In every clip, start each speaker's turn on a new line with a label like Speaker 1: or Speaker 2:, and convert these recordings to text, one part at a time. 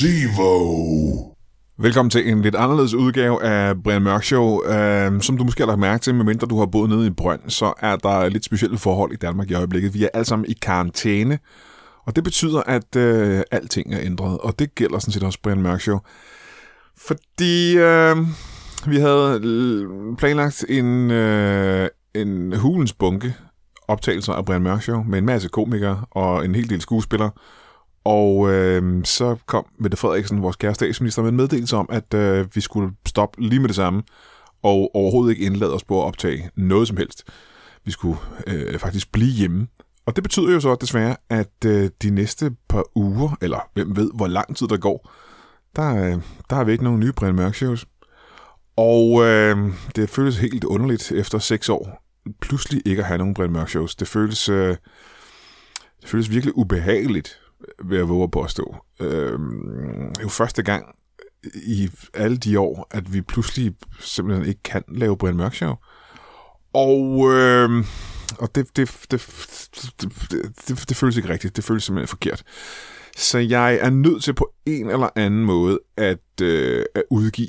Speaker 1: Sivo.
Speaker 2: Velkommen til en lidt anderledes udgave af Brian Mørk Show. Uh, som du måske har lagt mærke til, medmindre du har boet nede i Brønd, så er der lidt specielle forhold i Danmark i øjeblikket. Vi er alle sammen i karantæne, og det betyder, at uh, alting er ændret. Og det gælder sådan set også Brian Mørk Show. Fordi uh, vi havde l- planlagt en, uh, en hulens bunke optagelser af Brian Mørk Show med en masse komikere og en hel del skuespillere. Og øh, så kom Mette Frederiksen, vores kære statsminister, med en meddelelse om, at øh, vi skulle stoppe lige med det samme, og overhovedet ikke indlade os på at optage noget som helst. Vi skulle øh, faktisk blive hjemme. Og det betyder jo så desværre, at øh, de næste par uger, eller hvem ved, hvor lang tid der går, der, øh, der har vi ikke nogen nye Brian Mørk shows. Og øh, det føles helt underligt efter seks år, pludselig ikke at have nogen Brian Mørk shows. Det føles, øh, det føles virkelig ubehageligt vil jeg våge at påstå. Øh, jo første gang i alle de år, at vi pludselig simpelthen ikke kan lave Brian Mørk Show. Og, øh, og det, det, det, det, det, det, det føles ikke rigtigt. Det føles simpelthen forkert. Så jeg er nødt til på en eller anden måde at, øh, at udgive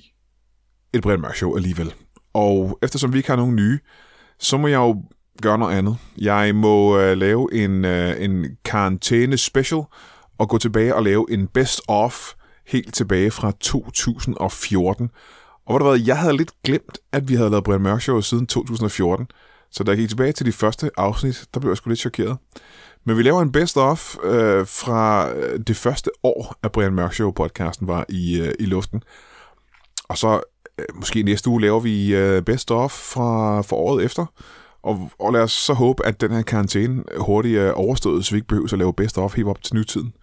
Speaker 2: et Brian Mørk Show alligevel. Og eftersom vi ikke har nogen nye, så må jeg jo gøre noget andet. Jeg må øh, lave en, øh, en karantæne special og gå tilbage og lave en best of helt tilbage fra 2014. Og hvor der været, jeg havde lidt glemt, at vi havde lavet Brian Mørk Show siden 2014. Så da jeg gik tilbage til de første afsnit, der blev jeg sgu lidt chokeret. Men vi laver en best of øh, fra det første år, at Brian Mørk Show podcasten var i, øh, i luften. Og så øh, måske næste uge laver vi øh, best of fra, fra året efter. Og, og lad os så håbe, at den her karantæne hurtigt er overstået, så vi ikke behøver at lave best of helt op til nutiden.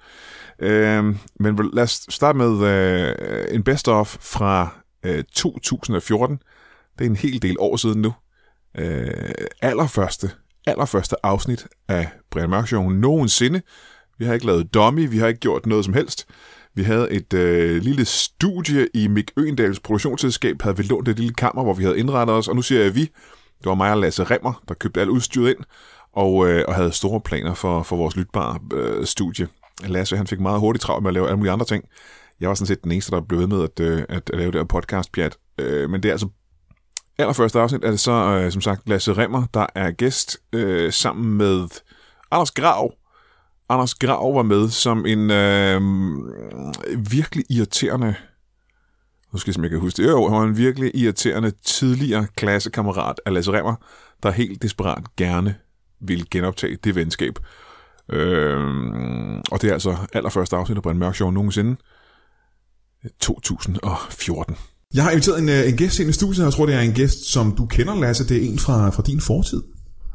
Speaker 2: Øh, men lad os starte med øh, en best of fra øh, 2014. Det er en hel del år siden nu. Øh, allerførste, allerførste afsnit af Brian Mørk Show nogensinde. Vi har ikke lavet dummy, vi har ikke gjort noget som helst. Vi havde et øh, lille studie i Mik Øendals produktionsselskab, havde vi lånt et lille kammer, hvor vi havde indrettet os, og nu siger jeg vi, det var mig og Lasse Remmer, der købte alt udstyret ind, og, øh, og havde store planer for, for vores lytbare øh, studie. Lasse han fik meget hurtigt travlt med at lave alle mulige andre ting. Jeg var sådan set den eneste, der blev ved med at, øh, at, at lave det her podcast -pjat. Øh, men det er altså allerførste afsnit, er det så øh, som sagt Lasse Remmer, der er gæst øh, sammen med Anders Grav. Anders Grav var med som en øh, virkelig irriterende nu skal jeg ikke huske det, jo, han var en virkelig irriterende tidligere klassekammerat af Lasse Remmer, der helt desperat gerne ville genoptage det venskab. Øhm, og det er altså allerførste afsnit af Brian Mørk Show nogensinde. 2014.
Speaker 3: Jeg har inviteret en, øh, en gæst ind i studiet, og jeg tror, det er en gæst, som du kender, Lasse. Det er en fra, fra din fortid.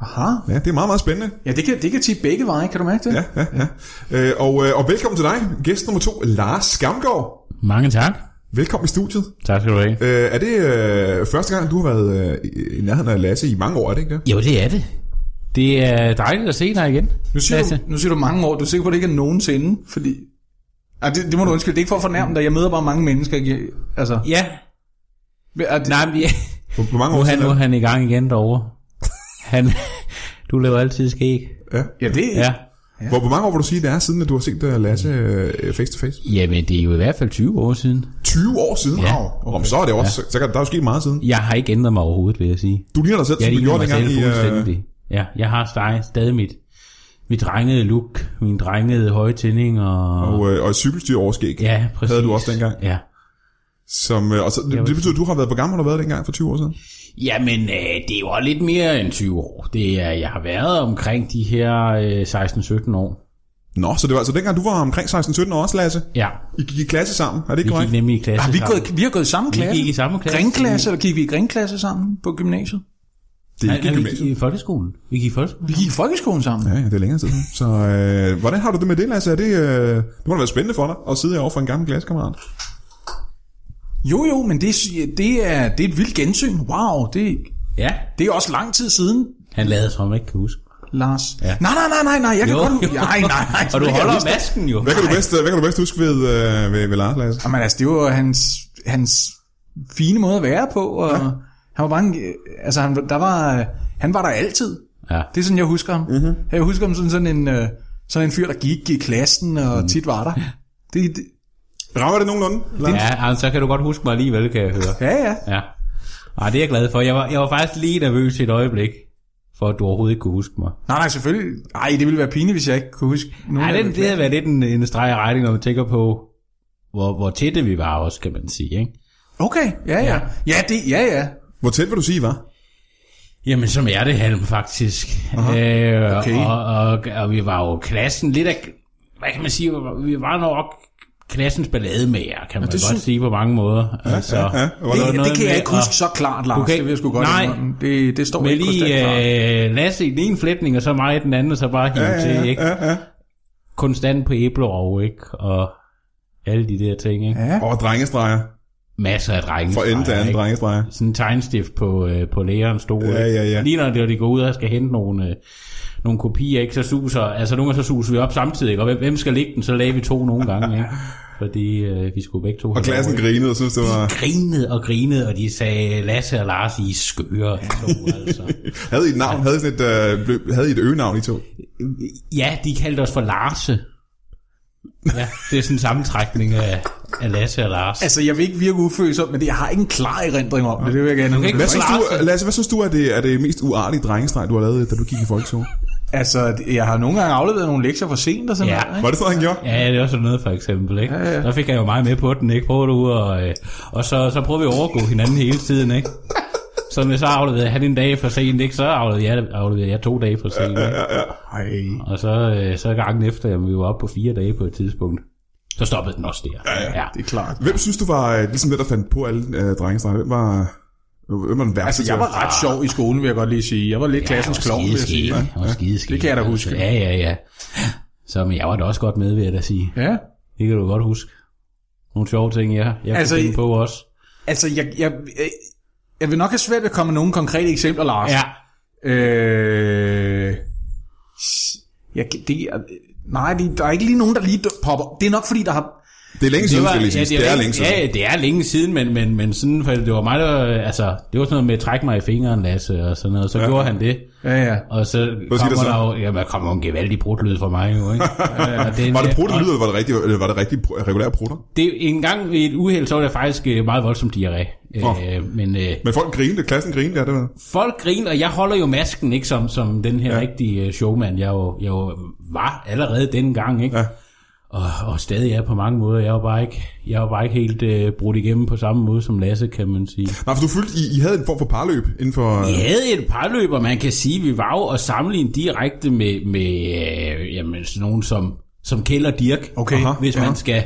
Speaker 4: Aha.
Speaker 3: Ja, det er meget, meget spændende.
Speaker 4: Ja, det kan, det kan tippe begge veje, kan du mærke det?
Speaker 3: Ja, ja, ja. Øh, og, øh, og velkommen til dig, gæst nummer to, Lars Skamgaard.
Speaker 5: Mange tak.
Speaker 3: Velkommen i studiet.
Speaker 5: Tak skal du have.
Speaker 3: Øh, er det øh, første gang, du har været øh, i- i nærheden af Lasse i mange år, er det ikke det?
Speaker 5: Jo, det er det. Det er dejligt at se dig igen.
Speaker 4: Nu siger,
Speaker 5: Lasse.
Speaker 4: du, nu siger du mange år. Du er sikker på, at det ikke er nogensinde, fordi... Ej, det, det må du undskylde. Det er ikke for at fornærme dig. Jeg møder bare mange mennesker. ikke? Altså,
Speaker 5: Ja.
Speaker 4: er det,
Speaker 5: Nej, men ja.
Speaker 3: Hvor, hvor mange
Speaker 5: Nu,
Speaker 3: år
Speaker 5: er han,
Speaker 3: siden er
Speaker 5: nu er
Speaker 3: det?
Speaker 5: han i gang igen derovre. Han, du laver altid skæg.
Speaker 4: ja, det,
Speaker 5: Ja.
Speaker 4: ja.
Speaker 3: Hvor, hvor mange år vil du sige, det er siden, at du har set øh, Lasse øh, face to face?
Speaker 5: Jamen, det er jo i hvert fald 20 år siden.
Speaker 3: 20 år siden?
Speaker 5: Ja.
Speaker 3: Wow. Om, så er det også, ja. så, kan, der er jo sket meget siden.
Speaker 5: Jeg har ikke ændret mig overhovedet, vil jeg sige.
Speaker 3: Du ligner dig selv,
Speaker 5: Jeg
Speaker 3: som du
Speaker 5: ligner
Speaker 3: gjorde
Speaker 5: mig
Speaker 3: dengang
Speaker 5: selv
Speaker 3: i... Øh,
Speaker 5: fuldstændig. Ja, jeg har stadig, stadig mit, mit drengede look, min drengede høje tænding og...
Speaker 3: og, øh, og et cykelstyr overskæg.
Speaker 5: ja, præcis.
Speaker 3: havde du også dengang?
Speaker 5: Ja.
Speaker 3: Som, øh, og så, det, det betyder, at du har været på gammel, har du været dengang for 20 år siden?
Speaker 5: Jamen, øh, det er jo også lidt mere end 20 år. Det er, jeg har været omkring de her øh, 16-17 år.
Speaker 3: Nå, så det var altså dengang, du var omkring 16-17 år også, Lasse.
Speaker 5: Ja,
Speaker 3: I gik i klasse sammen, er det
Speaker 5: vi
Speaker 3: ikke
Speaker 5: gik
Speaker 3: korrekt?
Speaker 5: nemlig i klasse
Speaker 4: Har vi,
Speaker 5: sammen.
Speaker 4: gået, vi har gået i samme klasse.
Speaker 5: gik i samme klasse.
Speaker 4: Ringklasse, eller gik vi i ringklasse sammen på gymnasiet?
Speaker 3: Det er
Speaker 5: Nej,
Speaker 3: ikke
Speaker 5: nej,
Speaker 3: i
Speaker 5: vi gik
Speaker 3: gymnasiet.
Speaker 5: i folkeskolen. Vi gik i folkeskolen.
Speaker 4: Vi gik i folkeskolen sammen.
Speaker 3: Ja, ja, det er længere tid siden. Så øh, hvordan har du det med det, Lasse? Er det, øh, det må da være spændende for dig at sidde herovre for en gammel klassekammerat.
Speaker 4: Jo, jo, men det, det, er, det er et vildt gensyn. Wow, det,
Speaker 5: Ja,
Speaker 4: det er også lang tid siden,
Speaker 5: han lavede som om ikke kan huske.
Speaker 4: Lars. Ja. Nej, nej, nej, nej, nej, jeg kan godt... huske- Nej, nej, nej.
Speaker 5: Og
Speaker 4: det
Speaker 5: du
Speaker 4: kan
Speaker 5: holder
Speaker 4: jeg huske.
Speaker 5: masken jo.
Speaker 3: Hvad kan, du bedst, hvad kan du bedst huske ved, øh, ved, ved Lars, Lasse?
Speaker 4: Jamen altså, det var hans, hans fine måde at være på, og ja. han var bare en, altså han, der var, han var der altid.
Speaker 5: Ja.
Speaker 4: Det er sådan, jeg husker ham. Mm-hmm. Jeg Mhm. husker ham sådan, sådan en, øh, sådan en fyr, der gik i klassen, og mm. tit var der. Det, det,
Speaker 3: Rammer det nogenlunde? Lars?
Speaker 5: Ja, altså, så kan du godt huske mig alligevel, kan jeg høre.
Speaker 4: Ja, ja.
Speaker 5: Ja. Ej, det er jeg glad for. Jeg var, jeg var faktisk lige nervøs i et øjeblik, for at du overhovedet ikke kunne huske mig.
Speaker 4: Nej, nej, selvfølgelig. Nej, det ville være pinligt, hvis jeg ikke kunne huske nogen.
Speaker 5: Nej,
Speaker 4: af
Speaker 5: det,
Speaker 4: dem.
Speaker 5: det havde været lidt en, en streg i regning, når man tænker på, hvor, hvor tætte vi var også, kan man sige. Ikke?
Speaker 4: Okay, ja, ja. Ja, det, ja, ja.
Speaker 3: Hvor tæt vil du sige, var?
Speaker 5: Jamen, som er det halm, faktisk. Øh,
Speaker 4: okay.
Speaker 5: og, og, og, vi var jo klassen lidt af, hvad kan man sige, vi var nok klassens ballademager, kan man godt
Speaker 4: synes-
Speaker 5: sige på mange måder. Ja, altså, ja, ja.
Speaker 4: Det, det kan jeg ikke huske så klart, Lars.
Speaker 5: Okay.
Speaker 4: Det vil jeg sgu godt
Speaker 5: Nej.
Speaker 4: indrømme. Det, det står
Speaker 5: Med
Speaker 4: ikke
Speaker 5: lige
Speaker 4: krystalklart.
Speaker 5: øh, Lasse i den ene flætning, og så mig i den anden, og så bare hive ja, ja, ja, til, ikke? Ja, ja. Konstant på æblerov, ikke? Og alle de der ting, ikke? Ja.
Speaker 4: Ja.
Speaker 3: Og drengestreger.
Speaker 5: Masser af drenge.
Speaker 3: Fra ende til anden drengestreger.
Speaker 5: Sådan en tegnstift på, øh, på lægerens stol.
Speaker 3: Ja,
Speaker 5: ikke?
Speaker 3: ja, ja.
Speaker 5: Lige når det- de går ud og skal hente nogle, øh, nogle kopier, ikke? Så suser, altså nogle gange så suser vi op samtidig, ikke? Og hvem, hvem skal ligge den? Så lagde vi to nogle gange, ikke? Fordi øh, vi skulle begge to
Speaker 3: Og klassen grinede og synes, det var...
Speaker 5: grinede og grinede, og de sagde, Lasse og Lars, I er skøre. To, altså.
Speaker 3: Havde I et navn? Havde, I sådan et, øh, blø- havde I et øgenavn, I to?
Speaker 5: Ja, de kaldte os for Larse. Ja, det er sådan en sammentrækning af, af Lasse og Lars.
Speaker 4: Altså, jeg vil ikke virke ufølsom, men det, jeg har ikke en klar erindring om det. Det vil jeg gerne
Speaker 5: ikke
Speaker 3: Hvad synes du,
Speaker 5: Larsen.
Speaker 3: Lasse, hvad synes du er det, er det mest uartige drengestreg, du har lavet, da du gik i folkeskole?
Speaker 4: Altså, jeg har nogle gange afleveret nogle lektier for sent og sådan
Speaker 5: Ja.
Speaker 4: noget.
Speaker 3: Var det sådan, han gjorde?
Speaker 5: Ja, det er også noget for eksempel, ikke? Ja, ja. Der fik jeg jo meget med på den, ikke? Prøver du og, øh, og så, så prøver vi at overgå hinanden hele tiden, ikke? Som jeg så afleverede han en dag for sent, ikke? Så afleverede jeg, afleverede jeg to dage for sent, ikke?
Speaker 4: Ikke?
Speaker 5: Og så, øh, så gangen efter, jamen, vi var oppe på fire dage på et tidspunkt. Så stoppede den også der. Ja, ja.
Speaker 4: det er klart.
Speaker 3: Hvem synes du var øh, ligesom det, der fandt på alle øh, drengestreger? Hvem var, hvem var den værste
Speaker 4: Altså, jeg var
Speaker 3: til?
Speaker 4: ret sjov i skolen, vil jeg godt lige sige. Jeg var lidt klassens
Speaker 5: Jeg var
Speaker 4: klovn, vil jeg sige.
Speaker 5: skideskæg. Jeg var skideskæg.
Speaker 4: Det kan jeg da huske.
Speaker 5: Altså, Ja, ja, ja. Så men jeg var da også godt med, ved at da sige.
Speaker 4: Ja.
Speaker 5: Det kan du godt huske. Nogle sjove ting, ja. Jeg
Speaker 4: Altså,
Speaker 5: altså,
Speaker 4: I-
Speaker 5: finde på også.
Speaker 4: Altså, jeg, jeg, jeg, jeg vil nok have svært ved at komme med nogle konkrete eksempler, Lars.
Speaker 5: Ja.
Speaker 4: Øh, jeg, det er, nej, det, der er ikke lige nogen, der lige dø- popper. Det er nok fordi, der har...
Speaker 3: Det ligesom er længe siden, skal jeg lige sige. Det er længe siden.
Speaker 5: ja, det er længe siden, men, men, men sådan, for det var mig, der, altså, det var sådan noget med at trække mig i fingeren, Lasse, og sådan noget, så ja. gjorde han det.
Speaker 4: Ja, ja.
Speaker 5: Og så
Speaker 3: Hvad siger
Speaker 5: kommer
Speaker 3: det så?
Speaker 5: der jo, jamen, der kommer jo en gevaldig brutlyd fra mig, jo, ikke? ja, og den,
Speaker 3: Var det
Speaker 5: øh,
Speaker 3: prutter
Speaker 5: og
Speaker 3: lyd, eller var det rigtig, eller var det rigtig pr- regulære prutter?
Speaker 5: Det, en gang ved et uheld, så var det faktisk øh, meget voldsomt diarré. Øh, men øh,
Speaker 3: Men folk grinede, klassen grinede, ja, det var.
Speaker 5: folk griner, og jeg holder jo masken, ikke? Som, som den her ja. rigtige øh, showman, jeg jo, jeg jo var allerede dengang, ikke?
Speaker 3: Ja.
Speaker 5: Og, og stadig er på mange måder. Jeg var bare ikke, jeg var bare ikke helt øh, brudt igennem på samme måde som Lasse, kan man sige.
Speaker 3: Nej, for du følte, I, I havde en form for parløb inden for...
Speaker 5: Vi havde et par løber, man kan sige, vi var jo at sammenligne direkte med, med øh, jamen, sådan nogen som, som Kjell og Dirk,
Speaker 4: Okay.
Speaker 5: Aha, hvis man
Speaker 3: ja.
Speaker 5: skal.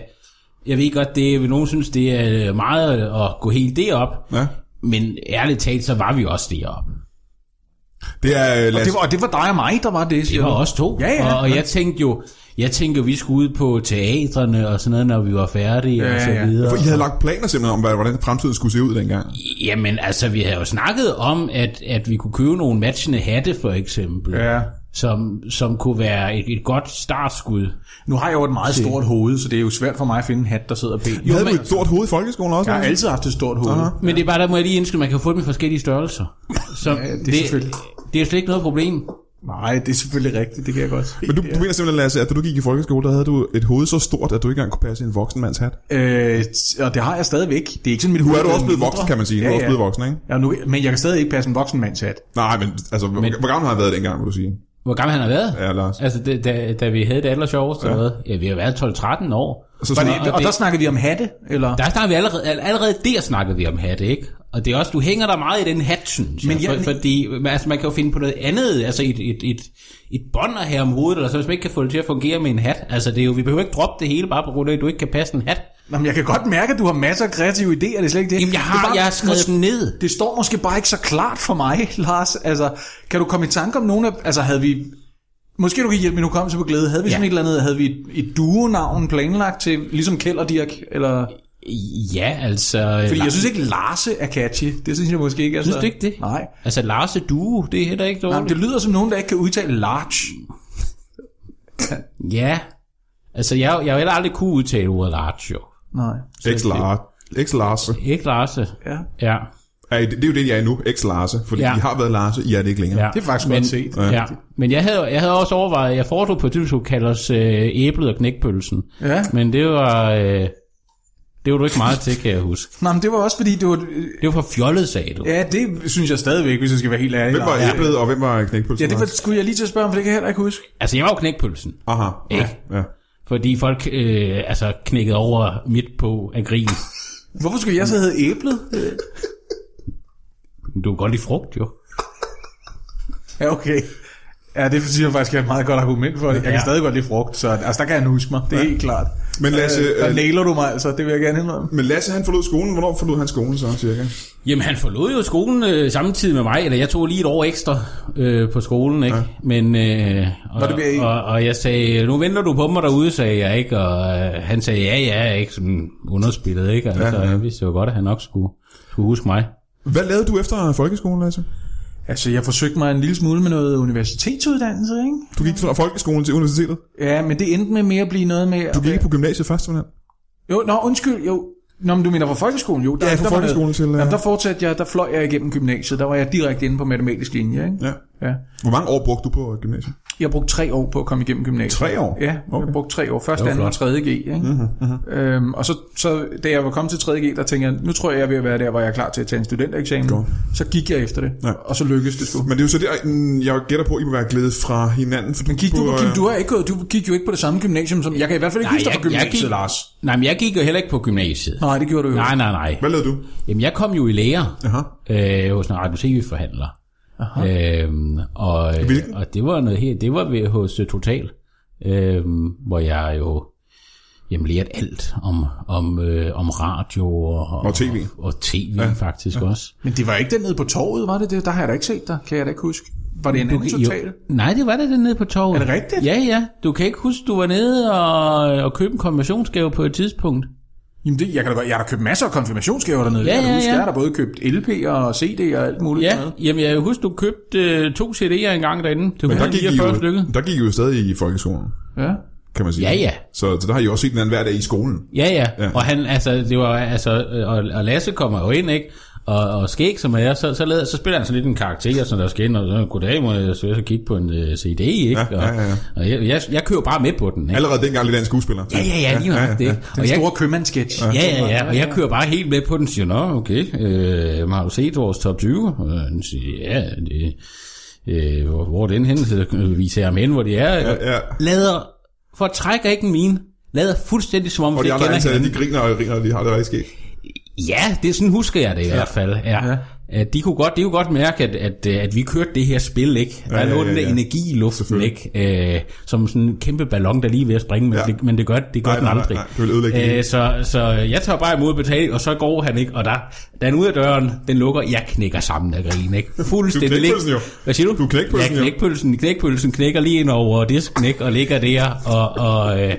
Speaker 5: Jeg ved godt, det vil nogen synes, det er øh, meget at gå helt derop,
Speaker 3: Ja.
Speaker 5: men ærligt talt, så var vi også deroppe.
Speaker 3: Det er, øh,
Speaker 4: Og
Speaker 3: Lasse,
Speaker 4: det, var, og det var dig og mig, der var det. siger
Speaker 5: Det
Speaker 4: du.
Speaker 5: var os to.
Speaker 4: Ja, ja.
Speaker 5: Og, og jeg tænkte jo, jeg tænkte jo, vi skulle ud på teatrene og sådan noget, når vi var færdige
Speaker 4: Ja,
Speaker 5: og så
Speaker 4: ja.
Speaker 5: videre.
Speaker 3: for I havde lagt planer simpelthen om, hvordan fremtiden skulle se ud dengang.
Speaker 5: Jamen altså, vi havde jo snakket om, at, at vi kunne købe nogle matchende hatte for eksempel,
Speaker 4: Ja.
Speaker 5: som, som kunne være et, et godt startskud.
Speaker 4: Nu har jeg jo et meget stort hoved, så det er jo svært for mig at finde en hat, der sidder pænt.
Speaker 3: I havde jo et stort hoved i folkeskolen også.
Speaker 4: Jeg har
Speaker 3: Lasse?
Speaker 4: altid haft et stort hoved.
Speaker 3: Aha.
Speaker 5: Men det er bare, der må jeg lige indskrive, man kan få dem i forskellige størrelser. Så ja,
Speaker 4: det er selvfølgelig.
Speaker 5: det er slet ikke noget problem.
Speaker 4: Nej, det er selvfølgelig rigtigt, det kan jeg godt se.
Speaker 3: Men du, du mener simpelthen, Lasse, at da du gik i folkeskole, der havde du et hoved så stort, at du ikke engang kunne passe i en voksen mands hat.
Speaker 4: Øh, t- og det har jeg stadigvæk. Det er ikke sådan, mit
Speaker 3: Nu
Speaker 4: hoved
Speaker 3: er du også blevet
Speaker 4: mindre.
Speaker 3: voksen, kan man sige. Nu er du
Speaker 4: Ja,
Speaker 3: også
Speaker 4: ja.
Speaker 3: blevet voksen, ikke?
Speaker 4: Ja, nu, men jeg kan stadig ikke passe en voksen mands hat.
Speaker 3: Nej, men altså, hvor, hvor gammel har jeg været dengang, vil du sige?
Speaker 5: Hvor gammel han har været?
Speaker 3: Ja, Lars.
Speaker 5: Altså, det, da, da vi havde det aller sjoveste, ja. ja, vi har været 12-13 år.
Speaker 3: Så
Speaker 4: Var
Speaker 3: Altså, sådan,
Speaker 4: det, og, og
Speaker 5: det-
Speaker 4: der snakkede vi om hatte, eller?
Speaker 5: Der snakker vi allerede, al- allerede der snakker vi om hat, ikke? Og det er også, du hænger der meget i den hat, synes jeg.
Speaker 4: Men jeg-
Speaker 5: For, fordi men altså, man kan jo finde på noget andet, altså et, et, et, et bånd at have om hovedet, eller så hvis man ikke kan få det til at fungere med en hat. Altså det er jo, vi behøver ikke droppe det hele bare på grund af, at du ikke kan passe en hat.
Speaker 4: Jamen, jeg kan godt mærke, at du har masser af kreative idéer, det er slet ikke det.
Speaker 5: Jamen jeg
Speaker 4: det er
Speaker 5: har,
Speaker 4: bare-
Speaker 5: jeg har skrevet
Speaker 4: mås-
Speaker 5: den ned.
Speaker 4: Det står måske bare ikke så klart for mig, Lars. Altså, kan du komme i tanke om nogle af... Altså, havde vi... Måske du kan hjælpe min hukommelse på glæde. Havde vi ja. sådan et eller andet... Havde vi et, et duo-navn planlagt til... Ligesom Kjeld og Dirk, eller...
Speaker 5: Ja, altså...
Speaker 4: Fordi
Speaker 5: Fordi
Speaker 4: jeg synes ikke, Larse er catchy. Det synes jeg måske ikke. Altså.
Speaker 5: Synes du ikke det?
Speaker 4: Nej.
Speaker 5: Altså Lars og Due, det er heller ikke
Speaker 4: Nej,
Speaker 5: dårligt.
Speaker 4: men det lyder som nogen, der ikke kan udtale large.
Speaker 5: Ja. Altså jeg, jeg har heller aldrig kunne udtale ordet Lars, jo.
Speaker 4: Nej.
Speaker 3: X-Lars. X-Larse.
Speaker 5: Ikke Lars?
Speaker 4: Ja.
Speaker 5: Ja.
Speaker 3: Ej, det, det, er jo det, jeg er nu. X-Larse. Fordi
Speaker 5: Ja.
Speaker 3: I har været Larse, I er det ikke længere.
Speaker 5: ja.
Speaker 4: Det er faktisk
Speaker 5: Men-
Speaker 4: godt set.
Speaker 5: Ja, men jeg havde, jeg havde også overvejet, jeg foreslog på et tidspunkt, at kalde os øh, æblet og knækpølsen.
Speaker 4: Ja.
Speaker 5: Men det var, øh, Det var du ikke meget til, kan jeg huske.
Speaker 4: Nej, men det var også fordi, det var...
Speaker 5: Det var for fjollet, sagde du.
Speaker 4: Ja, det synes jeg stadigvæk, hvis jeg skal være helt ærlig.
Speaker 3: Hvem var
Speaker 4: ja.
Speaker 3: æblet, og hvem var knækpølsen?
Speaker 4: ja, det var, skulle jeg lige til at spørge om, for det kan jeg heller ikke huske.
Speaker 5: Altså, jeg var jo knækpølsen.
Speaker 3: Aha. Ja.
Speaker 5: Ikke?
Speaker 3: ja.
Speaker 5: Fordi folk øh, altså, knækkede over midt på af grin.
Speaker 4: Hvorfor skulle jeg så hedde æblet?
Speaker 5: Men Du kan godt lide frugt, jo.
Speaker 4: Ja, okay. Ja, det siger jeg faktisk er et meget godt argument for det. Jeg kan
Speaker 5: Ja.
Speaker 4: stadig godt lide frugt, så altså, der kan han huske mig. Det er helt klart.
Speaker 3: Men Lasse,
Speaker 4: Øh, der
Speaker 3: øh,
Speaker 4: nailer du mig altså, det vil jeg gerne indrømme.
Speaker 3: Men Lasse, han forlod skolen. Hvornår forlod han skolen så, cirka?
Speaker 5: Jamen, han forlod jo skolen øh, samtidig med mig, eller jeg tog lige et år ekstra øh, på skolen, ikke? Ja. Men, øh, og,
Speaker 4: Nå, det bliver I-
Speaker 5: og, og jeg sagde, nu venter du på mig derude, sagde jeg, ikke? Og øh, han sagde, ja, ja, ikke? Sådan underspillet, ikke? Altså, ja, ja. jeg vidste jo godt, at han nok skulle, skulle huske mig.
Speaker 3: Hvad lavede du efter folkeskolen, Lasse?
Speaker 4: Altså, jeg forsøgte mig en lille smule med noget universitetsuddannelse, ikke?
Speaker 3: Du gik fra folkeskolen til universitetet.
Speaker 4: Ja, men det endte med mere at blive noget med...
Speaker 3: Du gik ikke på gymnasiet først, hvordan?
Speaker 4: Jo, nå, undskyld, jo. Nå, men du mener fra folkeskolen, jo. Der,
Speaker 3: Ja, fra
Speaker 4: der var noget-
Speaker 3: folkeskolen til, øh,
Speaker 4: Jamen, der fortsatte jeg, der fløj jeg igennem gymnasiet. Der var jeg direkte inde på matematisk linje, ikke?
Speaker 3: Ja.
Speaker 4: ja.
Speaker 3: Hvor mange år brugte du på øh, gymnasiet?
Speaker 4: Jeg brugte tre år på at komme igennem gymnasiet.
Speaker 3: Tre år?
Speaker 4: Ja, okay.
Speaker 3: Okay.
Speaker 4: jeg brugte tre år. Først,
Speaker 5: var
Speaker 4: anden og
Speaker 5: flot.
Speaker 4: tredje G. Ikke? Mm-hmm, mm-hmm. Øhm, og så, så, da jeg var kommet til 3. G, der tænkte jeg, nu tror jeg, jeg er ved at være der, hvor jeg er klar til at tage en studentereksamen.
Speaker 3: Godt.
Speaker 4: Så gik jeg efter det,
Speaker 3: Ja.
Speaker 4: og så lykkedes det sgu.
Speaker 3: Men det er jo så der, mm, jeg gætter på, at I må være glædet fra hinanden. For
Speaker 4: Men gik du,
Speaker 3: øh,
Speaker 4: Kim, du, har ikke gået, du gik jo ikke på det samme gymnasium som... Jeg kan i hvert fald ikke
Speaker 5: Nej,
Speaker 4: huske dig
Speaker 5: jeg-
Speaker 4: fra
Speaker 5: jeg
Speaker 4: gymnasiet,
Speaker 5: gik-
Speaker 4: Lars.
Speaker 5: Nej, men jeg gik jo heller ikke på gymnasiet.
Speaker 4: Nej, det gjorde du jo.
Speaker 5: Nej, nej, nej.
Speaker 3: Hvad lavede du?
Speaker 5: Jamen, jeg kom jo i lære
Speaker 3: Aha.
Speaker 5: øh, hos en radio-tv-forhandler. Øhm, og, øh,
Speaker 3: Hvilken?
Speaker 5: og det var noget helt, det var ved, hos øh, Total, øhm, hvor jeg jo jamen, lærte alt om, om, øh, om radio og,
Speaker 3: Og TV.
Speaker 5: Og, og tv ja. faktisk ja. også.
Speaker 4: Men det var ikke den nede på torvet, var det det? Der har jeg da ikke set dig, kan jeg da ikke huske. Var det en anden
Speaker 5: kan- jo-
Speaker 4: total?
Speaker 5: Nej, det var det den nede på torvet.
Speaker 4: Er det rigtigt?
Speaker 5: Ja, ja. Du kan ikke huske, du var nede og, og købte en konfirmationsgave på et tidspunkt.
Speaker 4: Jamen det, jeg, kan da godt, jeg har da købt masser af konfirmationsgaver dernede.
Speaker 5: Ja,
Speaker 4: jeg kan
Speaker 5: ja,
Speaker 4: huske,
Speaker 5: ja.
Speaker 4: jeg har da både købt LP'er og CD'er og alt muligt.
Speaker 5: Ja,
Speaker 4: dernede.
Speaker 5: jamen jeg husker, du købte øh, to CD'er en gang derinde. Det var
Speaker 3: Men der gik, I
Speaker 5: 49
Speaker 3: jo,
Speaker 5: stykker.
Speaker 3: der gik I jo stadig i folkeskolen,
Speaker 4: ja.
Speaker 3: kan man sige.
Speaker 5: Ja, ja.
Speaker 3: Så, så der har I også set hinanden hver dag i skolen.
Speaker 5: Ja, ja, ja. Og han, altså, det var, altså, øh, og, og Lasse kommer jo ind, ikke? Og, og skæg, som er, så, så, lader, så spiller han sådan lidt en karakter, sådan der skal ind, og så, goddag, må jeg så, så kigge på en uh, CD, ikke?
Speaker 3: Ja, ja, ja.
Speaker 5: Og, og jeg, jeg, jeg kører bare med på den, ikke?
Speaker 3: Allerede dengang lidt af en skuespiller.
Speaker 5: Ja, ja, ja, lige nok det.
Speaker 4: Den
Speaker 5: og jeg,
Speaker 4: store købmandssketch.
Speaker 5: Ja, ja, ja, og jeg kører bare helt med på den, siger, nå, okay, øh, har du set vores top 20? Og han siger, ja, det, øh, hvor, hvor er den henne? Så øh, viser jeg ham hen, hvor de er.
Speaker 3: Ja, ja.
Speaker 5: Lader, for trækker ikke en mine, lader fuldstændig som om,
Speaker 3: Og de
Speaker 5: vi ikke
Speaker 3: andre
Speaker 5: kender
Speaker 3: ansatte,
Speaker 5: hinanden.
Speaker 3: de griner og griner, og de har det rigtig skægt.
Speaker 5: Ja, det er sådan husker jeg det i hvert fald. Ja.
Speaker 4: Ja.
Speaker 5: Ja. At de kunne godt, de kunne godt mærke, at, at, øh, at vi kørte det her spil, ikke? Der
Speaker 3: Ja, ja,
Speaker 5: lå
Speaker 3: ja,
Speaker 5: den der
Speaker 3: ja.
Speaker 5: energi i luften, ikke? Øh, som sådan en kæmpe ballon, der lige er ved at springe, men,
Speaker 3: Ja.
Speaker 5: ja. det, men det gør, det gør
Speaker 3: Nej,
Speaker 5: den
Speaker 3: nej, nej,
Speaker 5: aldrig.
Speaker 3: nej, det vil ødelægge det hele.
Speaker 5: øh, så, så jeg tager bare imod betaling, og så går han ikke, og der, da han er ude af døren, den lukker, jeg knækker sammen af grin, ikke? Fuldstændig.
Speaker 3: knækpølsen
Speaker 5: ligger-
Speaker 3: jo.
Speaker 5: Hvad siger du?
Speaker 3: Du er knækpølsen
Speaker 5: ja,
Speaker 3: jo.
Speaker 5: knækpølsen, knækpølsen knækker lige ind over disken, ikke? Og ligger der og, og, øh,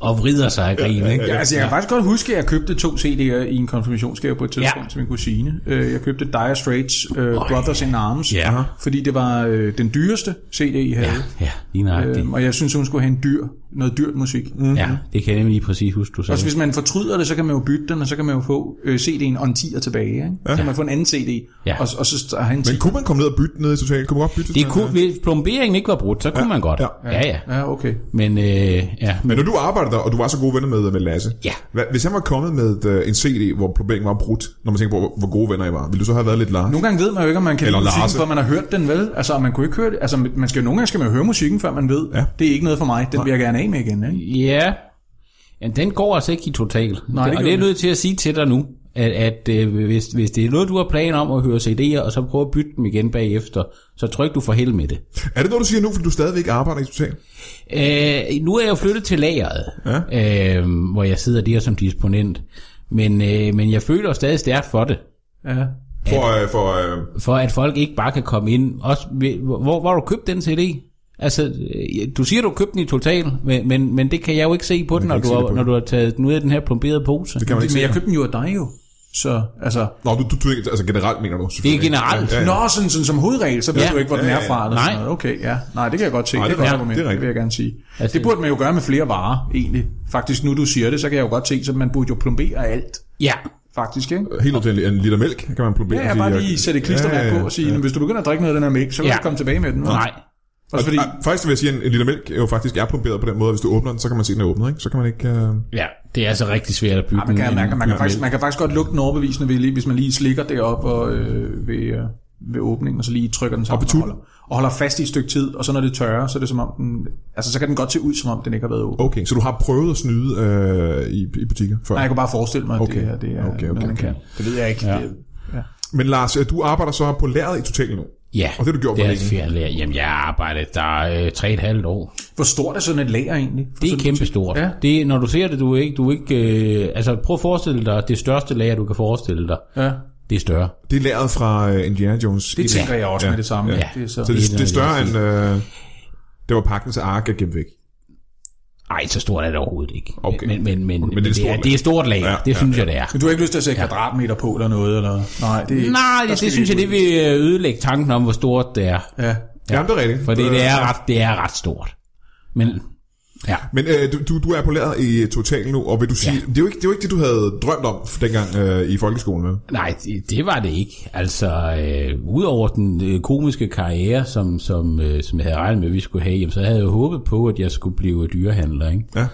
Speaker 5: og vrider sig af grin, ikke?
Speaker 4: Ja, altså, jeg kan faktisk godt huske, at jeg købte to CD'er i en konfirmationsgave på et tidspunkt
Speaker 5: Ja.
Speaker 4: til min kusine. Øh, Jeg købte Dire Straits' øh, Brothers in Arms,
Speaker 5: Ja.
Speaker 4: fordi det var øh, den dyreste CD, I havde.
Speaker 5: Ja, lige nøjagtigt.
Speaker 4: Øhm, og jeg synes, hun skulle have en dyr, noget dyrt musik. Mm.
Speaker 5: Ja, det kan jeg nemlig lige præcis huske, du sagde.
Speaker 4: Også hvis man fortryder det, så kan man jo bytte den, og så kan man jo få øh, CD'en og en 10'er tilbage. Ikke? Så kan man få en anden CD,
Speaker 5: Ja.
Speaker 4: og, og så har han en
Speaker 3: Men
Speaker 4: 10'er.
Speaker 3: kunne man komme ned og bytte ned i totalt? Kunne man godt bytte?
Speaker 5: det kunne, hvis plomberingen ikke var brudt, så kunne man godt.
Speaker 3: ja,
Speaker 5: Ja, ja. ja.
Speaker 4: Ja, okay.
Speaker 5: Men, øh, ja.
Speaker 3: Men når du arbejder der, og du var så gode venner med, med Lasse,
Speaker 5: Ja.
Speaker 3: hvad, hvis han var kommet med øh, en CD, hvor problemet var brudt, når man tænker på, hvor, hvor gode venner I var, ville du så have været lidt large?
Speaker 4: Nogle gange ved man jo ikke, om man kan
Speaker 3: Eller
Speaker 4: lide musikken,
Speaker 3: Larse.
Speaker 4: før man har hørt den, vel? Altså, og man kunne ikke høre det. Altså, man skal, jo- nogle gange skal man jo høre musikken, før man ved, ja. det er ikke noget for mig, den vil jeg gerne af med igen. Ikke?
Speaker 5: ja. ja. den går altså ikke i total.
Speaker 4: Nej, det gør
Speaker 5: og det er jeg
Speaker 4: den.
Speaker 5: nødt til at sige til dig nu, at, at øh, hvis, hvis det er noget, du har planer om at høre CD'er, og så prøve at bytte dem igen bagefter, så tror jeg ikke, du får held med det.
Speaker 3: Er det noget, du siger nu, fordi du stadigvæk arbejder i totalt?
Speaker 5: Øh, nu er jeg jo flyttet til lageret, ja. øh, hvor jeg sidder der som disponent. Men, øh, men jeg føler stadig stærkt for det.
Speaker 4: Ja.
Speaker 3: For, øh, for, øh,
Speaker 5: for at folk ikke bare kan komme ind. Også ved, hvor, hvor har du købt den CD? Altså, øh, du siger, du købte den i total, men, men, men det kan jeg jo ikke se på den, når
Speaker 3: ikke
Speaker 5: du,
Speaker 3: se det
Speaker 5: har,
Speaker 3: på
Speaker 5: når
Speaker 3: den.
Speaker 5: du har taget den ud af den her plomberede pose.
Speaker 3: det
Speaker 5: Det,
Speaker 3: kan man ikke
Speaker 4: Men jeg
Speaker 3: sige.
Speaker 4: købte den jo af dig jo. Så, altså...
Speaker 3: Nå, du, du, du, tænker- altså generelt mener du.
Speaker 5: er generelt.
Speaker 3: Ja,
Speaker 5: Ja,
Speaker 4: Ja,
Speaker 3: ja.
Speaker 4: ja. Nå, sådan, sådan som hovedregel, så ved
Speaker 5: Ja.
Speaker 4: ja. du ikke, hvor den
Speaker 3: Ja,
Speaker 4: er
Speaker 3: ja, ja.
Speaker 4: fra. Eller
Speaker 5: Nej.
Speaker 4: Sådan noget. Okay, ja. Nej, det kan jeg godt se.
Speaker 3: Nej,
Speaker 4: Nej,
Speaker 3: det
Speaker 4: det,
Speaker 3: er
Speaker 4: det,
Speaker 3: rigtigt. Det
Speaker 4: godt, det,
Speaker 3: er rigtigt.
Speaker 4: det vil jeg gerne sige.
Speaker 5: Altså-
Speaker 4: Altså, det burde man jo gøre med flere varer, egentlig. Faktisk, nu du siger det, så kan jeg jo godt se, så man burde jo plombere alt,
Speaker 5: ja.
Speaker 4: faktisk, ikke?
Speaker 3: Helt op til en, en liter mælk, kan man plombe.
Speaker 4: Ja, jeg bare lige sætte et klistermærke på og sige, ja. hvis du begynder at drikke noget af den her mælk, så kan
Speaker 5: Ja.
Speaker 4: ja. du ikke komme tilbage med den. hva'?"
Speaker 5: Nej.
Speaker 4: Også fordi,
Speaker 3: Fordi... Ah, faktisk vil jeg sige, at en, en liter mælk er jo faktisk er plomberet på den måde, at hvis du åbner den, så kan man se, at den er åbnet, ikke? Så kan man ikke... Øh...
Speaker 5: Ja, det er altså rigtig svært at bygge.
Speaker 4: ah, man, kan,
Speaker 5: en-
Speaker 4: man, kan, man, kan
Speaker 5: en-
Speaker 4: faktisk, man kan faktisk godt lukke den overbevisende, ved, lige- hvis man lige slikker det op og, øh, ved, øh, ved åbningen, og så lige trykker den sammen og, og, holder, og holder fast i et stykke tid, og så når det tørrer, så er det som om den, altså så kan den godt se ud, som om den ikke har været åben.
Speaker 3: Okay, så du har prøvet at snyde øh, i, i butikker før?
Speaker 4: Nej, jeg kunne bare forestille mig, at
Speaker 3: Okay.
Speaker 4: det her det er
Speaker 3: Okay, okay,
Speaker 4: noget, man
Speaker 3: okay.
Speaker 4: kan. Det ved jeg ikke. Ja. Det, ja.
Speaker 3: Men Lars, øh, du arbejder så på lageret i Total nu.
Speaker 5: Ja,
Speaker 3: Og det har du gjort hvor
Speaker 5: det er
Speaker 3: længe?
Speaker 5: svært at lære. Jamen, jeg har arbejdet der øh, tre et halvt år.
Speaker 4: Hvor stort er sådan et lager egentlig? For
Speaker 5: Det er
Speaker 4: sådan-
Speaker 5: kæmpestort.
Speaker 4: Ja.
Speaker 5: Ja. Det, når du ser det, du er ikke, du er ikke øh, altså prøv at forestille dig det største lager, du kan forestille dig.
Speaker 4: Ja,
Speaker 5: Det er større.
Speaker 3: Det er lageret fra øh, Indiana Jones.
Speaker 4: det tænker jeg også
Speaker 3: Ja.
Speaker 4: med det samme.
Speaker 5: Ja.
Speaker 4: Det er så.
Speaker 3: Så det, det er større
Speaker 5: Ja.
Speaker 3: end... Øh, det var pakken til Ark, jeg gemte væk.
Speaker 5: Ej, så stort er det overhovedet ikke.
Speaker 3: Okay.
Speaker 5: Men, men, men, men,
Speaker 3: det er
Speaker 5: det, er
Speaker 3: et stort
Speaker 5: det, er, det er et stort lager.
Speaker 3: Ja,
Speaker 5: Ja, det
Speaker 3: ja,
Speaker 5: synes jeg, det er.
Speaker 4: Men du har ikke lyst til at sætte kvadratmeter på eller noget? Eller? Nej, det er ikke.
Speaker 5: Nej,
Speaker 4: der
Speaker 5: det,
Speaker 4: skal
Speaker 5: det
Speaker 4: vi
Speaker 5: synes jeg,
Speaker 4: ikke ud.
Speaker 5: det vil øh, ødelægge tanken om, hvor stort det er.
Speaker 4: Ja.
Speaker 3: Ja. Jamen, det er rigtigt.
Speaker 5: For det, det,
Speaker 3: Øh,
Speaker 5: er, ret, det er ret stort. Men ja,
Speaker 3: Men øh, du- du, du er på lageret i Total nu, og vil du sige... Ja. Det, er jo ikke, det er jo ikke det, du havde drømt om dengang øh, i folkeskolen, vel?
Speaker 5: nej, det, det var det ikke. Altså, øh, udover den øh, komiske karriere, som, som, øh, som jeg havde regnet med, at vi skulle have, jamen, så havde jeg jo håbet på, at jeg skulle blive dyrehandler. Ikke?
Speaker 3: Ja.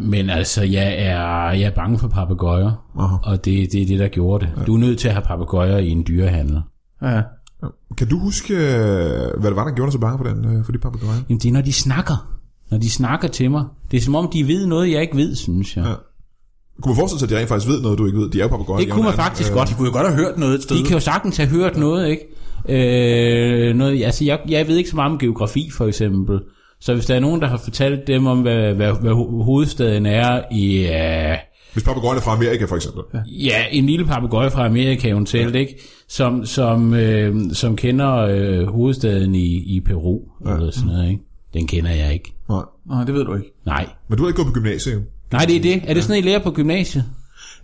Speaker 5: Men altså, jeg er, jeg er bange for papegøjer,
Speaker 3: Aha.
Speaker 5: og det, det er det, der gjorde det. Du er nødt til at have papegøjer i en dyrehandel.
Speaker 4: Ja.
Speaker 3: Kan du huske, øh, hvad det var, der gjorde dig så bange for, den, øh, for de papagøjer?
Speaker 5: Jamen, det er, når de snakker. Når de snakker til mig. Det er som om, de ved noget, jeg ikke ved, synes jeg.
Speaker 3: Ja. Kunne man forestille sig, at de rent faktisk ved noget, du ikke ved? De er jo papagøjer.
Speaker 5: Det kunne man
Speaker 3: Øh,
Speaker 5: faktisk godt.
Speaker 4: De kunne jo godt have hørt noget et sted.
Speaker 5: De kan jo sagtens have hørt noget, ikke? Øh, noget, altså, jeg, jeg ved ikke så meget om geografi, for eksempel. Så hvis der er nogen, der har fortalt dem om, hvad, hvad, hvad ho- hovedstaden er i... Øh,
Speaker 3: Hvis papagøjerne er fra Amerika, for eksempel. Ja.
Speaker 5: Ja, en lille papegøje fra Amerika eventuelt, ikke? Som, som, øh, som kender øh, hovedstaden i, i Peru, ja. eller sådan noget, ikke? Den kender jeg ikke.
Speaker 3: Nej.
Speaker 4: Nej, det ved du ikke.
Speaker 5: Nej.
Speaker 3: Men du har ikke gået på gymnasiet, jo.
Speaker 5: Nej, det er det. Er det sådan, I lærer på gymnasiet?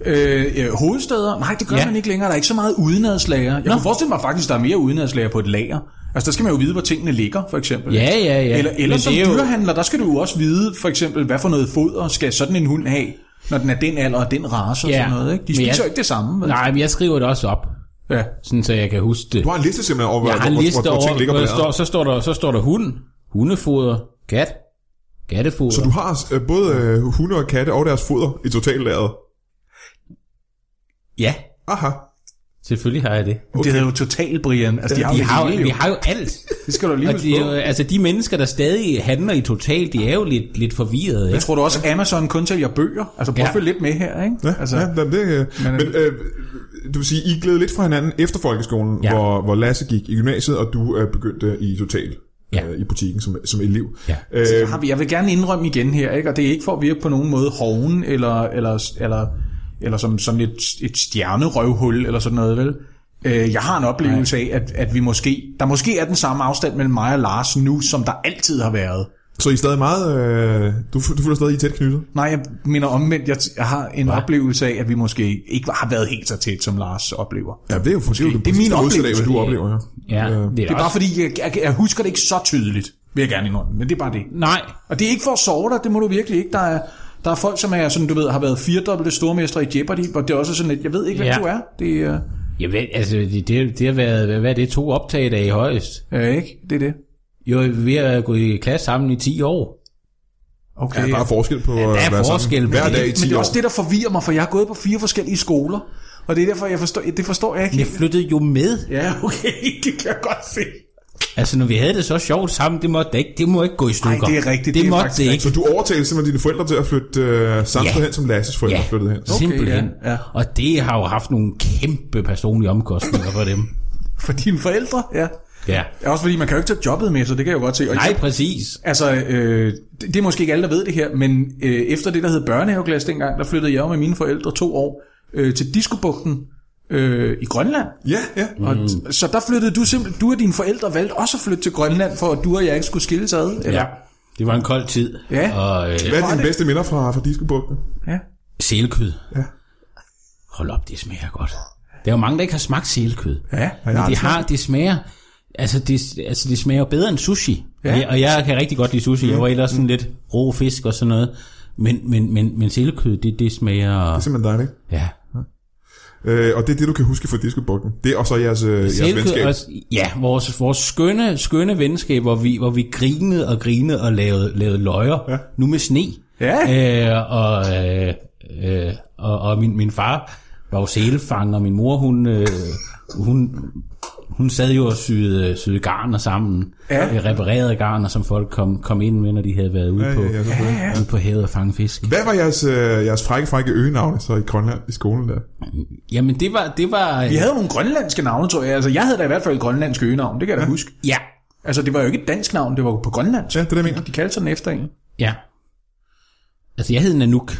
Speaker 4: Øh, ja, hovedsteder? Nej, det gør ja.
Speaker 5: Ja.
Speaker 4: man ikke længere. Der er ikke så meget udenadslager. Jeg Nå. kunne forestille mig faktisk, der er mere udenadslager på et lager. Altså, der skal man jo vide, hvor tingene ligger, for eksempel.
Speaker 5: Ja, ja, ja.
Speaker 4: Eller, eller
Speaker 5: Men
Speaker 4: som
Speaker 5: det er jo-
Speaker 4: dyrehandler, der skal du jo også vide, for eksempel, hvad for noget foder skal sådan en hund have, når den er den alder og den race og
Speaker 5: Ja.
Speaker 4: sådan noget. Ikke? De
Speaker 5: Men
Speaker 4: spiser
Speaker 5: jeg-
Speaker 4: jo ikke det samme. Vel?
Speaker 5: Nej, men jeg skriver det også op,
Speaker 4: Ja.
Speaker 5: sådan så jeg kan huske det.
Speaker 3: Du har en liste simpelthen over, hvor,
Speaker 5: Jeg har en
Speaker 3: hvor,
Speaker 5: liste
Speaker 3: hvor, hvor, ting
Speaker 5: over,
Speaker 3: ligger
Speaker 5: hvor
Speaker 3: på
Speaker 5: der står,
Speaker 3: lageret.
Speaker 5: så, står der, så står der hund, hundefoder, kat, kattefoder.
Speaker 3: Så du har øh, både øh, hunde og katte og deres foder i totallageret.
Speaker 5: Ja,
Speaker 3: Aha.
Speaker 5: selvfølgelig har jeg det.
Speaker 4: Okay. Det er jo totalt, Brian. Altså, de har,
Speaker 5: Vi har,
Speaker 4: det
Speaker 5: jo,
Speaker 4: hele,
Speaker 5: vi
Speaker 4: jo.
Speaker 5: har jo alt.
Speaker 4: Det skal du lige
Speaker 5: Og
Speaker 4: huske
Speaker 5: det er jo,
Speaker 4: på.
Speaker 5: altså de mennesker, der stadig handler i total, de er jo lidt, lidt forvirrede. Ikke?
Speaker 4: Jeg tror du også, at Amazon kun sælger bøger? Altså prøv ja.
Speaker 5: Ja.
Speaker 4: at følge lidt med her, ikke?
Speaker 3: Ja, altså,
Speaker 4: altså,
Speaker 3: ja jamen, det, øh, men,
Speaker 4: Men, øh,
Speaker 3: men øh, du vil sige, I gled lidt fra hinanden efter folkeskolen, ja.
Speaker 5: Ja.
Speaker 3: hvor, hvor Lasse gik i gymnasiet, og du øh, begyndte i total
Speaker 5: Ja.
Speaker 3: øh, i butikken som, som elev.
Speaker 5: Ja.
Speaker 3: Øh,
Speaker 4: har vi- Jeg vil gerne indrømme igen her, ikke? Og det er ikke for at virke på nogen måde hoven, eller, eller, eller, eller som sådan et, et stjernerøvhul, eller sådan noget, vel? Øh, Jeg har en oplevelse af, at, at vi måske, der måske er den samme afstand mellem mig og Lars nu, som der altid har været.
Speaker 3: så I er stadig meget... Øh, du, du føler stadig, I er tæt knyttet.
Speaker 4: Nej, jeg mener omvendt, jeg, jeg har en oplevelse af, at vi måske ikke har været helt så tæt, som Lars oplever.
Speaker 3: Ja, det er jo for, det, er jo
Speaker 4: Det er min
Speaker 3: præcis modsatte af,
Speaker 4: oplevelse.
Speaker 3: hvad du oplever. Ja.
Speaker 5: Ja, Øh, det er,
Speaker 4: Det er bare
Speaker 5: også,
Speaker 4: fordi, jeg, jeg, jeg husker det ikke så tydeligt, vil jeg gerne indrømme, men det er bare det.
Speaker 5: Nej,
Speaker 4: Og det er ikke for at sove dig, det må du virkelig ikke. Der er, der er folk, som er sådan, du ved, har været firedobbelte stormestre i Jeopardy, og det er også sådan lidt, jeg ved ikke, hvem
Speaker 5: Ja.
Speaker 4: du er. Det øh, er,
Speaker 5: jeg ved, altså det, det, det har været, hvad- hvad er det, to optag i højst?
Speaker 4: ja, ikke? Det er det.
Speaker 5: Jo, vi har gået i klasse sammen i 10 år.
Speaker 4: Okay.
Speaker 3: Der er bare forskel på ja,
Speaker 5: der er forskel på
Speaker 3: hver
Speaker 5: det,
Speaker 3: dag i
Speaker 5: men
Speaker 3: 10
Speaker 4: Men det er
Speaker 3: år.
Speaker 4: også det, der forvirrer mig, for jeg har gået på fire forskellige skoler, og det er derfor, jeg forstår, det forstår jeg ikke.
Speaker 5: Jeg flyttede jo med.
Speaker 4: Ja, okay, det kan jeg godt se.
Speaker 5: Altså, når vi havde det så sjovt sammen, det måtte da ikke, det må ikke gå i stykker.
Speaker 4: det er rigtigt,
Speaker 5: Det,
Speaker 4: det er
Speaker 5: måtte
Speaker 4: faktisk
Speaker 5: det ikke.
Speaker 3: Så du overtalte simpelthen dine forældre til at flytte øh, samme
Speaker 5: Ja.
Speaker 3: sted hen, som Lasses forældre
Speaker 5: Ja.
Speaker 3: flyttede hen.
Speaker 5: Simpelthen.
Speaker 4: ja, ja.
Speaker 5: Og det har jo haft nogle kæmpe personlige omkostninger for dem.
Speaker 4: For dine forældre, ja.
Speaker 5: Ja.
Speaker 4: Ja, Også fordi man kan jo ikke tage jobbet med, så det kan jeg jo godt se. Og
Speaker 5: Nej, præcis.
Speaker 4: Altså, øh, det, det er måske ikke alle, der ved det her, men øh, efter det, der hed børnehaveklasse dengang, der flyttede jeg jo med mine forældre to år øh, til Diskobugten øh, i Grønland.
Speaker 3: Ja, ja.
Speaker 4: Og, så der flyttede du simpelthen, du og dine forældre valgte også at flytte til Grønland, for at du og jeg ikke skulle skilles ad. Eller?
Speaker 5: Ja. Det var en kold tid.
Speaker 4: Ja.
Speaker 5: Og øh,
Speaker 3: Hvad er
Speaker 4: Var
Speaker 3: dine
Speaker 4: det-
Speaker 3: bedste minder fra, fra Diskobugten?
Speaker 4: ja.
Speaker 5: Sælkød.
Speaker 3: Ja.
Speaker 5: Hold op, det smager godt. Der er jo mange, der ikke har smagt sælkød.
Speaker 4: Ja.
Speaker 5: Men det har, det smager, altså det, altså det smager jo bedre end sushi. Ja. Mm. Og, jeg, og jeg kan rigtig godt lide sushi. Jeg var ellers sådan lidt rå fisk og sådan noget. Men, men, men, men sælkød, det, det smager...
Speaker 3: Det er simpelthen dejligt.
Speaker 5: Ja.
Speaker 3: Øh, og det er det, du kan huske fra Discobukken. Det og så jeres, øh, jeres venskab.
Speaker 5: Også, ja, vores, vores skønne, skønne venskab, hvor vi, hvor vi grinede og grinede og lavede, lavede løjer. Ja. Nu med sne. Ja. Øh, og, øh, øh, og, og min, min far var jo sælefanger, og min mor, hun, øh, hun, hun sad jo og syede, syede garner sammen. Ja. Øh, reparerede garner, som folk kom, kom ind med, når de havde været ude,
Speaker 3: Ja,
Speaker 5: på,
Speaker 3: ja, ja, selvfølgelig.
Speaker 5: ude på havet og fange fisk.
Speaker 3: Hvad var jeres, øh, jeres frække, frække øgenavne så i Grønland i skolen der?
Speaker 5: Jamen, det var... Det var
Speaker 4: Vi havde nogle grønlandske navne, tror jeg. Altså, jeg havde da i hvert fald et grønlandsk øgenavn, det kan jeg da huske.
Speaker 5: Ja,
Speaker 4: Altså, det var jo ikke et dansk navn, det var jo på grønlandsk.
Speaker 3: Ja, det er det, jeg mener.
Speaker 4: De kaldte sig den efter en.
Speaker 5: ja. Altså, jeg hed Nanook.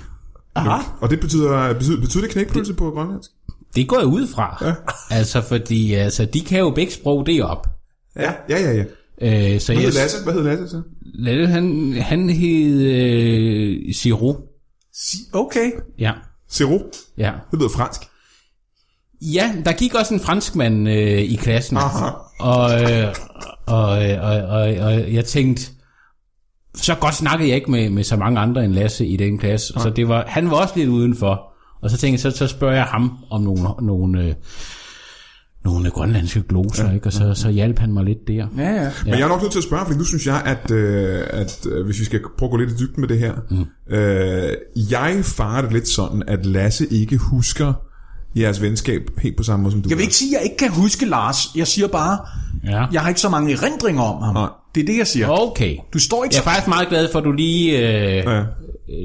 Speaker 4: Aha.
Speaker 3: Og det betyder, betyder, betyder det knækpølse på grønlandsk?
Speaker 5: Det går jeg ud fra. Ja. Altså, fordi altså, de kan jo begge sprog det op.
Speaker 3: Ja, ja, ja. ja.
Speaker 5: Øh, så
Speaker 3: Hvad
Speaker 5: jeg,
Speaker 3: hed Lasse? Hvad hed Lasse så?
Speaker 5: Lasse, han, han hed øh, Siro.
Speaker 4: Okay.
Speaker 5: Ja.
Speaker 3: Zero.
Speaker 5: ja.
Speaker 3: Det lyder fransk.
Speaker 5: Ja, der gik også en franskmand øh, i klassen.
Speaker 3: Aha.
Speaker 5: Og, øh, og, øh, og, og, og jeg tænkte, så godt snakkede jeg ikke med, med så mange andre end Lasse i den klasse. Så det var, han var også lidt udenfor. Og så tænkte jeg, så, så spørger jeg ham om nogle, nogle, øh, nogle grønlandske gloser, ja, ikke? og så, så hjalp han mig lidt der.
Speaker 4: Ja, ja.
Speaker 3: Men jeg er nok nødt til at spørge, fordi nu synes jeg, at, øh, at øh, hvis vi skal prøve at gå lidt i dybden med det her. Mm. Øh, jeg farer det lidt sådan, at Lasse ikke husker jeres venskab helt på samme måde som du
Speaker 4: Jeg vil
Speaker 3: gør.
Speaker 4: ikke sige, at jeg ikke kan huske Lars. Jeg siger bare,
Speaker 5: Ja.
Speaker 4: jeg har ikke så mange erindringer om ham.
Speaker 3: Nej.
Speaker 4: Det er det, jeg siger.
Speaker 5: Okay.
Speaker 4: Du står ikke
Speaker 5: Jeg er
Speaker 4: så...
Speaker 5: faktisk meget glad for, at du lige øh,
Speaker 3: Ja.
Speaker 5: øh,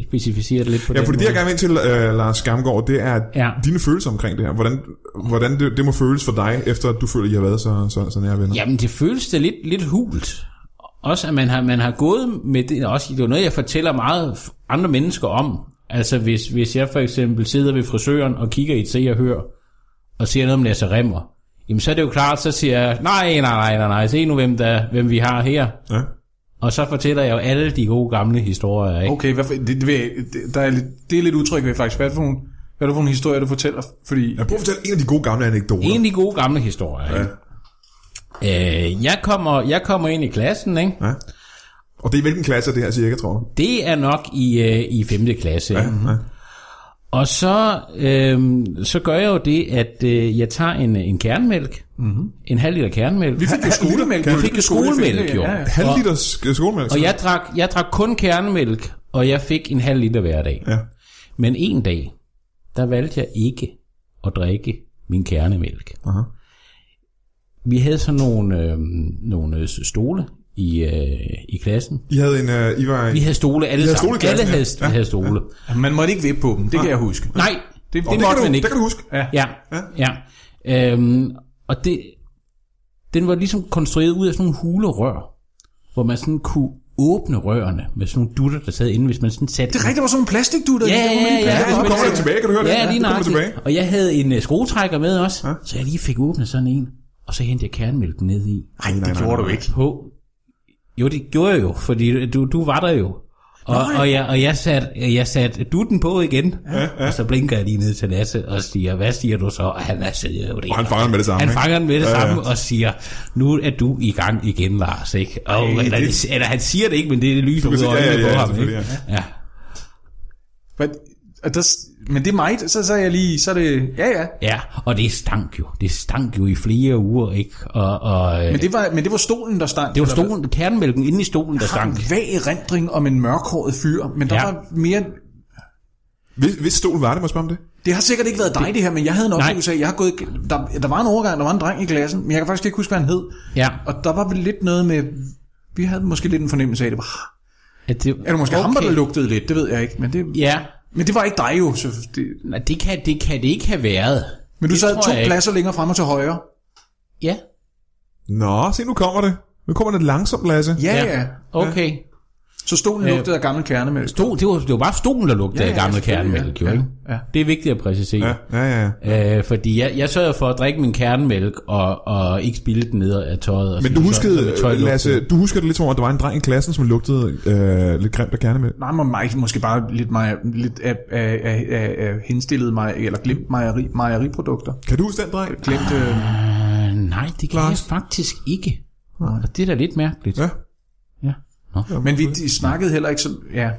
Speaker 5: specificerer det lidt på
Speaker 3: Ja,
Speaker 5: den
Speaker 3: fordi det,
Speaker 5: måde.
Speaker 3: jeg gerne vil ind til, øh, Lars Skamgaard, det er ja.
Speaker 5: Ja.
Speaker 3: dine følelser omkring det her. Hvordan, hvordan det, det må føles for dig, efter at du føler, at I har været så, så, så nære venner.
Speaker 5: Jamen, det føles da lidt, lidt hult. Også at man har, man har gået med det, også, det er jo noget, jeg fortæller meget f- andre mennesker om. Altså, hvis, hvis jeg for eksempel sidder ved frisøren og kigger i et se og hør, og siger noget om Lasse Remmer, jamen så er det jo klart, så siger jeg, nej, nej, nej, nej, nej, se nu, hvem, der, hvem vi har her.
Speaker 3: Ja.
Speaker 5: Og så fortæller jeg jo alle de gode gamle historier, ikke?
Speaker 4: Okay, hvad for... det, det, vil- det, der er lidt, det er lidt utryg ved faktisk. Hvad er det for en, hvad er det for en historie, du fortæller? Fordi...
Speaker 3: Jeg prøver at fortælle en af de gode gamle anekdoter.
Speaker 5: En af de gode gamle historier, ikke? Øh, jeg, kommer, jeg kommer ind i klassen, ikke?
Speaker 3: Ja. Og det er i hvilken klasse er det her cirka, tror du?
Speaker 5: Det er nok i, øh, i 5. klasse. Ja, ja. Og så, øh, så gør jeg jo det, at øh, jeg tager en, en kernemælk, mm-hmm. en halv liter kernemælk. Vi
Speaker 4: fik jo skolemælk.
Speaker 5: Vi fik jo skolemælk, jo.
Speaker 4: Ja, ja.
Speaker 3: Halv øh, liter sk- skolemælk.
Speaker 5: Og jeg drak, jeg drak kun kernemælk, og jeg fik en halv liter hver dag.
Speaker 3: Ja.
Speaker 5: Men en dag, der valgte jeg ikke at drikke min kernemælk.
Speaker 3: Aha.
Speaker 5: Vi havde sådan nogle, øh, nogle øh, stole i, øh, i klassen.
Speaker 3: I havde en... Øh, I var en...
Speaker 5: Vi havde stole alle
Speaker 3: havde stole
Speaker 5: sammen.
Speaker 3: i klassen,
Speaker 5: Alle havde,
Speaker 3: ja. Ja,
Speaker 5: havde stole.
Speaker 4: Man måtte ikke vippe på dem, det kan jeg huske.
Speaker 5: Nej,
Speaker 3: det,
Speaker 4: det
Speaker 5: det, det, det
Speaker 3: kan
Speaker 5: måtte
Speaker 3: du,
Speaker 5: man ikke.
Speaker 3: det kan du huske. Ja.
Speaker 5: Ja, ja. ja. Øhm, og det, den var ligesom konstrueret ud af sådan nogle hulerør, hvor man sådan kunne åbne rørene med sådan nogle dutter, der sad inde, hvis man sådan satte...
Speaker 4: Det er rigtigt, der var sådan nogle plastikdutter. i,
Speaker 5: Ja,
Speaker 4: der kunne man
Speaker 5: ja,
Speaker 4: lige
Speaker 5: ja,
Speaker 4: passe
Speaker 5: ja.
Speaker 4: op.
Speaker 3: Nu kommer det tilbage, kan du høre det?
Speaker 5: Ja, lige
Speaker 3: det kommer tilbage.
Speaker 5: nøjagtigt. Og jeg havde en uh, skruetrækker med også, ja? så jeg lige fik åbnet sådan en, og så hentede jeg kernemælken ned i.
Speaker 4: Nej, det gjorde du ikke.
Speaker 5: På. Jo, det gjorde jeg jo, fordi du, du var der jo. Og, og, jeg, og jeg satte jeg sat dutten på igen, ja, ja. og så blinker jeg lige ned til Lasse og siger, hvad siger du så? Og han er sidder jo det.
Speaker 3: Og han fanger den med det samme,
Speaker 5: Han
Speaker 3: ikke?
Speaker 5: fanger den med det samme og siger, nu er du i gang igen, Lars. Ikke? Og, Ej, eller, det... eller, han siger det ikke, men det lyser
Speaker 3: kan
Speaker 5: ud af
Speaker 3: se- ja, ja,
Speaker 5: øjnene
Speaker 3: ja,
Speaker 5: på ham. Ikke?
Speaker 3: selvfølgelig,
Speaker 5: Ja.
Speaker 4: Men, og der, men det er mig, så, så er jeg lige, så er det, ja ja.
Speaker 5: ja, og det stank jo. Det stank jo i flere uger, ikke? Og, og, øh,
Speaker 4: Men det var, men det var stolen, der stank.
Speaker 5: det var stolen, kernemælken inde i stolen, der
Speaker 4: Der var
Speaker 5: stank.
Speaker 4: en vag erindring om en mørkhåret fyr, men der ja.
Speaker 5: Ja.
Speaker 4: var mere...
Speaker 3: Hvis, hvis stol var det, må jeg spørge om det?
Speaker 4: Det har sikkert ikke været dig det her, men jeg havde en oplevelse af, jeg har gået, der, der var en overgang, der var en dreng i klassen, men jeg kan faktisk ikke huske, hvad han hed.
Speaker 5: Ja.
Speaker 4: Og der var vel lidt noget med, vi havde måske lidt en fornemmelse af, at det var,
Speaker 5: At det,
Speaker 4: eller måske okay. ham, der lugtede lidt, det ved jeg ikke, men det,
Speaker 5: Ja,
Speaker 4: men det var ikke dig jo. Så det,
Speaker 5: Nej, det kan det, kan det ikke have været.
Speaker 4: men du
Speaker 5: det
Speaker 4: sad
Speaker 5: tror
Speaker 4: to
Speaker 5: jeg ikke.
Speaker 4: pladser længere frem og til højre.
Speaker 5: Ja,
Speaker 3: Nå, se, nu kommer det. Nu kommer det langsomt, Lasse.
Speaker 4: Ja, ja.
Speaker 5: Ja.
Speaker 4: ja.
Speaker 5: okay.
Speaker 4: Så stolen lugtede af gammel kernemælk.
Speaker 5: Sto, det, var, det var bare stolen, der lugtede
Speaker 4: Ja,
Speaker 5: ja,
Speaker 4: ja,
Speaker 5: af gammel
Speaker 4: selvfølgelig,
Speaker 5: kernemælk,
Speaker 4: ja.
Speaker 5: jo, ikke?
Speaker 4: Ja, ja.
Speaker 5: Det er vigtigt at
Speaker 3: Ja,
Speaker 5: præcisere.
Speaker 3: ja, ja. ja.
Speaker 5: Ja. Øh, fordi jeg, jeg sørgede for at drikke min kernemælk og, og ikke spilde den ned af tøjet. Og
Speaker 3: Men
Speaker 5: sådan
Speaker 3: du
Speaker 5: noget,
Speaker 3: huskede, øh,
Speaker 5: så- så mit tøj lugtede.
Speaker 3: Lasse, du husker det lidt som om, at der var en dreng i klassen, som lugtede øh, lidt grimt af kernemælk.
Speaker 4: Nej, men mig, måske bare lidt, mig, lidt af, af, af, af, af henstillede mig, eller glemt mejeri, mejeriprodukter.
Speaker 3: Kan du huske den dreng?
Speaker 4: Glemt, øh,
Speaker 5: Øh, nej, det kan jeg faktisk ikke. Og det er da lidt mærkeligt.
Speaker 3: Ja.
Speaker 5: Ja. Nå.
Speaker 4: men vi de snakkede heller ikke så... Ja.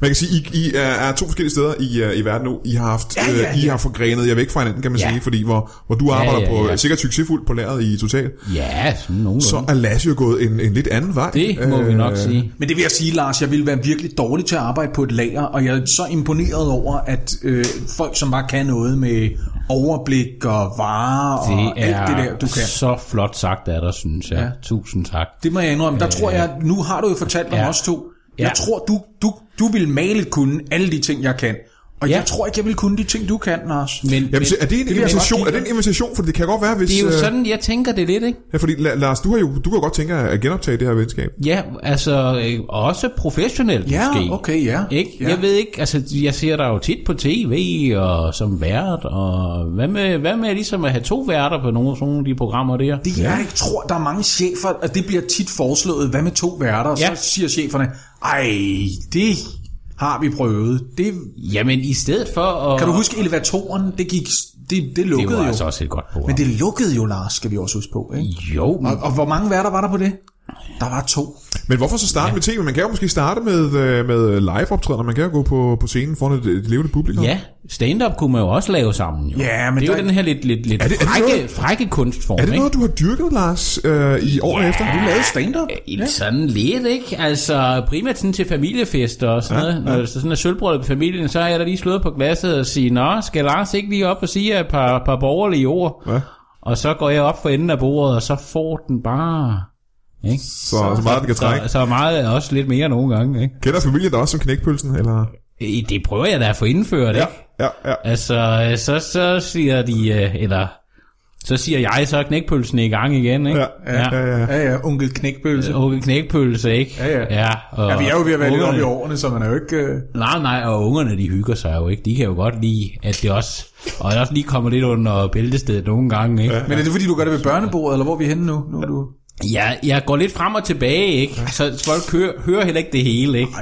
Speaker 3: Man kan sige, I, I er, er to forskellige steder i, øh, i verden nu. I har haft, ja, ja, ja. I har forgrenet jer væk fra hinanden, kan man
Speaker 5: Ja.
Speaker 3: sige, fordi hvor, hvor du arbejder
Speaker 5: ja,
Speaker 3: på
Speaker 5: ja.
Speaker 3: sikkert succesfuldt på lageret i Total,
Speaker 5: Ja, sådan nogenlunde.
Speaker 3: så er Lasse jo gået en, en lidt anden vej.
Speaker 5: det må øh, vi nok sige.
Speaker 4: Men det vil jeg sige, Lars, jeg ville være virkelig dårlig til at arbejde på et lager, og jeg er så imponeret over, at øh, folk, som bare kan noget med overblik og varer og
Speaker 5: Det er
Speaker 4: alt det der, du kan.
Speaker 5: så flot sagt af dig, synes jeg. Ja. Tusind tak.
Speaker 4: Det må jeg indrømme. Der tror jeg, nu har du jo fortalt om
Speaker 5: Øh, Ja.
Speaker 4: os to. Jeg
Speaker 5: Ja.
Speaker 4: tror, du, du, du vil maligt kunne alle de ting, jeg kan. Og
Speaker 5: Ja.
Speaker 4: jeg tror ikke, jeg vil kunne de ting, du kan, Lars.
Speaker 5: Men,
Speaker 3: Jamen, så
Speaker 5: men
Speaker 3: er det en
Speaker 5: vil jeg
Speaker 3: invitation? Er
Speaker 5: godt
Speaker 3: det
Speaker 5: give
Speaker 3: en invitation? For det kan godt være, hvis...
Speaker 5: dig. det er jo
Speaker 3: øh,
Speaker 5: sådan, jeg tænker det lidt, ikke?
Speaker 3: Ja, fordi La- Lars, du, har jo, du kan jo godt tænke dig at genoptage det her venskab.
Speaker 5: Ja, altså øh, også professionelt
Speaker 4: Ja,
Speaker 5: måske.
Speaker 4: okay, ja.
Speaker 5: Ikke?
Speaker 4: Ja.
Speaker 5: Jeg ved ikke, altså jeg ser dig jo tit på tv og som vært, og hvad med, hvad med ligesom at have to værter på nogle, sådan nogle af de programmer der?
Speaker 4: Det jeg ikke tror, der er mange chefer, og det bliver tit foreslået, hvad med to værter? Og
Speaker 5: Ja.
Speaker 4: så siger cheferne, ej, det har vi prøvet. Det,
Speaker 5: Jamen i stedet for at...
Speaker 4: kan du huske elevatoren? Det gik, det, det
Speaker 5: Det
Speaker 4: lukkede
Speaker 5: var
Speaker 4: jo.
Speaker 5: altså også et godt program.
Speaker 4: Men det lukkede jo, Lars, skal vi også huske på. Ikke?
Speaker 5: Jo, men
Speaker 4: Og, og hvor mange værter var der på det? Der var to.
Speaker 3: Men hvorfor så starte ja. med tv? Man kan jo måske starte med, øh, med live-optræder. Man kan jo gå på, på scenen foran et, et levende publikum.
Speaker 5: ja, stand-up kunne man jo også lave sammen. Jo.
Speaker 4: Ja, men
Speaker 5: det er
Speaker 4: der-
Speaker 5: jo den her lidt, lidt, lidt
Speaker 3: Er det- er det
Speaker 5: frække,
Speaker 3: noget-
Speaker 5: frække kunstform,
Speaker 3: Er det
Speaker 5: ikke?
Speaker 3: noget, du har dyrket, Lars, øh, i årene
Speaker 5: Ja.
Speaker 3: efter?
Speaker 4: Du lavede stand-up?
Speaker 5: Ja. Sådan lidt, ikke? Altså, primært sådan til familiefester og sådan ja, noget. Når ja. sådan er sølvbrød på familien, så har jeg da lige slået på glasset og sige, Nå, skal Lars ikke lige op og sige et par, par borgerlige ord?
Speaker 3: Ja.
Speaker 5: Og så går jeg op for enden af bordet, og så får den bare... Ikke?
Speaker 3: Så, så meget, den kan trække.
Speaker 5: Så, så meget også lidt mere nogle gange, ikke?
Speaker 3: Kender familien dig også som knækpølsen, eller?
Speaker 5: Øh, Det prøver jeg da at få indført, ikke?
Speaker 3: ja, ja.
Speaker 5: Altså, øh, så, så siger de... øh, Eller, så siger jeg, så er knækpølsen i gang igen, ikke?
Speaker 3: Ja, ja, ja, ja.
Speaker 4: Ja, ja, onkel knækpølse.
Speaker 5: Unge knækpølse, ikke?
Speaker 4: Ja, ja.
Speaker 5: ja, og
Speaker 4: Ja, vi er jo ved at være lidt oppe i
Speaker 5: ungerne-
Speaker 4: årene, så man er jo ikke... øh,
Speaker 5: Nej, nej, og ungerne, de hygger sig jo ikke. De kan jo godt lide, at det også... Og det også lige kommer lidt under bæltestedet nogle gange, ikke?
Speaker 4: Men er det fordi, du gør det ved børnebordet, eller hvor er vi henne nu? nu er du...
Speaker 5: Ja, jeg går lidt frem og tilbage, ikke? Så folk hører, hører heller ikke det hele, ikke?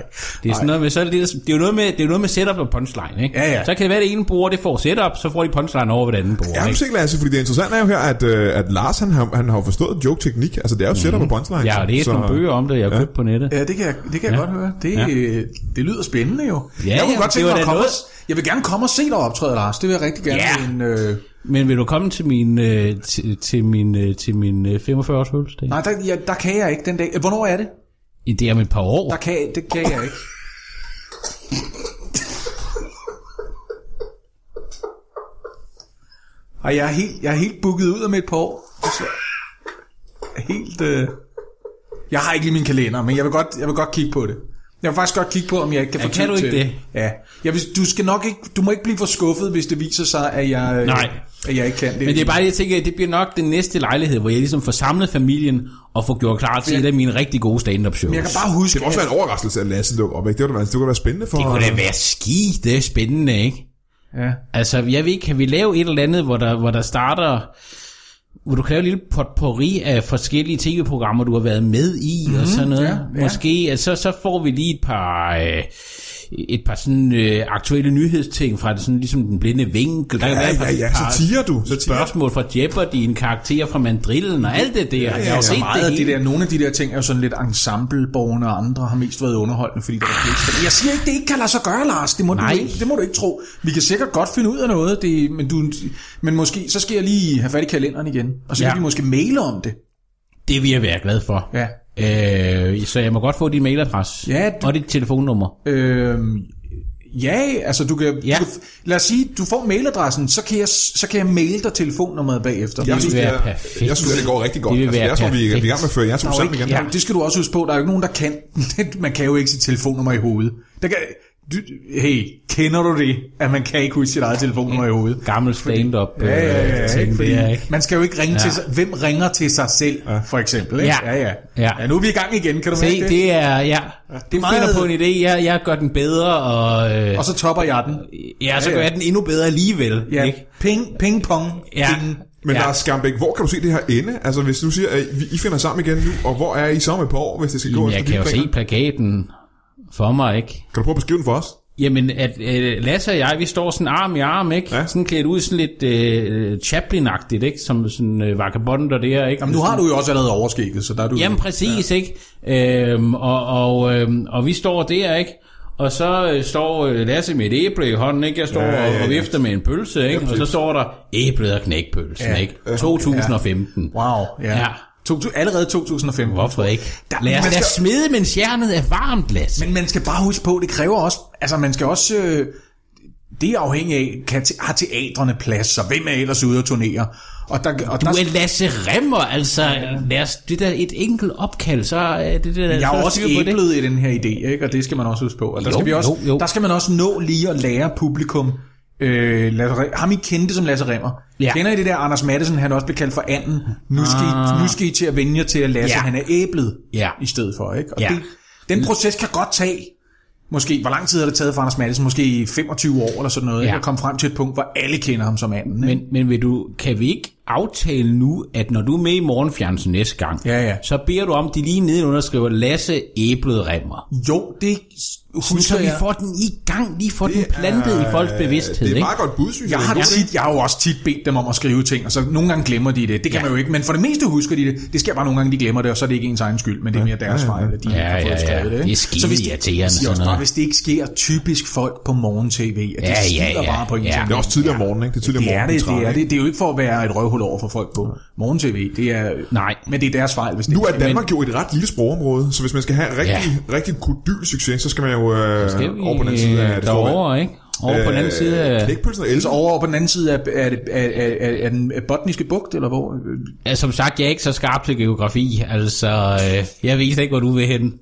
Speaker 5: Det er sådan noget med, så er det, det er jo noget med, det er jo noget med setup og punchline, ikke?
Speaker 4: Ja, ja.
Speaker 5: Så kan det være, at det ene bruger, det får setup, så får de punchline over ved det andet bruger,
Speaker 3: Ja, men
Speaker 5: ikke?
Speaker 3: se, Lasse, fordi det interessante er jo her, at, øh, at Lars, han har, han har jo forstået joke-teknik. Altså, det er jo setup og punchline.
Speaker 5: Jeg har læst
Speaker 3: så-
Speaker 5: nogle bøger om Mhm. det, jeg har købt på nettet.
Speaker 4: Ja, det kan jeg, det kan jeg ja. godt høre. Det, ja.
Speaker 5: Ja.
Speaker 4: det lyder spændende jo.
Speaker 5: Ja,
Speaker 4: jeg kunne
Speaker 5: ja,
Speaker 4: godt
Speaker 5: det
Speaker 4: tænke
Speaker 5: var
Speaker 4: mig at
Speaker 5: da
Speaker 4: komme
Speaker 5: noget.
Speaker 4: og, Jeg vil gerne komme og se dig optræde, Lars. Det vil jeg rigtig gerne.
Speaker 5: Ja.
Speaker 4: Men, øh,
Speaker 5: Men vil du komme til min, øh, til, til min, øh, til min øh, 45-års fødselsdag?
Speaker 4: nej, der, ja, der kan jeg ikke den dag. Øh, Hvornår er det?
Speaker 5: I det er om et par år.
Speaker 4: Der kan, det kan jeg ikke. Og jeg er helt, jeg er helt booket ud om et par år. Så- Helt... Øh, jeg har ikke lige min kalender, men jeg vil godt, jeg vil godt kigge på det. Jeg vil faktisk godt kigge på, om jeg ikke kan få
Speaker 5: Ja, kan
Speaker 4: tid
Speaker 5: du ikke
Speaker 4: til
Speaker 5: det?
Speaker 4: Ja. Jeg vil, du, skal nok ikke, du må ikke blive for skuffet, hvis det viser sig, at jeg, øh,
Speaker 5: Nej.
Speaker 4: at jeg ikke kan det.
Speaker 5: Men det er bare, det, jeg tænker, at det bliver nok den næste lejlighed, hvor jeg ligesom får samlet familien og får gjort klar til et af mine rigtig gode stand-up shows.
Speaker 4: jeg kan bare huske...
Speaker 3: Det må også
Speaker 4: at-
Speaker 3: være en overraskelse, at Lasse dukker op, ikke? Det kunne da være, det kunne være spændende for...
Speaker 5: Det kunne da være ski, det er spændende, ikke?
Speaker 4: Ja.
Speaker 5: Altså, jeg ved ikke, kan vi lave et eller andet, hvor der, hvor der starter... Hvor du kan lave et lille potpourri af forskellige tv-programmer, du har været med i mm, og sådan noget.
Speaker 4: ja, ja.
Speaker 5: Måske, altså, så får vi lige et par... Øh, et par sådan øh, aktuelle nyhedsting fra det, sådan ligesom den blinde vinkel. Der kan
Speaker 3: Ja,
Speaker 5: være et par-
Speaker 3: ja, ja, så
Speaker 5: par-
Speaker 3: tiger du. Så tiger.
Speaker 5: spørgsmål fra Jeopardy, en karakter fra Mandrillen og alt det der. Ja, ja, jeg har jo
Speaker 4: Altså
Speaker 5: set
Speaker 4: meget
Speaker 5: det,
Speaker 4: af det
Speaker 5: hele.
Speaker 4: der, nogle af de der ting er jo sådan lidt ensembleborgerne, og andre har mest været underholdende, fordi der er flest. spændende. Jeg siger ikke, det ikke kan lade sig gøre, Lars. Det må, du
Speaker 5: Nej.
Speaker 4: ikke, det må du ikke tro. Vi kan sikkert godt finde ud af noget, det, men, du, men måske, så skal jeg lige have fat i kalenderen igen, og så ja.
Speaker 5: Ja.
Speaker 4: kan vi måske maile om det.
Speaker 5: Det vil jeg være glad for.
Speaker 4: Ja.
Speaker 5: Øh, så jeg må godt få din mailadresse
Speaker 4: Ja, du-
Speaker 5: og dit telefonnummer.
Speaker 4: Øhm, ja, altså du kan, ja.
Speaker 5: Ja.
Speaker 4: du kan... Lad os sige, du får mailadressen, så kan jeg, så kan jeg maile dig telefonnummeret bagefter.
Speaker 3: Jeg synes, det,
Speaker 5: være
Speaker 3: er,
Speaker 5: perfekt.
Speaker 3: jeg synes, det går rigtig godt.
Speaker 5: Det vil
Speaker 3: altså,
Speaker 5: være
Speaker 3: jeg tror, vi er, vi er i gang med at føre jer to
Speaker 4: Der er jo
Speaker 3: sammen
Speaker 4: ikke,
Speaker 3: igen.
Speaker 4: ja, det skal du også huske på. Der er jo ikke nogen, der kan. man kan jo ikke sit telefonnummer i hovedet. Der kan, du, hey, kender du det, at man kan ikke huske sit eget telefonnummer i hovedet?
Speaker 5: Gammel stand-up. øh,
Speaker 4: Ja, ja, ja.
Speaker 5: ting,
Speaker 4: Ikke, fordi
Speaker 5: det er, ikke?
Speaker 4: Man skal jo ikke ringe ja. til sig. Hvem ringer til sig selv, ja. for eksempel? Ikke?
Speaker 5: Ja.
Speaker 4: Ja, ja.
Speaker 5: Ja.
Speaker 4: ja, nu er vi i gang igen, kan du mærke
Speaker 5: Se,
Speaker 4: det?
Speaker 5: det er, ja.
Speaker 4: Det er
Speaker 5: Du finder
Speaker 4: meget-
Speaker 5: på en idé, jeg, jeg gør den bedre, og, øh,
Speaker 4: Og så topper jeg den.
Speaker 5: ja, så gør jeg den endnu bedre alligevel.
Speaker 4: Ja,
Speaker 5: Ikke?
Speaker 4: ping, ping pong.
Speaker 5: Ja.
Speaker 4: Ping.
Speaker 3: Men
Speaker 5: ja.
Speaker 3: Lars Skambæk, hvor kan du se det her ende? Altså, hvis du siger, at vi- I finder sammen igen nu, og hvor er I sammen et par år, hvis det skal gå
Speaker 5: Jamen,
Speaker 3: efter
Speaker 5: jeg
Speaker 3: dine
Speaker 5: kan jo
Speaker 3: planer?
Speaker 5: se plakaten for mig, ikke?
Speaker 3: Kan du prøve at beskrive den for os?
Speaker 5: Jamen, at øh, Lasse og jeg, vi står sådan arm i arm, ikke?
Speaker 3: Ja.
Speaker 5: Ja. Sådan klædt ud sådan lidt øh, Chaplin-agtigt, ikke? Som sådan øh, vagabonder der, ikke?
Speaker 4: Jamen, nu har du jo også allerede overskægget, så der er du...
Speaker 5: Jamen, præcis, ja. ikke? Øhm, og, og, øhm, og vi står der, ikke? Og så øh, står øh, Lasse med et æble i hånden, ikke? Jeg står ja, ja, ja. og vifter med en pølse, ikke? og så står der æblet og knækpølsen, ja. ikke? 2015. Ja.
Speaker 4: Wow, ja.
Speaker 5: Ja.
Speaker 4: ja. To, allerede 2015.
Speaker 5: Hvorfor ikke?
Speaker 4: Der-
Speaker 5: Lad os
Speaker 4: man
Speaker 5: lad
Speaker 4: skal-
Speaker 5: smide, mens jernet er varmt, Lasse.
Speaker 4: Men man skal bare huske på, det kræver også, altså man skal også, øh, det er afhængigt af, kan, te- har teatrene plads, så hvem er ellers ude og turnere? Og der, og
Speaker 5: Du
Speaker 4: der,
Speaker 5: er Lasse Remmer, altså. Lad os, det der et enkelt opkald, så er det der... så
Speaker 4: jeg
Speaker 5: er
Speaker 4: er også
Speaker 5: styr på det.
Speaker 4: æblet i den her idé, ikke? og det skal man også huske på. Og der,
Speaker 5: Jo,
Speaker 4: skal vi også,
Speaker 5: jo, jo.
Speaker 4: der skal man også nå lige at lære publikum, øh, Lasse, Re- ham I kendte som Lasse Remmer.
Speaker 5: Ja.
Speaker 4: Ja. Kender I det der Anders Madsen, han også blev kaldt for anden. Nu skal, I, nu skal I til at vende jer til at Lasse,
Speaker 5: Ah. Ja.
Speaker 4: ja. han er æblet
Speaker 5: Ja.
Speaker 4: i stedet for. Ikke? Og
Speaker 5: Ja.
Speaker 4: det, den proces kan godt tage Måske, hvor lang tid har det taget for Anders Madsen? Måske 25 år eller sådan noget,
Speaker 5: Ja.
Speaker 4: ja. at komme frem til et punkt, hvor alle kender ham som anden. Ikke?
Speaker 5: Men, men vil du, kan vi ikke aftale nu, at når du er med i morgenfjernsen næste gang,
Speaker 4: Ja, ja.
Speaker 5: så beder du om, at de lige nedenunder skriver Lasse Æblet Remmer.
Speaker 4: jo, det
Speaker 5: Sådan, så
Speaker 4: husker
Speaker 5: vi
Speaker 4: jeg.
Speaker 5: får den i gang, lige får den plantet i folks bevidsthed.
Speaker 3: Øh, Det er et
Speaker 5: ikke?
Speaker 3: meget godt bud, synes
Speaker 4: Jeg har,
Speaker 3: det
Speaker 4: det tit, jeg har jo også tit bedt dem om at skrive ting, og så nogle gange glemmer de det. Det kan
Speaker 5: Ja.
Speaker 4: ja. man jo ikke, men for det meste husker de det. Det sker bare nogle gange, de glemmer det, og så er det ikke ens egen skyld, men det er mere deres fejl, at de ikke har
Speaker 5: ja,
Speaker 4: fået
Speaker 5: ja.
Speaker 4: skrevet det. ikke?
Speaker 5: Det er skide
Speaker 4: så hvis,
Speaker 5: irriterende,
Speaker 4: siger
Speaker 5: sådan
Speaker 4: også
Speaker 5: noget.
Speaker 4: bare, hvis det ikke sker, typisk folk på morgen-tv, at de
Speaker 5: Ja, ja,
Speaker 4: ja, ja,
Speaker 5: ja.
Speaker 4: ja. bare på en
Speaker 5: Ja.
Speaker 4: ting.
Speaker 2: Det er også tidligere om morgenen, ikke? Det er tidligere om
Speaker 4: Det er
Speaker 2: morgenen.
Speaker 4: det,
Speaker 2: træt,
Speaker 4: det er
Speaker 2: ikke?
Speaker 4: det. Det er jo ikke for at være et røvhul over for folk på morgen-tv. Det er,
Speaker 5: Nej.
Speaker 4: Men det er deres fejl, hvis det
Speaker 2: Nu
Speaker 4: ikke
Speaker 2: er Danmark jo et ret lille sprogområde, så hvis man skal have rigtig, ja. rigtig kodyl succes, så skal man jo øh,
Speaker 5: Skal vi
Speaker 2: over på den anden side af det store vand.
Speaker 5: derovre, ikke? Over på den
Speaker 3: Øh,
Speaker 5: anden side af...
Speaker 2: Knækpølsen og Else
Speaker 4: Så over på den anden side af, af, af, af, af, af den botniske bugt, eller hvor?
Speaker 5: Ja, som sagt, jeg er ikke så skarp til geografi, altså øh, jeg ved slet ikke, hvor du vil hen.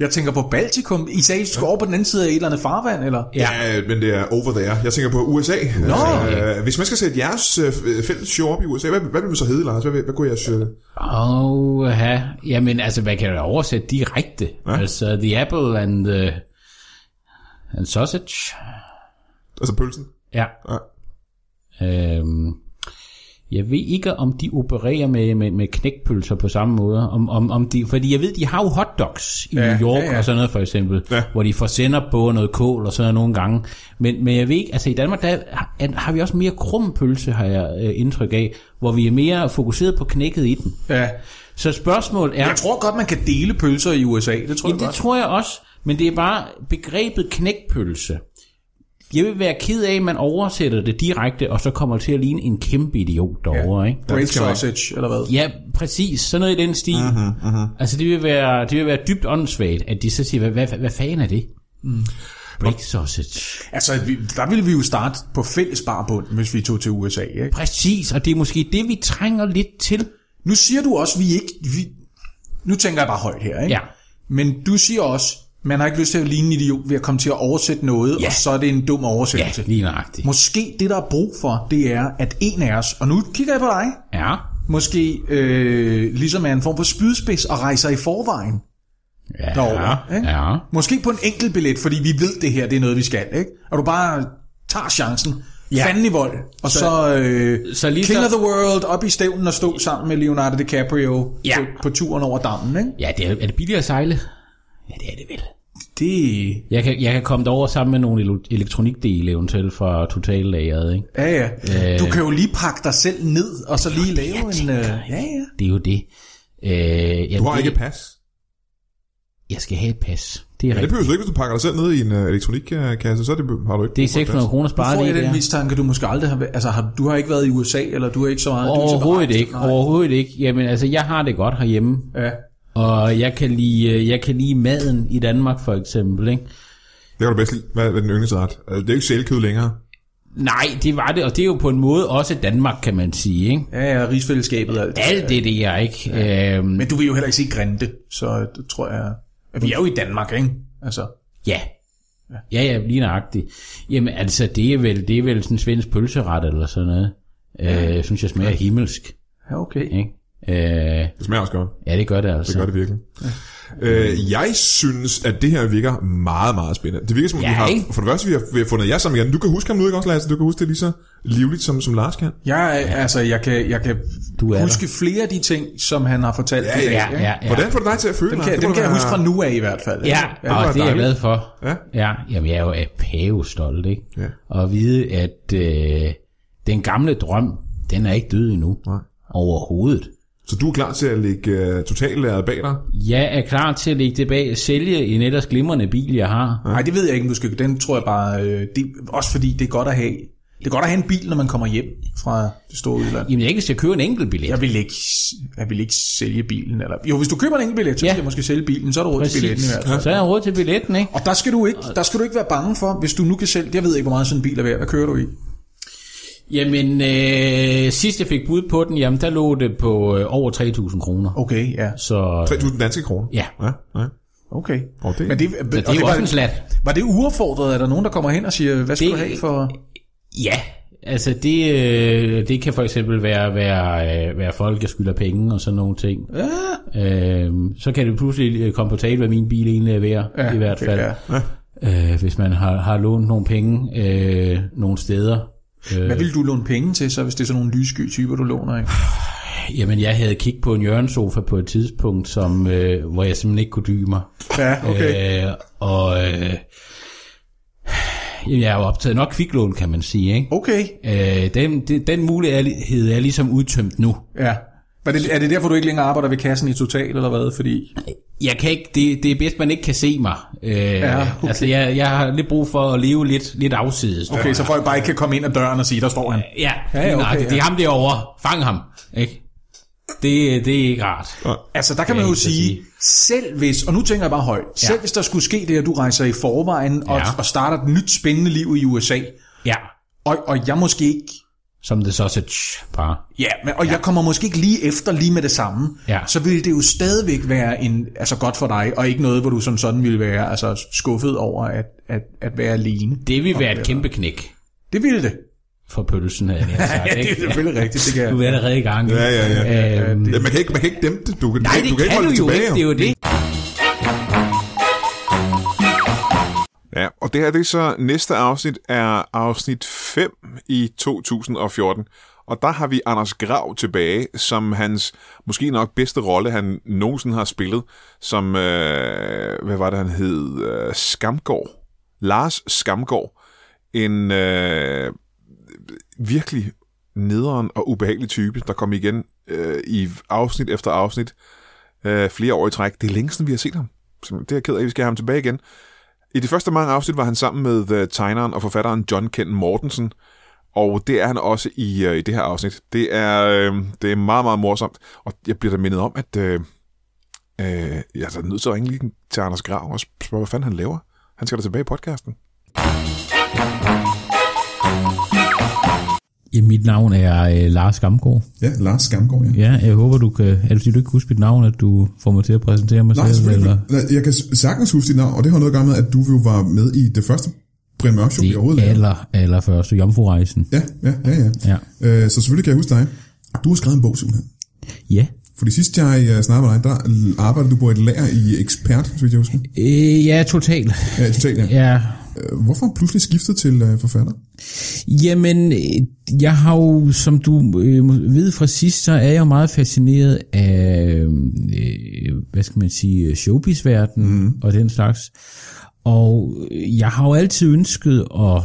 Speaker 4: Jeg tænker på Baltikum. I sagde, I skulle over på den anden side af et eller andet farvand, eller?
Speaker 5: Ja.
Speaker 2: Ja, men det er over there. Jeg tænker på USA. Nå. Øh, hvis man skal sætte jeres øh, fælles show op i USA, hvad, hvad vil man så hedde, Lars? Hvad, vil- hvad kunne jeres... Øh,
Speaker 5: Åh, ja. Jamen, altså, man kan jo oversætte direkte. Ja. Altså, the apple and the, and sausage.
Speaker 2: altså pølsen?
Speaker 5: Ja.
Speaker 2: Ja.
Speaker 5: Øhm, jeg ved ikke, om de opererer med, med, med knækpølser på samme måde. Om, om, om de, fordi jeg ved, de har jo hotdogs i New York ja, ja. og sådan noget, for eksempel. Ja. Hvor de får sender på og noget kål og sådan noget nogle gange. Men, men jeg ved ikke, altså i Danmark, der har, er- har vi også mere krum pølse, har jeg øh, indtryk af. Hvor vi er mere fokuseret på knækket i den.
Speaker 4: Ja.
Speaker 5: Så spørgsmålet er...
Speaker 4: Jeg tror godt, man kan dele pølser i USA. Det tror jeg
Speaker 5: Jamen, det
Speaker 4: godt.
Speaker 5: tror jeg også, men det er bare begrebet knækpølse. Jeg vil være ked af, at man oversætter det direkte, og så kommer det til at ligne en kæmpe idiot derovre, ja. ikke?
Speaker 4: Great sausage, eller hvad?
Speaker 5: Ja, præcis. Sådan noget i den stil. Uh-huh, uh-huh. Altså, det vil, være, det vil være dybt åndssvagt, at de så siger, hvad, hvad, hvad fanden er det? Mm. Break sausage.
Speaker 4: Altså, vi, der ville vi jo starte på fælles barbund, hvis vi tog til USA. Ikke?
Speaker 5: Præcis, og det er måske det, vi trænger lidt til.
Speaker 4: Nu siger du også, vi ikke... Vi, nu tænker jeg bare højt her, ikke?
Speaker 5: Ja.
Speaker 4: Men du siger også, man har ikke lyst til at ligne en idiot ved at komme til at oversætte noget,
Speaker 5: Ja.
Speaker 4: og så er det en dum
Speaker 5: Ja,
Speaker 4: oversættelse.
Speaker 5: lige nøjagtigt.
Speaker 4: Måske det, der er brug for, det er, at en af os, og nu kigger jeg på dig,
Speaker 5: Ja,
Speaker 4: måske øh, ligesom er en form for spydspids og rejser i forvejen.
Speaker 5: ja,
Speaker 4: Derovre, ikke?
Speaker 5: ja.
Speaker 4: Måske på en enkelt billet, fordi vi ved, det her det er noget, vi skal. Ikke? Og du bare tager chancen. Ja. Fanden i vold. Og så, så, øh,
Speaker 5: så
Speaker 4: så
Speaker 5: lige
Speaker 4: lige King
Speaker 5: så-
Speaker 4: of the World op i stævnen og stå sammen med Leonardo DiCaprio
Speaker 5: Ja.
Speaker 4: på, på turen over dammen. Ikke?
Speaker 5: Ja, det er, er det billigere at sejle? Ja, det er det vel.
Speaker 4: Det
Speaker 5: Jeg kan, jeg kan komme derover sammen med nogle elo- elektronikdele eventuelt fra totallageret, ikke?
Speaker 4: ja, ja.
Speaker 5: Øh.
Speaker 4: Du kan jo lige pakke dig selv ned, og så lige lave en... Øh, ja, ja.
Speaker 5: Det er jo det. Øh, jeg,
Speaker 2: Du har
Speaker 5: det,
Speaker 2: ikke et pas.
Speaker 5: Jeg skal have et pas. Det er
Speaker 2: Men det
Speaker 5: rigtigt.
Speaker 2: behøver du ikke, hvis du pakker dig selv ned i en øh, elektronikkasse, så er det, har du ikke...
Speaker 5: Det
Speaker 2: brug for et pas.
Speaker 5: er 600 kroner
Speaker 4: Bare
Speaker 5: sparet
Speaker 4: får jeg
Speaker 5: lige
Speaker 4: den
Speaker 5: der.
Speaker 4: mistanke, du måske aldrig har været... Altså, har, du har ikke været i USA, eller du er ikke så meget... du er så
Speaker 5: Overhovedet
Speaker 4: berejst.
Speaker 5: ikke.
Speaker 4: Nej.
Speaker 5: Overhovedet ikke. Jamen altså, jeg har det godt herhjemme.
Speaker 4: Ja.
Speaker 5: Og jeg kan lide, øh, jeg kan lide maden i Danmark for eksempel, ikke?
Speaker 2: Det kan du bedst lide. Hvad hvad er den yndlingsret? Altså, Det er jo ikke sælkød længere.
Speaker 5: Nej, det var det, og det er jo på en måde også Danmark, kan man sige, ikke?
Speaker 4: Ja, ja, rigsfællesskabet og alt det.
Speaker 5: Alt det der, ikke? Ja. Øhm,
Speaker 4: Men du vil jo heller ikke se Grinde, så øh, det tror jeg... At vi er jo i Danmark, ikke? Altså,
Speaker 5: Ja. Ja, ja, lige nøjagtigt. Jamen altså, det er vel, det er vel sådan en svensk pølseret eller sådan noget. Ja. Øh, synes jeg smager ja. himmelsk.
Speaker 4: ja, okay.
Speaker 5: Ikke? Øh,
Speaker 2: Det smager også godt.
Speaker 5: ja, det gør det altså.
Speaker 2: Det gør det virkelig. Øh, jeg synes, at det her virker meget, meget spændende. Det virker som, om
Speaker 5: Ja,
Speaker 2: vi har,
Speaker 5: ikke?
Speaker 2: for det første, vi har, vi har fundet jer sammen igen. Du kan huske ham nu, ikke også, Lasse? Du kan huske det lige så livligt, som, som Lars kan.
Speaker 4: Jeg, er- altså, jeg kan, jeg kan
Speaker 5: Du er
Speaker 4: huske der. flere af de ting, som han har fortalt. i dag,
Speaker 5: Ja,
Speaker 4: ikke?
Speaker 5: ja, ja.
Speaker 2: Hvordan får det dig til at føle
Speaker 4: Dem
Speaker 2: Lars?
Speaker 4: kan,
Speaker 2: Det
Speaker 4: dem
Speaker 2: må
Speaker 4: kan
Speaker 2: da
Speaker 4: jeg huske
Speaker 2: være-
Speaker 4: fra nu af i hvert fald.
Speaker 5: Ja,
Speaker 2: var
Speaker 5: og det er
Speaker 2: dejligt.
Speaker 5: jeg glad for.
Speaker 2: Ja.
Speaker 5: ja. Jamen, jeg er jo af pavestolt, ikke?
Speaker 2: Ja.
Speaker 5: Og vide, at øh, den gamle drøm, den er ikke død endnu. Nej. Overhovedet.
Speaker 3: Så du er klar til at lægge
Speaker 2: øh,
Speaker 3: uh, totallæret bag dig?
Speaker 5: Jeg er klar til at lægge det bag, sælge en ellers glimrende bil, jeg har.
Speaker 4: Nej, det ved jeg ikke, om du skal. Den tror jeg bare... Øh, det, også fordi det er godt at have... Det er godt at have en bil, når man kommer hjem fra det store udland.
Speaker 5: Jamen, jeg ikke skal købe en enkelt billet.
Speaker 4: Jeg vil ikke, jeg vil ikke sælge bilen. Eller, jo, hvis du køber en enkelt billet, så
Speaker 5: Ja.
Speaker 4: ja. skal jeg måske sælge bilen. Så er du råd til billetten i hvert fald.
Speaker 5: Så er jeg råd til billetten, ikke?
Speaker 4: Og der skal, du ikke, der skal du ikke være bange for, hvis du nu kan sælge... Jeg ved ikke, hvor meget sådan en bil er værd. Hvad kører du i?
Speaker 5: Jamen, øh, sidst jeg fik bud på den, jamen, der lå det på øh, over 3.000 kroner.
Speaker 4: Okay, ja.
Speaker 5: Så,
Speaker 3: 3.000 danske kroner?
Speaker 5: ja.
Speaker 3: Ja, ja.
Speaker 4: Okay.
Speaker 3: Og det-
Speaker 4: Men det,
Speaker 5: Så det er jo også en slat.
Speaker 4: Var det uaffordret? Er der nogen, der kommer hen og siger, hvad skal
Speaker 5: Det-
Speaker 4: det... du have for...
Speaker 5: Ja, altså det, øh, det kan for eksempel være, være, øh, være folk, der skylder penge og sådan nogle ting. Ja. Øhm, så kan det pludselig øh, komme på tale, hvad min bil egentlig er værd, ja, i hvert
Speaker 4: det
Speaker 5: fald.
Speaker 4: er-
Speaker 5: Øh, hvis man har, har lånt nogle penge øh, nogle steder.
Speaker 4: Hvad vil du låne penge til, så hvis det er sådan nogle lyssky typer, du låner? Ikke?
Speaker 5: Jamen, jeg havde kigget på en hjørnesofa på et tidspunkt, som, øh, hvor jeg simpelthen ikke kunne dybe mig.
Speaker 4: Ja, okay.
Speaker 5: Øh, og øh, jamen, jeg er jo optaget nok kviklån, kan man sige. Ikke?
Speaker 4: Okay,
Speaker 5: Øh, den, den, den mulighed er ligesom udtømt nu.
Speaker 4: ja. Var det, er det derfor, du ikke længere arbejder ved kassen i Total, eller hvad? Fordi,
Speaker 5: Jeg kan ikke, det, det er bedst, man ikke kan se mig. Øh, ja,
Speaker 4: okay.
Speaker 5: Altså, jeg, jeg har lidt brug for at leve lidt, lidt afsides.
Speaker 4: okay, så folk bare ikke kan komme ind ad døren og sige, der står han.
Speaker 5: Ja,
Speaker 4: Ja,
Speaker 5: ja,
Speaker 4: ja,
Speaker 5: okay,
Speaker 4: okay,
Speaker 5: ja. det er
Speaker 4: ja.
Speaker 5: ham derovre. Fang ham. Ikke? Det, det er ikke rart.
Speaker 4: Altså, der kan man jo
Speaker 5: ikke til at
Speaker 4: sige, selv hvis, og nu tænker jeg bare højt, ja. selv hvis der skulle ske det, at du rejser i forvejen og,
Speaker 5: Ja.
Speaker 4: og starter et nyt spændende liv i USA,
Speaker 5: Ja,
Speaker 4: og, og jeg måske ikke
Speaker 5: som det sausage bare.
Speaker 4: Ja, men, og ja. jeg kommer måske ikke lige efter lige med det samme.
Speaker 5: Ja.
Speaker 4: Så vil det jo stadigvæk være en, altså godt for dig, og ikke noget, hvor du som sådan ville være altså skuffet over at, at, at være alene.
Speaker 5: Det vil være et kæmpe knæk
Speaker 4: Det ville det.
Speaker 5: for pølsen, havde jeg nær sagt.
Speaker 4: Ja, det er
Speaker 5: ikke?
Speaker 4: selvfølgelig rigtigt. Det kan
Speaker 5: Du
Speaker 4: jeg.
Speaker 5: er allerede i gang.
Speaker 3: Ja, ja, ja.
Speaker 5: Øhm,
Speaker 3: ja man, kan ikke, man kan ikke dæmpe det. Du, kan-
Speaker 5: nej, det
Speaker 3: du kan,
Speaker 5: kan,
Speaker 3: ikke holde
Speaker 5: du
Speaker 3: det
Speaker 5: jo
Speaker 3: tilbage.
Speaker 5: ikke. Det er jo det.
Speaker 2: Ja, og det her det er så næste afsnit er afsnit 5 i 2014. Og der har vi Anders Grav tilbage, som hans måske nok bedste rolle, han nogensinde har spillet, som, øh, hvad var det, han hed? Øh, Skamgård. Lars Skamgård. En øh, virkelig nederen og ubehagelig type, der kom igen øh, i afsnit efter afsnit øh, flere år i træk. Det er længe siden, vi har set ham. Simpelthen. Det er jeg ked af, vi skal have ham tilbage igen. I de første mange afsnit var han sammen med øh, tegneren og forfatteren John Ken Mortensen, og det er han også i, øh, i det her afsnit. Det er, øh, det er meget, meget morsomt, og jeg bliver da mindet om, at øh, øh, jeg er da nødt til at ringe lige til Anders Grav og spørge, hvad fanden han laver. Han skal da tilbage i podcasten.
Speaker 5: Ja, mit navn er øh, Lars Gamgaard.
Speaker 3: Ja, Lars Skamgaard, ja.
Speaker 5: Ja, jeg håber, du kan... Er det fordi, du ikke husker mit navn, at du får mig til at præsentere mig
Speaker 3: Nej,
Speaker 5: selv?
Speaker 3: selvfølgelig.
Speaker 5: Eller?
Speaker 3: Nej, Jeg kan sagtens huske dit navn, og det har noget at gøre med, at du jo var med i det første Brian Mørk Show, vi overhovedet
Speaker 5: Det
Speaker 3: lavede.
Speaker 5: aller, aller første jomfru-rejsen.
Speaker 3: Ja, ja, ja. ja.
Speaker 5: Ja.
Speaker 3: Øh, så selvfølgelig kan jeg huske dig. Du har skrevet en bog, simpelthen.
Speaker 5: ja.
Speaker 3: Fordi sidst jeg øh, snakkede med dig, der arbejdede du på et lager i Expert, så vidt jeg husker.
Speaker 5: Øh, ja, totalt.
Speaker 3: Ja, i Italien. Ja.
Speaker 5: Ja.
Speaker 3: Hvorfor pludselig skiftet til øh, forfatter?
Speaker 5: Jamen, øh, jeg har jo, som du øh, må- ved fra sidst, så er jeg jo meget fascineret af, øh, hvad skal man sige, øh, showbiz-verdenen mm. og den slags. Og øh, jeg har jo altid ønsket at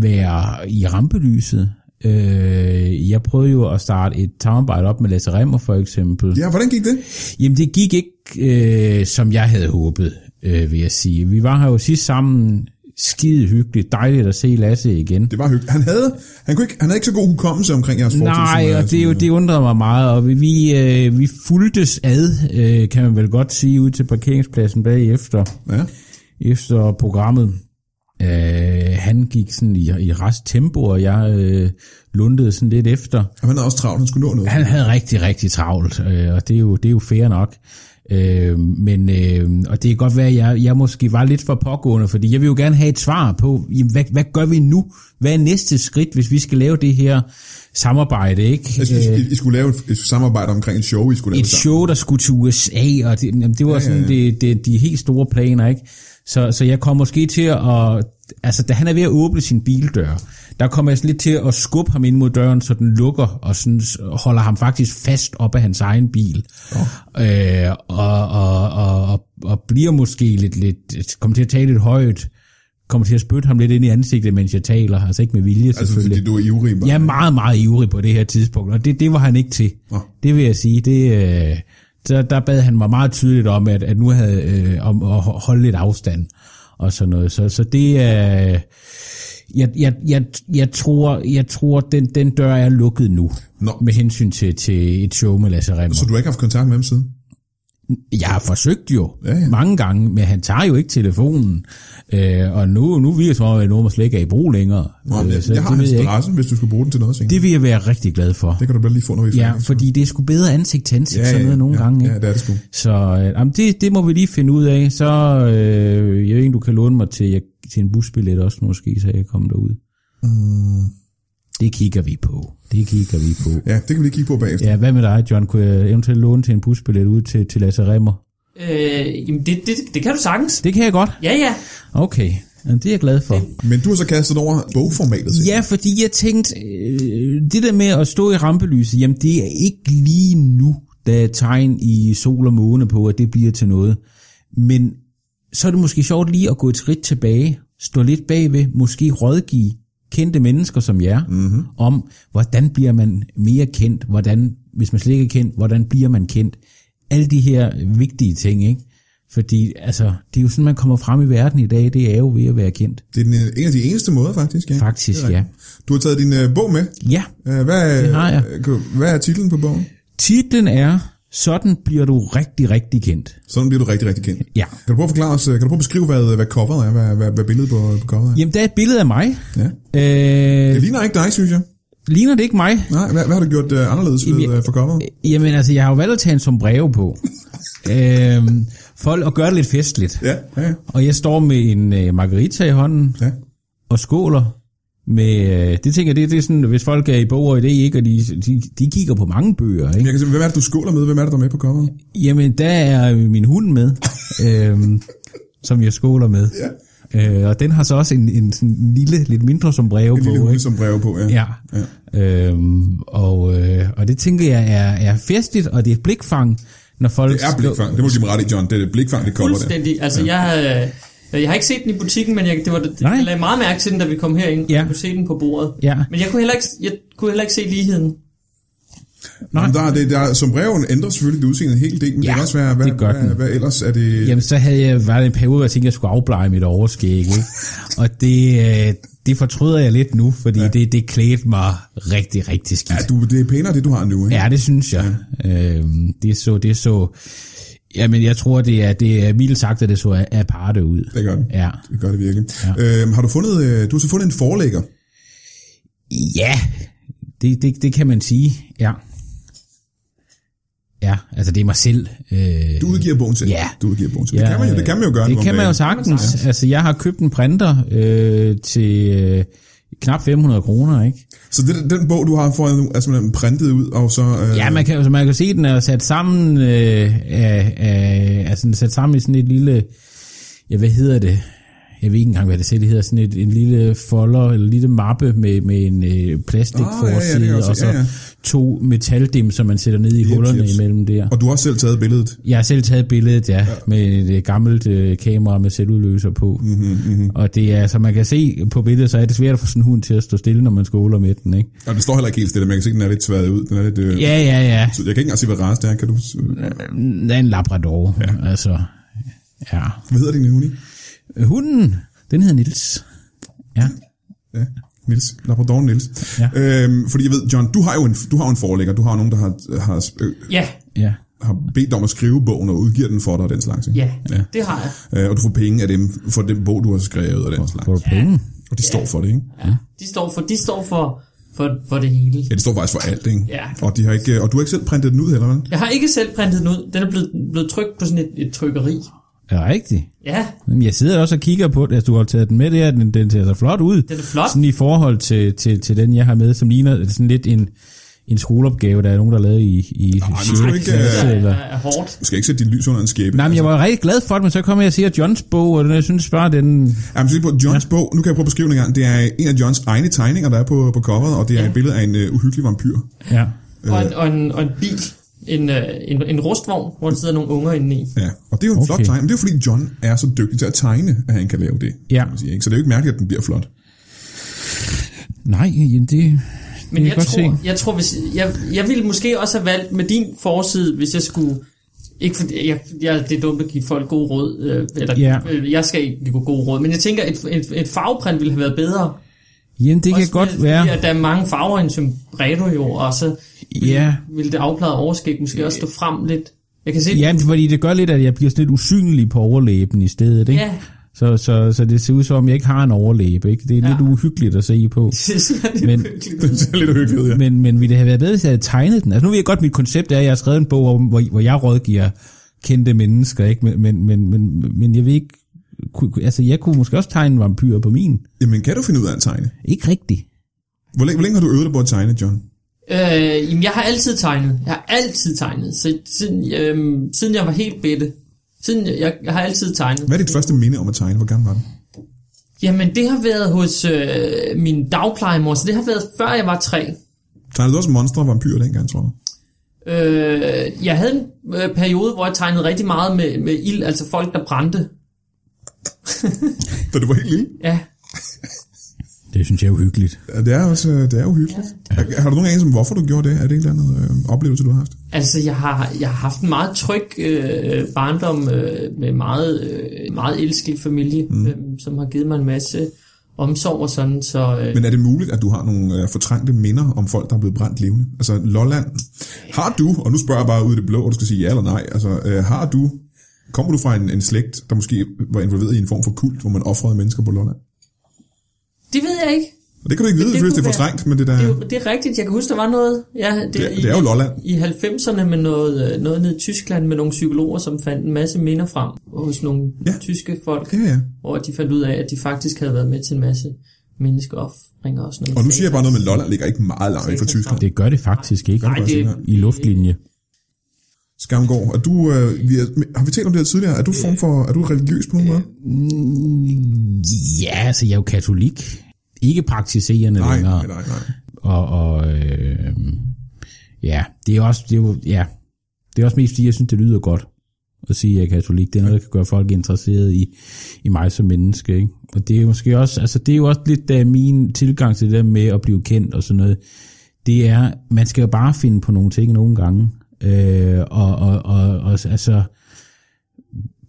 Speaker 5: være i rampelyset. Øh, jeg prøvede jo at starte et samarbejde op med Lasse Remmer for eksempel.
Speaker 3: Ja, hvordan gik det?
Speaker 5: Jamen, det gik ikke, øh, som jeg havde håbet, øh, vil jeg sige. Vi var her jo sidst sammen. Skide hyggeligt. Dejligt at se Lasse igen.
Speaker 3: Det var hyggeligt. Han havde, han, kunne ikke, han havde ikke så god hukommelse omkring jeres fortid.
Speaker 5: Nej,
Speaker 3: som, øh,
Speaker 5: og det, er jo,
Speaker 3: som, øh,
Speaker 5: det undrede mig meget, og vi, vi, øh, vi fuldtes ad, øh, kan man vel godt sige, ud til parkeringspladsen bagefter,
Speaker 3: Ja.
Speaker 5: efter programmet. Øh, han gik sådan i, i rest tempo, og jeg øh, lundede sådan lidt efter.
Speaker 3: Og han havde også travlt, han skulle nå noget.
Speaker 5: Han havde rigtig, rigtig travlt, øh, og det er jo, det er jo fair nok. Øh, men, øh, og det kan godt være, at jeg, jeg måske var lidt for pågående, fordi jeg vil jo gerne have et svar på, jamen, hvad, hvad gør vi nu? Hvad er næste skridt, hvis vi skal lave det her samarbejde? Ikke?
Speaker 3: Jeg synes, I, I skulle lave et, et samarbejde omkring et show, I skulle lave
Speaker 5: øh, et
Speaker 3: sammen.
Speaker 5: show, der skulle til USA, og det, jamen, det var ja, sådan Det, det, de helt store planer, ikke? Så, så jeg kom måske til at, altså da han er ved at åbne sin bildør, der kommer jeg sådan lidt til at skubbe ham ind mod døren, så den lukker, og sådan s- holder ham faktisk fast op af hans egen bil. Oh. Øh, og, og, og, og, og bliver måske lidt, lidt, kommer til at tale lidt højt, kommer til at spytte ham lidt ind i ansigtet, mens jeg taler. Altså ikke med vilje,
Speaker 3: Altså, fordi
Speaker 5: selvfølgelig.
Speaker 3: du er ivrig. bare.
Speaker 5: Jeg er meget, meget ivrig på det her tidspunkt, og det, det var han ikke til.
Speaker 3: Nå.
Speaker 5: Det vil jeg sige. Det, øh, der, der bad han mig meget tydeligt om, at, at nu havde øh, om at ho- holde lidt afstand og sådan noget. Så, så det er... Øh, jeg, jeg, jeg, jeg tror, jeg tror den, den dør er lukket nu,
Speaker 3: Nå.
Speaker 5: med hensyn til, til et show med Lasse Remmer.
Speaker 3: Så du har ikke haft kontakt med ham siden?
Speaker 5: Jeg har forsøgt jo
Speaker 3: Ja, ja.
Speaker 5: mange gange, men han tager jo ikke telefonen. Øh, og nu, nu virker det som om, at Norma slet ikke er i brug længere.
Speaker 3: Nå, men
Speaker 5: Øh,
Speaker 3: jeg,
Speaker 5: så
Speaker 3: jeg har
Speaker 5: det, ved
Speaker 3: hans
Speaker 5: jeg ikke.
Speaker 3: adresse, hvis du skulle bruge den til noget. Det,
Speaker 5: det vil jeg være rigtig glad for.
Speaker 3: det kan du da lige få, når vi er
Speaker 5: Ja,
Speaker 3: færdige.
Speaker 5: fordi det er sgu bedre ansigt til ansigt, ja, sådan noget nogle
Speaker 3: ja,
Speaker 5: gange. Ikke?
Speaker 3: Ja, det er det sgu.
Speaker 5: Så øh, jamen det, det må vi lige finde ud af. Så øh, jeg ved ikke, du kan låne mig til, jeg, til en busbillet også måske, så jeg kan komme derud. Mm. Det kigger vi på. Det kigger vi på.
Speaker 3: Ja, det kan vi lige kigge på bagefter.
Speaker 5: Ja, hvad med dig, John? Kunne jeg eventuelt låne til en busbillet ud til, til Lasse Remmer?
Speaker 1: Øh, jamen, det, det, det kan du sagtens.
Speaker 5: Det kan jeg godt.
Speaker 1: Ja, ja.
Speaker 5: Okay, jamen, det er jeg glad for.
Speaker 3: Men du har så kastet over bogformatet. siger
Speaker 5: Ja, fordi jeg tænkte, øh, det der med at stå i rampelyset, jamen det er ikke lige nu, der er tegn i sol og måne på, at det bliver til noget. Men så er det måske sjovt lige at gå et skridt tilbage, stå lidt bagved, måske rådgive kendte mennesker som jer,
Speaker 3: Mhm.
Speaker 5: mm-hmm. om hvordan bliver man mere kendt, hvordan, hvis man slet ikke er kendt, hvordan bliver man kendt. Alle de her vigtige ting, ikke? Fordi altså, det er jo sådan, man kommer frem i verden i dag, det er jo ved at være kendt.
Speaker 3: Det er den, øh, en af de eneste måder, faktisk. Ja.
Speaker 5: Faktisk,
Speaker 3: Det er rigtigt. Du har taget din øh, bog med.
Speaker 5: Ja,
Speaker 3: Øh, hvad, er-
Speaker 5: Det har jeg.
Speaker 3: øh, kan- hvad er titlen på bogen?
Speaker 5: Titlen er, sådan bliver du rigtig, rigtig kendt.
Speaker 3: Sådan bliver du rigtig, rigtig kendt.
Speaker 5: Ja.
Speaker 3: Kan du prøve at forklare os, øh, kan du prøve at beskrive, hvad, hvad coveret er, hvad, hvad, hvad billedet på, på coveret er?
Speaker 5: Jamen, der er et billede af mig.
Speaker 3: Ja. Det
Speaker 5: Øh,
Speaker 3: ligner ikke dig, synes jeg.
Speaker 5: ligner det ikke mig?
Speaker 3: Nej, hvad, hvad har du gjort øh, anderledes ved,
Speaker 5: Jamen, jeg-
Speaker 3: øh, for coveret?
Speaker 5: Jamen, altså, jeg har jo valgt at tage en som breve på. øh, for at gøre det lidt festligt.
Speaker 3: Ja, ja, ja.
Speaker 5: Og jeg står med en øh, margarita i hånden
Speaker 3: ja.
Speaker 5: og skåler. Med, øh, det tænker jeg, det, det er sådan, hvis folk er i bog og i det ikke, og de, de, de kigger på mange bøger, ikke?
Speaker 3: Jeg kan se, hvem er det, du skåler med? Hvem er det, der er med på coveret?
Speaker 5: Jamen, der er min hund med, øhm, som jeg skåler med. Ja. Øh, og den har så også en, en sådan lille, lidt mindre som breve
Speaker 3: En lille
Speaker 5: på.
Speaker 3: hunde
Speaker 5: Ikke?
Speaker 3: som brev på, ja.
Speaker 5: Ja. ja. Øhm, og, øh, og det tænker jeg er, er festligt, og det er et blikfang, når folk...
Speaker 3: Det er blikfang. Det må du give mig ret i, John. Det er blikfang, det kommer der.
Speaker 1: Fuldstændig. Altså, jeg har... øh, Jeg har ikke set den i butikken, men jeg, det var, det,
Speaker 5: Nej.
Speaker 1: jeg lagde meget mærke til den, da vi kom herind.
Speaker 5: Ja.
Speaker 1: Jeg kunne se den på bordet.
Speaker 5: Ja.
Speaker 1: Men jeg kunne, heller ikke, jeg kunne heller ikke se ligheden.
Speaker 3: Jamen, der, er det, der, er- som breven ændrer selvfølgelig det udseende en hel del, men ja, det
Speaker 5: Ja,
Speaker 3: kan også være, hvad,
Speaker 5: det gør
Speaker 3: hvad, hvad,
Speaker 5: den.
Speaker 3: ellers er det...
Speaker 5: Jamen, så havde jeg været en periode, hvor jeg tænkte, jeg skulle afblege mit overskæg, ikke? Og det, øh, det fortryder jeg lidt nu, fordi ja. det, det klædte mig rigtig, rigtig skidt.
Speaker 3: Ja, du, det er pænere, det du har nu, ikke?
Speaker 5: Ja, det synes jeg. Øhm, det så, det så, jamen jeg tror, det er, det er mildt sagt, at det så a- aparte ud.
Speaker 3: Det gør det.
Speaker 5: Ja.
Speaker 3: Det gør det virkelig. Ja. Øhm, har du fundet, øh, du har så fundet en forlægger.
Speaker 5: Ja, det, det, det kan man sige, ja. Ja, altså det er mig selv. Øh,
Speaker 3: Du udgiver bogen til.
Speaker 5: Ja.
Speaker 3: Du udgiver bogen til. Ja, det, kan man jo, det kan man jo gøre. nu
Speaker 5: Det
Speaker 3: om
Speaker 5: kan man jo
Speaker 3: dagen.
Speaker 5: sagtens. Altså jeg har købt en printer øh, til øh, knap 500 kroner, ikke?
Speaker 3: Så det, den bog, du har foran nu, er simpelthen printet ud, og så... Øh,
Speaker 5: Ja, man kan, altså, man kan se, at den er sat sammen, øh, af, af, altså, den er sat sammen i sådan et lille, ja, hvad hedder det? Jeg ved ikke engang, hvad det selv hedder, sådan et, en lille folder, eller en lille mappe med, med en øh,
Speaker 3: Ah, ja, ja, det kan
Speaker 5: plastikforside,
Speaker 3: jeg
Speaker 5: oh,
Speaker 3: godt
Speaker 5: ja, og
Speaker 3: se.
Speaker 5: så
Speaker 3: Ja,
Speaker 5: ja,
Speaker 3: ja.
Speaker 5: ja. to metaldim, som man sætter ned i hullerne
Speaker 3: jeps.
Speaker 5: imellem der.
Speaker 3: Og du har også selv taget billedet.
Speaker 5: Jeg har selv taget billedet, ja, ja. med et øh, gammelt øh, kamera med selvudløser på. Mm-hmm,
Speaker 3: Mhm,
Speaker 5: mm-hmm. Og det er, som man kan se på billedet, så er det svært at få sådan en hund til at stå stille, når man skåler med den, ikke?
Speaker 3: Og det står heller ikke helt stille. Man kan se, at den er lidt tværet ud. Den er lidt... Øh,
Speaker 5: Ja, ja, ja.
Speaker 3: så Jeg kan ikke engang se, hvad race det er. Kan du,
Speaker 5: Den er en labrador, ja. altså. Ja.
Speaker 3: hvad hedder din huni?
Speaker 5: Hunden, den hedder Nils. Ja.
Speaker 3: Ja. Nils. Labrador Nils.
Speaker 5: Ja.
Speaker 3: Øhm, fordi jeg ved, John, du har jo en, du har jo en forlægger. Du har jo nogen, der har, har, øh,
Speaker 1: Ja,
Speaker 5: Ja.
Speaker 3: har bedt dig om at skrive bogen og udgiver den for dig og den slags. ikke?
Speaker 1: ja, ja. det har jeg.
Speaker 3: Øh, og du får penge af dem for den bog, du har skrevet og den slags.
Speaker 5: Får du penge?
Speaker 3: Og de står for det, ikke?
Speaker 1: De står for, de står for, for, for det hele.
Speaker 3: Ja, de står faktisk for alt, ikke?
Speaker 1: Ja.
Speaker 3: Og, de har ikke, øh, og du har ikke selv printet den ud heller, vel?
Speaker 1: Jeg har ikke selv printet den ud. Den er blevet, blevet trykt på sådan et, et trykkeri.
Speaker 5: Er det rigtigt?
Speaker 1: Ja,
Speaker 5: Jamen, jeg sidder også og kigger på det. Altså, du har taget den med der, den, den ser så flot ud.
Speaker 1: den er flot.
Speaker 5: Sådan i forhold til, til, til den, jeg har med, som ligner sådan lidt en, en skoleopgave, der er nogen, der lavede i, i
Speaker 3: men
Speaker 5: sjette
Speaker 3: skal du ikke,
Speaker 5: klasse,
Speaker 1: Den er,
Speaker 5: eller...
Speaker 1: er, er hårdt.
Speaker 3: Du skal ikke sætte dit lys under en skæbe.
Speaker 5: Nej, men jeg var rigtig glad for det, men så kommer jeg og siger, at Johns bog, og den, jeg synes bare, den...
Speaker 3: Jamen, se på Johns ja. bog. Nu kan jeg prøve at beskrive den en gang. Det er en af Johns egne øh, tegninger, der er på, på coveret, og det er ja. et billede af en uh, uhyggelig vampyr.
Speaker 5: Ja.
Speaker 1: Og en, og en, og en bil. en, øh, en, en rustvogn, hvor der sidder nogle unger inde i.
Speaker 3: Ja, og det er jo en okay. flot
Speaker 5: Okay.
Speaker 3: tegning. Men det er jo fordi, John er så dygtig til at tegne, at han kan lave det.
Speaker 5: Ja.
Speaker 3: kan man sige, ikke? Så det er jo ikke mærkeligt, at den bliver flot.
Speaker 5: Nej, jamen det...
Speaker 1: Men
Speaker 5: Det
Speaker 1: jeg,
Speaker 5: kan jeg
Speaker 1: tror,
Speaker 5: godt
Speaker 1: jeg tror, hvis, jeg, jeg ville måske også have valgt med din forside, hvis jeg skulle... Ikke for, jeg, jeg, det er dumt at give folk gode råd, øh, eller
Speaker 5: Ja.
Speaker 1: øh, jeg skal ikke give gode råd, men jeg tænker, et, et, et farveprint ville have været bedre.
Speaker 5: Jamen det kan
Speaker 1: Også
Speaker 5: godt
Speaker 1: fordi,
Speaker 5: være...
Speaker 1: At der er mange farver i en sombredo jo, og så
Speaker 5: Ja,
Speaker 1: ville det afpladrede overskæg måske også stå frem lidt. Jeg kan se, ja.
Speaker 5: ja, fordi det gør lidt, at jeg bliver sådan lidt usynlig på overlæben i stedet, ikke?
Speaker 1: Ja.
Speaker 5: Så, så, så det ser ud som om, jeg ikke har en overlæbe, ikke? Det er ja. lidt uhyggeligt at se på.
Speaker 1: det ser lidt
Speaker 5: Men-
Speaker 1: hyggeligt ud.
Speaker 3: Det er lidt uhyggeligt, ja.
Speaker 5: Men, men ville det have været bedre, hvis jeg havde tegnet den? Altså nu ved jeg godt, mit koncept er, at jeg har skrevet en bog, om, hvor, hvor jeg rådgiver kendte mennesker, ikke? Men, men, men, men, men jeg ved ikke... Kunne, kunne- altså jeg kunne måske også tegne en vampyr på min.
Speaker 3: Jamen, kan du finde ud af at tegne?
Speaker 5: Ikke rigtigt.
Speaker 3: Hvor længe, hvor længe har du øvet dig på at tegne, John?
Speaker 1: Øh, jamen, jeg har altid tegnet. Jeg har altid tegnet. Så, siden, øh, siden jeg var helt bitte. Siden jeg, jeg, jeg har altid tegnet.
Speaker 3: Hvad er dit første minde om at tegne? Hvor gammel var du?
Speaker 1: Jamen, det har været hos øh, min dagplejemor, så det har været før jeg var tre.
Speaker 3: Tegnede du også monstre og vampyrer dengang, tror jeg?
Speaker 1: Øh, jeg havde en øh, periode, hvor jeg tegnede rigtig meget med, med ild, altså folk, der brændte.
Speaker 3: Da du var helt lille?
Speaker 1: Ja,
Speaker 5: Det synes jeg er uhyggeligt.
Speaker 3: Ja, det er også øh, det er uhyggeligt. Ja. Har du nogen anelse om, hvorfor du gjorde det? Er det en eller anden øh, oplevelse, du har haft?
Speaker 1: altså jeg har, jeg har haft en meget tryg øh, barndom øh, med meget, øh, meget elskelig familie, mm. øh, som har givet mig en masse omsorg og sådan, så... Øh,
Speaker 3: Men er det muligt, at du har nogle øh, fortrængte minder om folk, der er blevet brændt levende? Altså, Lolland, har du, og nu spørger jeg bare ud i det blå, og du skal sige ja eller nej, altså, øh, har du, kommer du fra en, en slægt, der måske var involveret i en form for kult, hvor man offrede mennesker på Lolland?
Speaker 1: det ved jeg ikke.
Speaker 3: Og det kan du ikke vide,
Speaker 1: det
Speaker 3: hvis det er
Speaker 1: kunne
Speaker 3: fortrængt, men det der...
Speaker 1: Det er, jo, det er rigtigt, jeg kan huske, der var noget ja, det,
Speaker 3: Det er- det er jo Lolland.
Speaker 1: i, i 90'erne med noget, øh, noget nede i Tyskland med nogle psykologer, som fandt en masse minder frem hos nogle
Speaker 3: Ja.
Speaker 1: ja. tyske folk,
Speaker 3: Ja, ja.
Speaker 1: hvor de fandt ud af, at de faktisk havde været med til en masse menneskeoffringer og sådan noget.
Speaker 3: Og nu siger jeg bare noget med, at Lolland ligger ikke meget langt væk fra Tyskland.
Speaker 5: Det gør det faktisk ikke.
Speaker 1: Nej, det,
Speaker 5: I luftlinje.
Speaker 3: Skamgård, er du, øh, vi er, har vi talt om det her tidligere? Er du, form for, er du religiøs på nogen måde?
Speaker 5: Ja, altså jeg er jo katolik. Ikke praktiserende
Speaker 3: Nej,
Speaker 5: længere.
Speaker 3: nej, nej, nej.
Speaker 5: Og, og øh, ja, det er jo også, det er jo, ja, det er også mest fordi, jeg synes, det lyder godt at sige, at jeg er katolik. Det er noget, der kan gøre folk interesseret i, i mig som menneske. Ikke? Og det er jo måske også, altså det er jo også lidt uh, min tilgang til det der med at blive kendt og sådan noget. Det er, man skal jo bare finde på nogle ting nogle gange. Øh, og, og, og, og altså,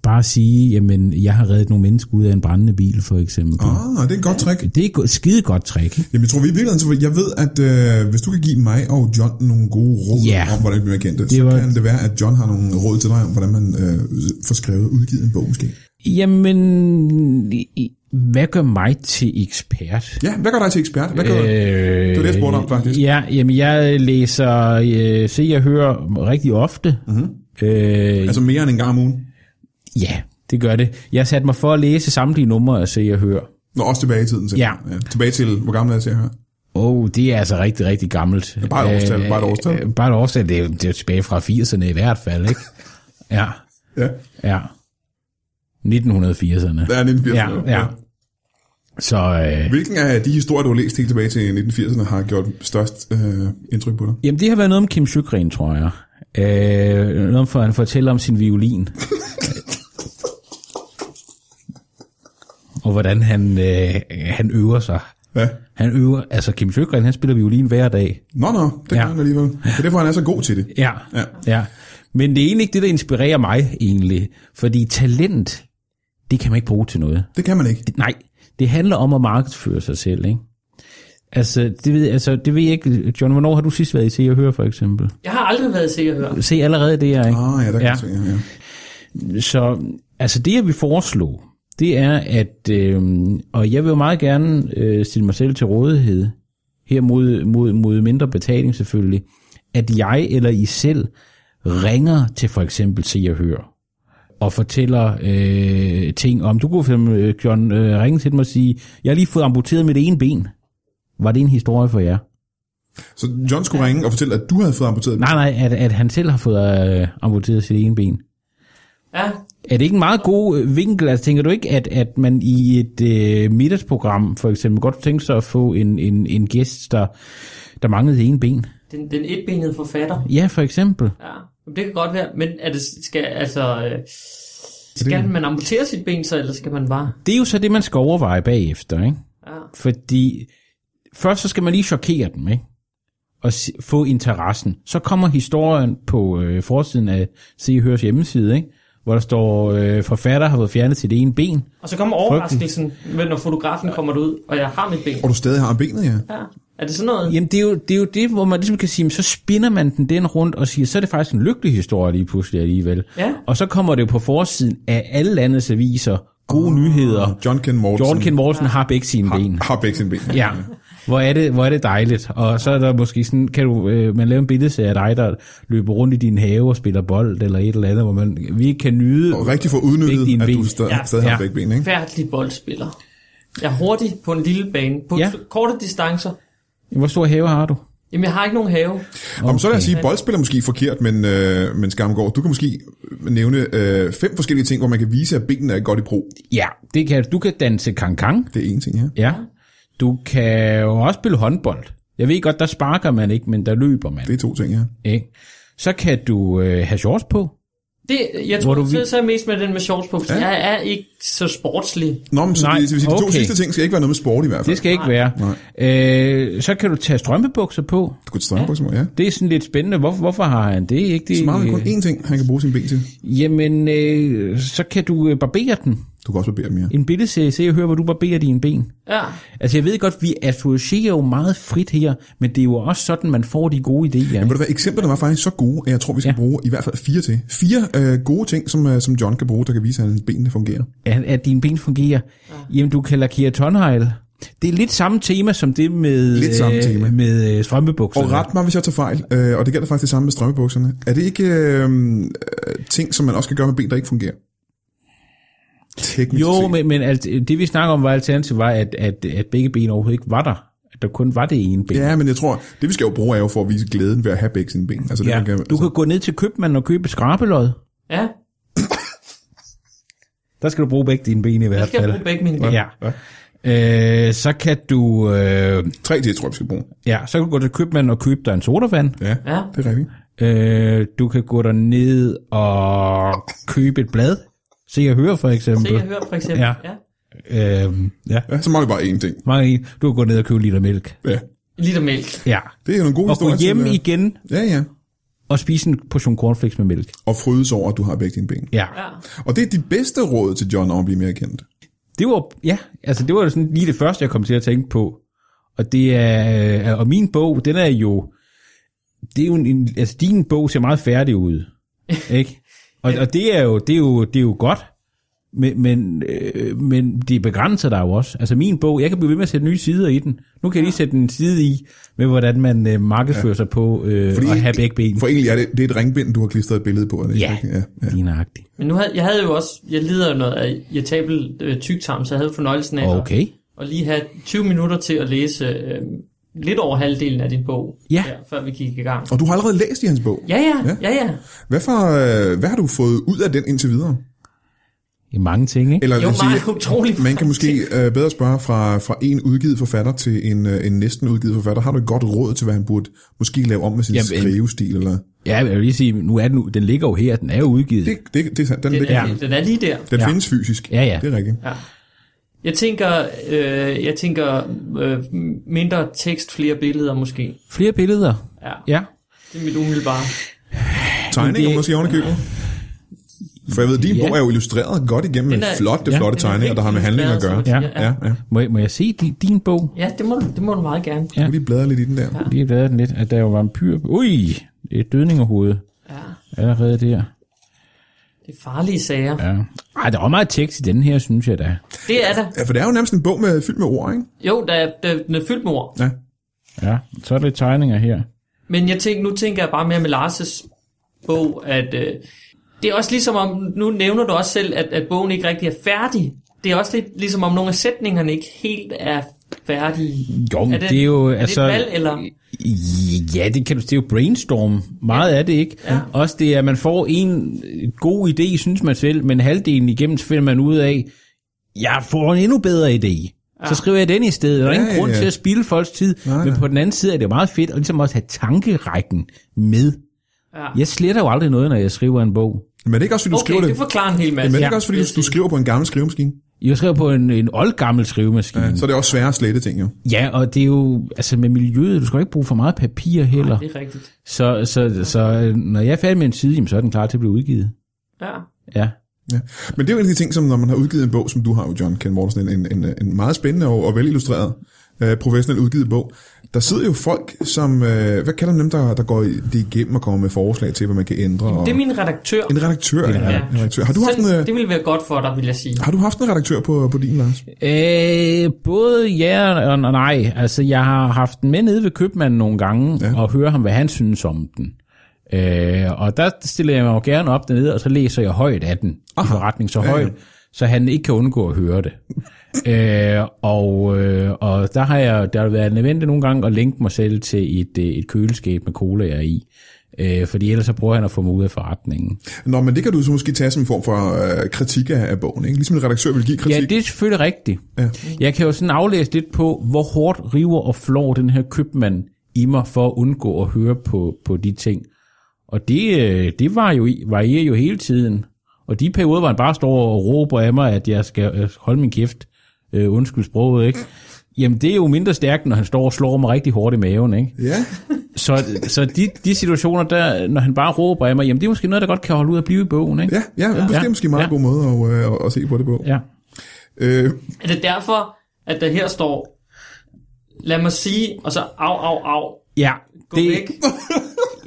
Speaker 5: bare sige, jamen, jeg har reddet nogle mennesker ud af en brændende bil, for eksempel. Oh.
Speaker 3: Ah, det er et godt trick.
Speaker 5: Det er et skide godt trick. ikke?
Speaker 3: Jamen, jeg tror, vi er i virkeligheden, så jeg ved, at øh, hvis du kan give mig og John nogle gode råd
Speaker 5: Ja.
Speaker 3: yeah. om, hvordan vi bliver kendte,
Speaker 5: Det
Speaker 3: så
Speaker 5: var-
Speaker 3: kan det være, at John har nogle råd til dig om, hvordan man øh, får skrevet og udgivet en bog, måske.
Speaker 5: Jamen, i- i- hvad gør mig til ekspert?
Speaker 3: Ja, hvad gør dig til ekspert? Hvad gør øh,
Speaker 5: Øh,
Speaker 3: det var det, jeg spurgte om, faktisk.
Speaker 5: Ja, jamen jeg læser, øh, se jeg hører rigtig ofte.
Speaker 3: Mhm.
Speaker 5: Mm-hmm. Øh,
Speaker 3: altså mere end en gang om ugen?
Speaker 5: ja, det gør det. Jeg satte mig for at læse samtlige numre af se jeg hører.
Speaker 3: Nå, også tilbage i tiden. Til.
Speaker 5: Ja.
Speaker 3: ja. Tilbage til, hvor gammel er jeg til at høre?
Speaker 5: Åh, oh, det er altså rigtig, rigtig gammelt.
Speaker 3: bare et årstal, bare et årstal.
Speaker 5: Øh, bare et årstal, det er, jo- det er jo tilbage fra 80'erne i hvert fald, ikke? ja,
Speaker 3: Ja,
Speaker 5: ja. 1980'erne.
Speaker 3: der er 1980'erne.
Speaker 5: Ja, ja. Så øh,
Speaker 3: Hvilken af de historier, du har læst helt tilbage til 1980'erne, har gjort størst øh, indtryk på dig?
Speaker 5: Jamen, det har været noget om Kim Sjøgren, tror jeg. Øh, noget om, for han fortæller om sin violin. og hvordan han, øh, han øver sig.
Speaker 3: Ja.
Speaker 5: Han øver, altså Kim Sjøgren, han spiller violin hver dag.
Speaker 3: Nå, nå, det
Speaker 5: Ja.
Speaker 3: ja. gør han alligevel. Det er derfor, han er så god til det.
Speaker 5: Ja,
Speaker 3: Ja.
Speaker 5: ja. Men det er egentlig ikke det, der inspirerer mig, egentlig. Fordi talent, det kan man ikke bruge til noget.
Speaker 3: Det kan man ikke.
Speaker 5: Nej, det handler om at markedsføre sig selv, ikke? Altså, det ved, altså, det ved jeg ikke. John, hvornår har du sidst været i Se og Hør, for eksempel?
Speaker 1: jeg har aldrig været sikker at høre.
Speaker 5: Se allerede det, er, ikke?
Speaker 3: Ah, ja, der kan
Speaker 5: Ja.
Speaker 3: ja. se. Ja, ja.
Speaker 5: Så altså det, jeg vil foreslå, det er, at, øh, og jeg vil jo meget gerne øh, stille mig selv til rådighed, her mod, mod, mod mindre betaling selvfølgelig, at jeg eller I selv ringer til for eksempel Se og Hør, og fortæller øh, ting om, du kunne for eksempel, øh, John, øh, ringe til dem og sige, jeg har lige fået amputeret mit ene ben. Var det en historie for jer?
Speaker 3: Så John skulle ringe og fortælle, at du havde fået amputeret
Speaker 5: Nej, nej, at, at han selv har fået øh, amputeret sit ene ben.
Speaker 1: Ja,
Speaker 5: Er det ikke en meget god øh, vinkel? Altså, tænker du ikke, at, at man i et øh, middagsprogram for eksempel godt tænker sig at få en, en, en gæst, der, der manglede en ben.
Speaker 1: Den, den etbenede forfatter.
Speaker 5: Ja, for eksempel.
Speaker 1: Ja, men det kan godt være. Men er det, skal, altså, øh, skal man amputere sit ben så, eller skal man bare...
Speaker 5: Det er jo så det, man skal overveje bagefter, ikke?
Speaker 1: Ja.
Speaker 5: Fordi først så skal man lige chokere dem, ikke? Og s- få interessen. Så kommer historien på øh, forsiden af Se og Hørs hjemmeside, ikke? Hvor der står, øh, forfatter har fået fjernet sit ene ben.
Speaker 1: Og så kommer overraskelsen, men når fotografen kommer ud, og jeg har mit ben.
Speaker 3: Og du stadig har benet, ja.
Speaker 1: Ja. Er det sådan noget?
Speaker 5: Jamen, det er, jo, det er jo det, hvor man ligesom kan sige, men så spinder man den den rundt og siger, så er det faktisk en lykkelig historie lige pludselig alligevel.
Speaker 1: Ja.
Speaker 5: Og så kommer det jo på forsiden af alle landets aviser, gode nyheder.
Speaker 3: John Ken Mortensen.
Speaker 5: Jordan Ken Morrison ja. har begge sine ben.
Speaker 3: Har begge sine ben.
Speaker 5: Ja. Hvor er, det, hvor er det dejligt. Og så er der måske sådan, kan du, øh, man lave en billedserie af dig, der løber rundt i din have og spiller bold eller et eller andet, hvor man vi ikke kan nyde.
Speaker 3: Og rigtig for udnyttet,
Speaker 5: Begge dine
Speaker 3: at du
Speaker 5: ben.
Speaker 3: stadig,
Speaker 1: Ja.
Speaker 3: stadig har
Speaker 5: Ja.
Speaker 3: begge ben, ikke?
Speaker 1: Færdelig boldspiller. Jeg er hurtig på en lille bane. På
Speaker 5: Ja.
Speaker 1: ja. korte distancer.
Speaker 5: Hvor stor have har du?
Speaker 1: Jamen, jeg har ikke nogen have.
Speaker 3: Okay. Om så lad os sige, boldspiller er måske forkert, men, øh, men Skamgaard, du kan måske nævne øh, fem forskellige ting, hvor man kan vise, at benene er godt i brug.
Speaker 5: Ja, det kan, du kan danse kankang.
Speaker 3: Det er en ting, ja.
Speaker 5: Ja. Du kan jo også spille håndbold. Jeg ved godt, der sparker man ikke, men der løber man.
Speaker 3: Det er to ting, ja.
Speaker 5: Ikke? Så kan du øh, have shorts på.
Speaker 1: Det, jeg
Speaker 5: Hvor
Speaker 1: tror,
Speaker 5: du
Speaker 1: du
Speaker 5: vil-
Speaker 1: så, så er jeg mest med den med shorts på, fordi
Speaker 3: Ja.
Speaker 1: ja. jeg er ikke så sportslig.
Speaker 3: Nå, men så
Speaker 5: Nej,
Speaker 3: Nej, det, det vil sige, de to
Speaker 5: okay.
Speaker 3: sidste ting skal ikke være noget med sport i hvert fald.
Speaker 5: Det skal ikke være. Øh, så kan du tage strømpebukser på.
Speaker 3: Du kan strømme på, ja.
Speaker 5: Det er sådan lidt spændende. Hvor, hvorfor har han det? Ikke det
Speaker 3: Så meget er kun én ting, han kan bruge sine ben til.
Speaker 5: Jamen, øh, så kan du øh, barbere den.
Speaker 3: Du kan også barbere mere.
Speaker 5: En billedserie, se og hør, hvor du barberer dine ben.
Speaker 1: Ja.
Speaker 5: Altså, jeg ved godt, vi associerer jo meget frit her, men det er jo også sådan, man får de gode idéer.
Speaker 3: Men
Speaker 5: Jamen,
Speaker 3: ved du hvad, eksemplerne var faktisk så gode, at jeg tror, vi skal
Speaker 5: Ja.
Speaker 3: ja. bruge i hvert fald fire til. Fire øh, gode ting, som, øh, som John kan bruge, der kan vise, at hans benene fungerer.
Speaker 5: at, at dine ben fungerer. Ja. Jamen, du kan lakere tonhejl. Det er lidt samme tema som det med,
Speaker 3: Lidt samme
Speaker 5: øh,
Speaker 3: tema.
Speaker 5: med øh, strømpebukserne.
Speaker 3: Og ret mig, hvis jeg tager fejl, øh, og det gælder faktisk det samme med strømmebukserne. Er det ikke øh, øh, ting, som man også kan gøre med ben, der ikke fungerer? Teknisk
Speaker 5: Jo,
Speaker 3: set.
Speaker 5: men, men alt, det vi snakker om var alternativet, var, at, at, at begge ben overhovedet ikke var der. At der kun var det ene ben.
Speaker 3: Ja, men jeg tror, det vi skal jo bruge er jo for at vise glæden ved at have begge sine ben. Altså, det, man kan,
Speaker 5: Du kan gå ned til købmanden og købe skrabelod.
Speaker 1: Ja.
Speaker 5: Der skal du bruge begge dine ben i
Speaker 1: Jeg
Speaker 5: hvert
Speaker 1: skal bruge
Speaker 5: fald.
Speaker 1: begge mine ben.
Speaker 5: Ja. Øh, så kan du øh,
Speaker 3: Tre til, tror jeg, vi skal bruge.
Speaker 5: ja, så kan du gå til købmanden og købe dig en sodavand.
Speaker 3: Ja,
Speaker 1: Ja.
Speaker 3: det er rigtigt.
Speaker 5: Øh, du kan gå derned og købe et blad. Se jeg hører for
Speaker 1: Se, jeg
Speaker 5: eksempel.
Speaker 1: hører for eksempel.
Speaker 5: Ja.
Speaker 1: Ja. ja.
Speaker 5: Øh, ja.
Speaker 3: Ja, så mangler bare én ting.
Speaker 5: Mange en. Du kan gå ned og købe en liter mælk.
Speaker 3: Ja,
Speaker 1: En liter mælk.
Speaker 5: Ja.
Speaker 3: det er jo en god
Speaker 5: Og
Speaker 3: historie.
Speaker 5: gå hjem
Speaker 3: til, øh,
Speaker 5: igen
Speaker 3: Ja, ja.
Speaker 5: og spise en portion cornflakes med mælk.
Speaker 3: Og frydes over, at du har begge dine ben.
Speaker 5: Ja.
Speaker 1: Ja.
Speaker 3: Og det er de bedste råd til John om at blive mere kendt.
Speaker 5: Det var, ja, altså det var jo sådan lige det første, jeg kom til at tænke på. Og det er, øh, og min bog, den er jo, det er jo en- en, altså din bog ser meget færdig ud, ikke? Og, og det er jo, det er jo, det er jo godt, men, men, øh, men det begrænser dig jo også. Altså min bog, jeg kan blive ved med at sætte nye sider i den. Nu kan jeg lige sætte en side i, med hvordan man øh, markedsfører ja. sig på øh, Fordi, at have begge ben.
Speaker 3: For egentlig er det, det er et ringbind, du har klistret et billede på. Er det ikke
Speaker 5: Ja,
Speaker 3: rigtigt? ja, ja.
Speaker 5: lige nøjagtigt.
Speaker 1: Men nu havde, jeg havde jo også, jeg lider jo noget af irritabel øh, tygtarm, så jeg havde fornøjelsen af at,
Speaker 5: Okay.
Speaker 1: at lige have 20 minutter til at læse øh, lidt over halvdelen af din bog,
Speaker 5: Ja.
Speaker 1: her, før vi gik i gang.
Speaker 3: Og du har allerede læst i hans bog.
Speaker 1: Ja, ja, ja, ja.
Speaker 3: Hvad, for, øh, hvad har du fået ud af den indtil videre?
Speaker 5: I mange ting, ikke?
Speaker 3: Eller,
Speaker 1: Jo,
Speaker 3: jeg vil
Speaker 1: meget utrolig
Speaker 3: man kan måske øh, bedre spørge fra, fra en udgivet forfatter til en, øh, en næsten udgivet forfatter. Har du et godt råd til, hvad han burde måske lave om med sin
Speaker 5: Jamen, øh,
Speaker 3: skrivestil? Eller?
Speaker 5: Ja, jeg vil lige sige, nu er den, u- den ligger jo her, den er jo udgivet.
Speaker 3: Det, det, det, er sandt. den,
Speaker 1: Den,
Speaker 3: ligger,
Speaker 1: er, den er lige der.
Speaker 3: den
Speaker 5: Ja.
Speaker 3: findes fysisk.
Speaker 5: Ja, ja.
Speaker 3: Det er rigtigt.
Speaker 1: Jeg tænker, øh, jeg tænker øh, mindre tekst, flere billeder måske.
Speaker 5: Flere billeder.
Speaker 1: Ja,
Speaker 5: Ja.
Speaker 1: det er mit umiddelbare.
Speaker 3: Tegninger
Speaker 5: det-
Speaker 3: måske ovenikøbet? For jeg ved, din
Speaker 5: Ja.
Speaker 3: bog er jo illustreret godt igennem
Speaker 1: Den
Speaker 3: med
Speaker 1: er-
Speaker 3: flotte,
Speaker 5: ja,
Speaker 3: flotte
Speaker 1: den er
Speaker 3: tegninger, der har med
Speaker 1: helt
Speaker 3: handling at gøre.
Speaker 1: illustreret, som man siger.
Speaker 3: Ja, ja.
Speaker 5: Må jeg, må jeg se din, din bog?
Speaker 1: Ja, det må, du- det må du meget gerne.
Speaker 5: Ja.
Speaker 3: Nu lige bladre lidt i den der.
Speaker 5: Lige bladet den lidt, at der jo var en pyr. Ui, et dødningerhoved
Speaker 1: Ja,
Speaker 5: allerede der.
Speaker 1: det er farlige sager.
Speaker 5: Ja. Ej, der er også meget tekst i den her, synes jeg da.
Speaker 1: Det er der.
Speaker 3: Ja, for det er jo nærmest en bog med, fyldt med ord, ikke?
Speaker 1: Jo, der er, der, den er fyldt med ord.
Speaker 3: Ja.
Speaker 5: Ja, så er der lidt tegninger her.
Speaker 1: Men jeg tænker, nu tænker jeg bare mere med Lars' bog, at øh, det er også ligesom om, nu nævner du også selv, at, at bogen ikke rigtig er færdig. Det er også lidt ligesom om nogle af sætningerne ikke helt er færdige.
Speaker 5: Jo, men
Speaker 1: Er
Speaker 5: det,
Speaker 1: det-
Speaker 5: det er jo...
Speaker 1: er det et
Speaker 5: altså,
Speaker 1: valg, eller?
Speaker 5: Ja, det, kan du, det er jo brainstorm. Meget af det, ikke? Ja. Også det, at man får en god idé, synes man selv, men halvdelen igennem finder man ud af, jeg får en endnu bedre idé. Så skriver jeg den i stedet. Der er ingen
Speaker 3: Ja,
Speaker 5: grund
Speaker 3: ja.
Speaker 5: til at spille folks tid.
Speaker 3: Nej,
Speaker 5: Men
Speaker 3: nej.
Speaker 5: på den anden side er det jo meget fedt at ligesom også have tankerækken med.
Speaker 1: Ja.
Speaker 5: Jeg sletter jo aldrig noget, når jeg skriver en bog.
Speaker 3: Men er det ikke også, fordi du skriver
Speaker 1: Okay, det
Speaker 3: det?
Speaker 1: forklarer en hel
Speaker 3: Men
Speaker 1: masse.
Speaker 3: er det ikke også, fordi du, du skriver på en gammel skrivemaskine?
Speaker 5: Jeg skriver på en, en oldgammel skrivemaskine.
Speaker 3: Så er det også svære at slette ting, jo.
Speaker 5: Ja, og det er jo, altså med miljøet, du skal jo ikke bruge for meget papir heller.
Speaker 1: Det er rigtigt.
Speaker 5: Så, så, så øh, når jeg er færdig med en side, jamen, så er den klar til at blive udgivet.
Speaker 1: Ja.
Speaker 5: Ja.
Speaker 3: Ja. Men det er jo en af de ting, som når man har udgivet en bog, som du har jo, John Ken Mortensen, en, en, en meget spændende og, og velillustreret øh, professionelt udgivet bog. Der sidder jo folk, som, øh, hvad kalder man dem, der, der går i- det igennem og kommer med forslag til, hvad man kan ændre? Og,
Speaker 1: Det er min redaktør.
Speaker 3: en redaktør, ja.
Speaker 1: ja.
Speaker 3: En redaktør. Har, du haft en,
Speaker 1: Selv,
Speaker 3: øh,
Speaker 1: det ville være godt for dig, vil jeg sige.
Speaker 3: har du haft en redaktør på, på din, Lars?
Speaker 5: Øh, både ja og nej. Altså, jeg har haft den med nede ved købmanden nogle gange, ja. og høre ham, hvad han synes om den. Øh, og der stiller jeg mig jo gerne op dernede, og så læser jeg højt af den. Aha. I forretning så højt, så han ikke kan undgå at høre det. øh, og, øh, og der har jeg der har været nødvendigt nogle gange at linke mig selv til et, øh, et køleskab med colaer i. Øh, fordi ellers så prøver han at få mig ud af forretningen.
Speaker 3: Nå, men det kan du så måske tage som en form for øh, kritik af, af bogen, ikke? Ligesom en redaktør vil give kritik.
Speaker 5: Ja, det er selvfølgelig rigtigt.
Speaker 3: Ja.
Speaker 5: Ja. Jeg kan jo sådan aflæse lidt på, hvor hårdt river og flår den her købmand i mig for at undgå at høre på, på de ting. Og det, øh, det var jo, i- varierer jo hele tiden. Og de perioder, hvor han bare står og råber af mig, at jeg skal øh, holde min kæft, øh, undskyld sproget, ikke? Jamen, det er jo mindre stærkt, når han står og slår mig rigtig hårdt i maven, ikke?
Speaker 3: Ja,
Speaker 5: Så, så de, de situationer, der, når han bare råber af mig, jamen, det er måske noget, der godt kan holde ud at blive i bogen, ikke?
Speaker 3: ja, ja, ja. Måske,
Speaker 5: Ja.
Speaker 3: måske en meget ja.
Speaker 5: Ja.
Speaker 3: god måde at, øh, at, at se på det på. Ja.
Speaker 5: ja.
Speaker 3: Øh,
Speaker 1: Er det derfor, at der her står, lad mig sige, og så au, au, au,
Speaker 5: Ja,
Speaker 1: gå det... væk?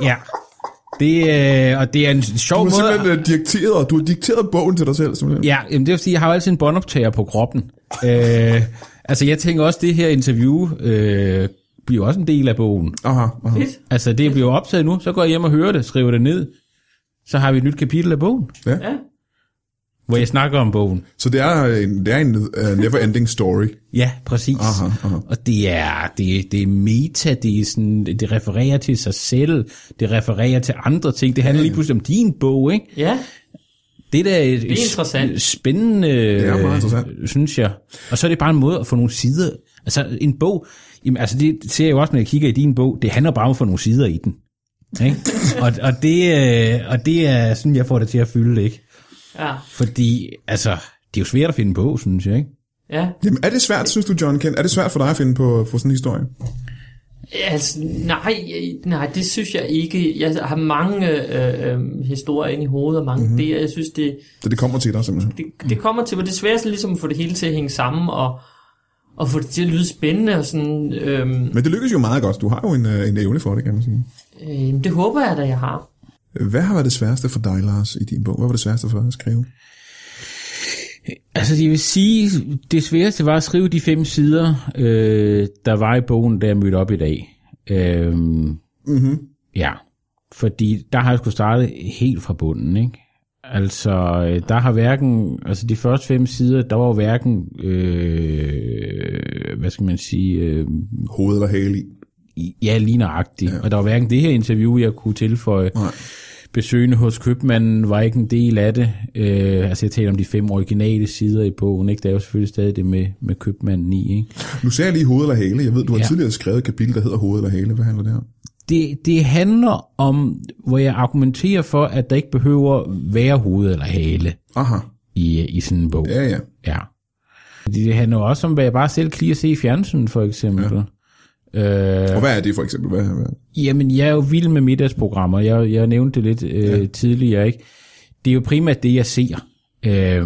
Speaker 5: Ja. Det, øh, og det er en sjov
Speaker 3: du har
Speaker 5: måde...
Speaker 3: simpelthen øh, dikteret, du har dikteret bogen til dig selv, simpelthen.
Speaker 5: Ja, jamen det vil sige, jeg har jo altid en båndoptager på kroppen. øh, altså jeg tænker også, det her interview øh, bliver også en del af bogen.
Speaker 3: Aha, aha.
Speaker 1: Fedt.
Speaker 5: Altså det bliver optaget nu, så går jeg hjem og hører det, skriver det ned. Så har vi et nyt kapitel af bogen,
Speaker 1: Ja.
Speaker 5: hvor jeg snakker om bogen.
Speaker 3: Så det er en, det er en uh, never-ending story.
Speaker 5: Ja, præcis.
Speaker 3: Aha, aha.
Speaker 5: Og det er, det, det er meta, det, er sådan, det refererer til sig selv, det refererer til andre ting. Det handler lige pludselig om din bog, ikke?
Speaker 1: Ja,
Speaker 5: Det der er et,
Speaker 1: er interessant.
Speaker 5: et spændende, det
Speaker 3: er meget interessant.
Speaker 5: synes jeg. Og så er det bare en måde at få nogle sider. Altså en bog, jamen, altså det ser jeg jo også, når jeg kigger i din bog, det handler bare om at få nogle sider i den. Ikke? og, og, det, øh, og det er sådan, jeg får det til at fylde, ikke?
Speaker 1: ja,
Speaker 5: Fordi, altså, det er jo svært at finde på, synes jeg, ikke?
Speaker 1: ja.
Speaker 3: Jamen, er det svært, synes du, John Kent? Er det svært for dig at finde på, på sådan en historie?
Speaker 1: Altså, nej, øh, nej, det synes jeg ikke. Jeg har mange øh, øh, historier inde i hovedet, og
Speaker 3: Mhm.
Speaker 1: mange mm-hmm. det, jeg synes, det,
Speaker 3: Så det kommer til dig, simpelthen.
Speaker 1: det, det kommer til, hvor det sværeste ligesom at få det hele til at hænge sammen, og, og få det til at lyde spændende, og sådan, øhm,
Speaker 3: Men det lykkes jo meget godt. Du har jo en, øh, en evne for det, kan man sige.
Speaker 1: øh, det håber jeg da, jeg har.
Speaker 3: Hvad har været det sværeste for dig, Lars, i din bog? Hvad var det sværeste for dig at skrive?
Speaker 5: Altså, jeg vil sige, det sværeste var at skrive de fem sider, øh, der var i bogen, da jeg mødte op i dag. Øh,
Speaker 3: Mm-hmm.
Speaker 5: Ja, fordi der har jeg skulle starte helt fra bunden, ikke? Altså, øh, der har hverken, altså de første fem sider, der var jo hverken, øh, hvad skal man sige, øh,
Speaker 3: Hoved eller hale i.
Speaker 5: ja, ligneragtigt. Ja. Og der var hverken det her interview, jeg kunne tilføje.
Speaker 3: Nej.
Speaker 5: Besøgende hos købmanden var ikke en del af det. Øh, altså, jeg taler om de fem originale sider i bogen, ikke? Der er jo selvfølgelig stadig det med, med købmanden i, ikke?
Speaker 3: Nu sagde jeg lige hoved eller hale. Jeg ved, du har ja.
Speaker 5: Ja.
Speaker 3: tidligere skrevet et kapitel, der hedder hoved eller hale. Hvad handler det om?
Speaker 5: det, det handler om, hvor jeg argumenterer for, at der ikke behøver være hoved eller hale
Speaker 3: Aha.
Speaker 5: i, i sådan en bog.
Speaker 3: Ja, ja.
Speaker 5: Ja. Fordi det handler jo også om, hvad jeg bare selv kan lide at se i fjernsynet, for eksempel. Ja. Øh,
Speaker 3: Og hvad er det for eksempel? Hvad, hvad?
Speaker 5: Jamen, jeg er jo vild med middagsprogrammer. Jeg, jeg nævnte det lidt øh, ja. tidligere, ikke? Det er jo primært det, jeg ser. Øh,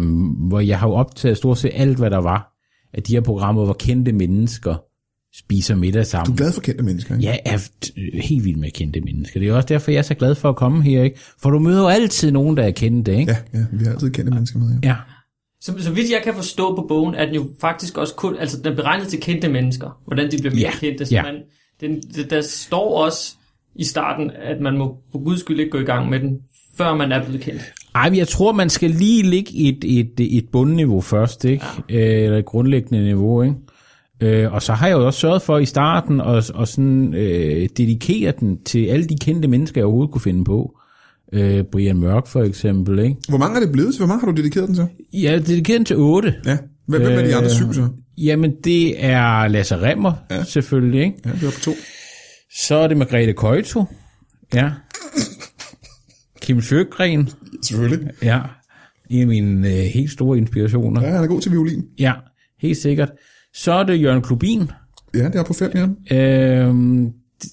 Speaker 5: hvor jeg har jo optaget stort set alt, hvad der var af de her programmer, hvor kendte mennesker spiser middag sammen.
Speaker 3: Du er glad for kendte mennesker, ikke?
Speaker 5: Jeg er t- helt vild med kendte mennesker. Det er også derfor, jeg er så glad for at komme her, ikke? For du møder jo altid nogen, der er kendte, ikke?
Speaker 3: Ja, ja, vi har altid kendte mennesker med, ja.
Speaker 5: ja.
Speaker 1: Så, så vidt jeg kan forstå på bogen, er den jo faktisk også kun, altså den er beregnet til kendte mennesker, hvordan de bliver mere
Speaker 5: Ja,
Speaker 1: kendte. Så
Speaker 5: ja.
Speaker 1: man, den, det- der står også i starten, at man må for guds skyld ikke gå i gang med den, før man er blevet kendt.
Speaker 5: Ej, men jeg tror, man skal lige ligge et, et, et bundniveau først, ikke? Ja. Eller et grundlæggende niveau, ikke? Øh, og så har jeg jo også sørget for i starten at, at sådan, øh, dedikere den til alle de kendte mennesker, jeg overhovedet kunne finde på. Øh, Brian Mørk for eksempel, ikke?
Speaker 3: Hvor mange er det blevet til? Hvor mange har du dedikeret den til?
Speaker 5: Jeg dedikerede den til otte. Øh,
Speaker 3: Ja. Hvem, hvem er de andre syv så?
Speaker 5: Jamen, det er Lasse Remmer, ja. selvfølgelig, ikke?
Speaker 3: Ja, det var på to.
Speaker 5: Så er det Margrethe Køjto. Ja. Kim Sjøgren.
Speaker 3: Selvfølgelig.
Speaker 5: Ja. En af mine øh, helt store inspirationer.
Speaker 3: Ja,
Speaker 5: Ja.
Speaker 3: han er god til violin.
Speaker 5: ja, helt sikkert. Så er det Jørgen Klubin,
Speaker 3: Ja, det er på fem, ja.
Speaker 5: øh,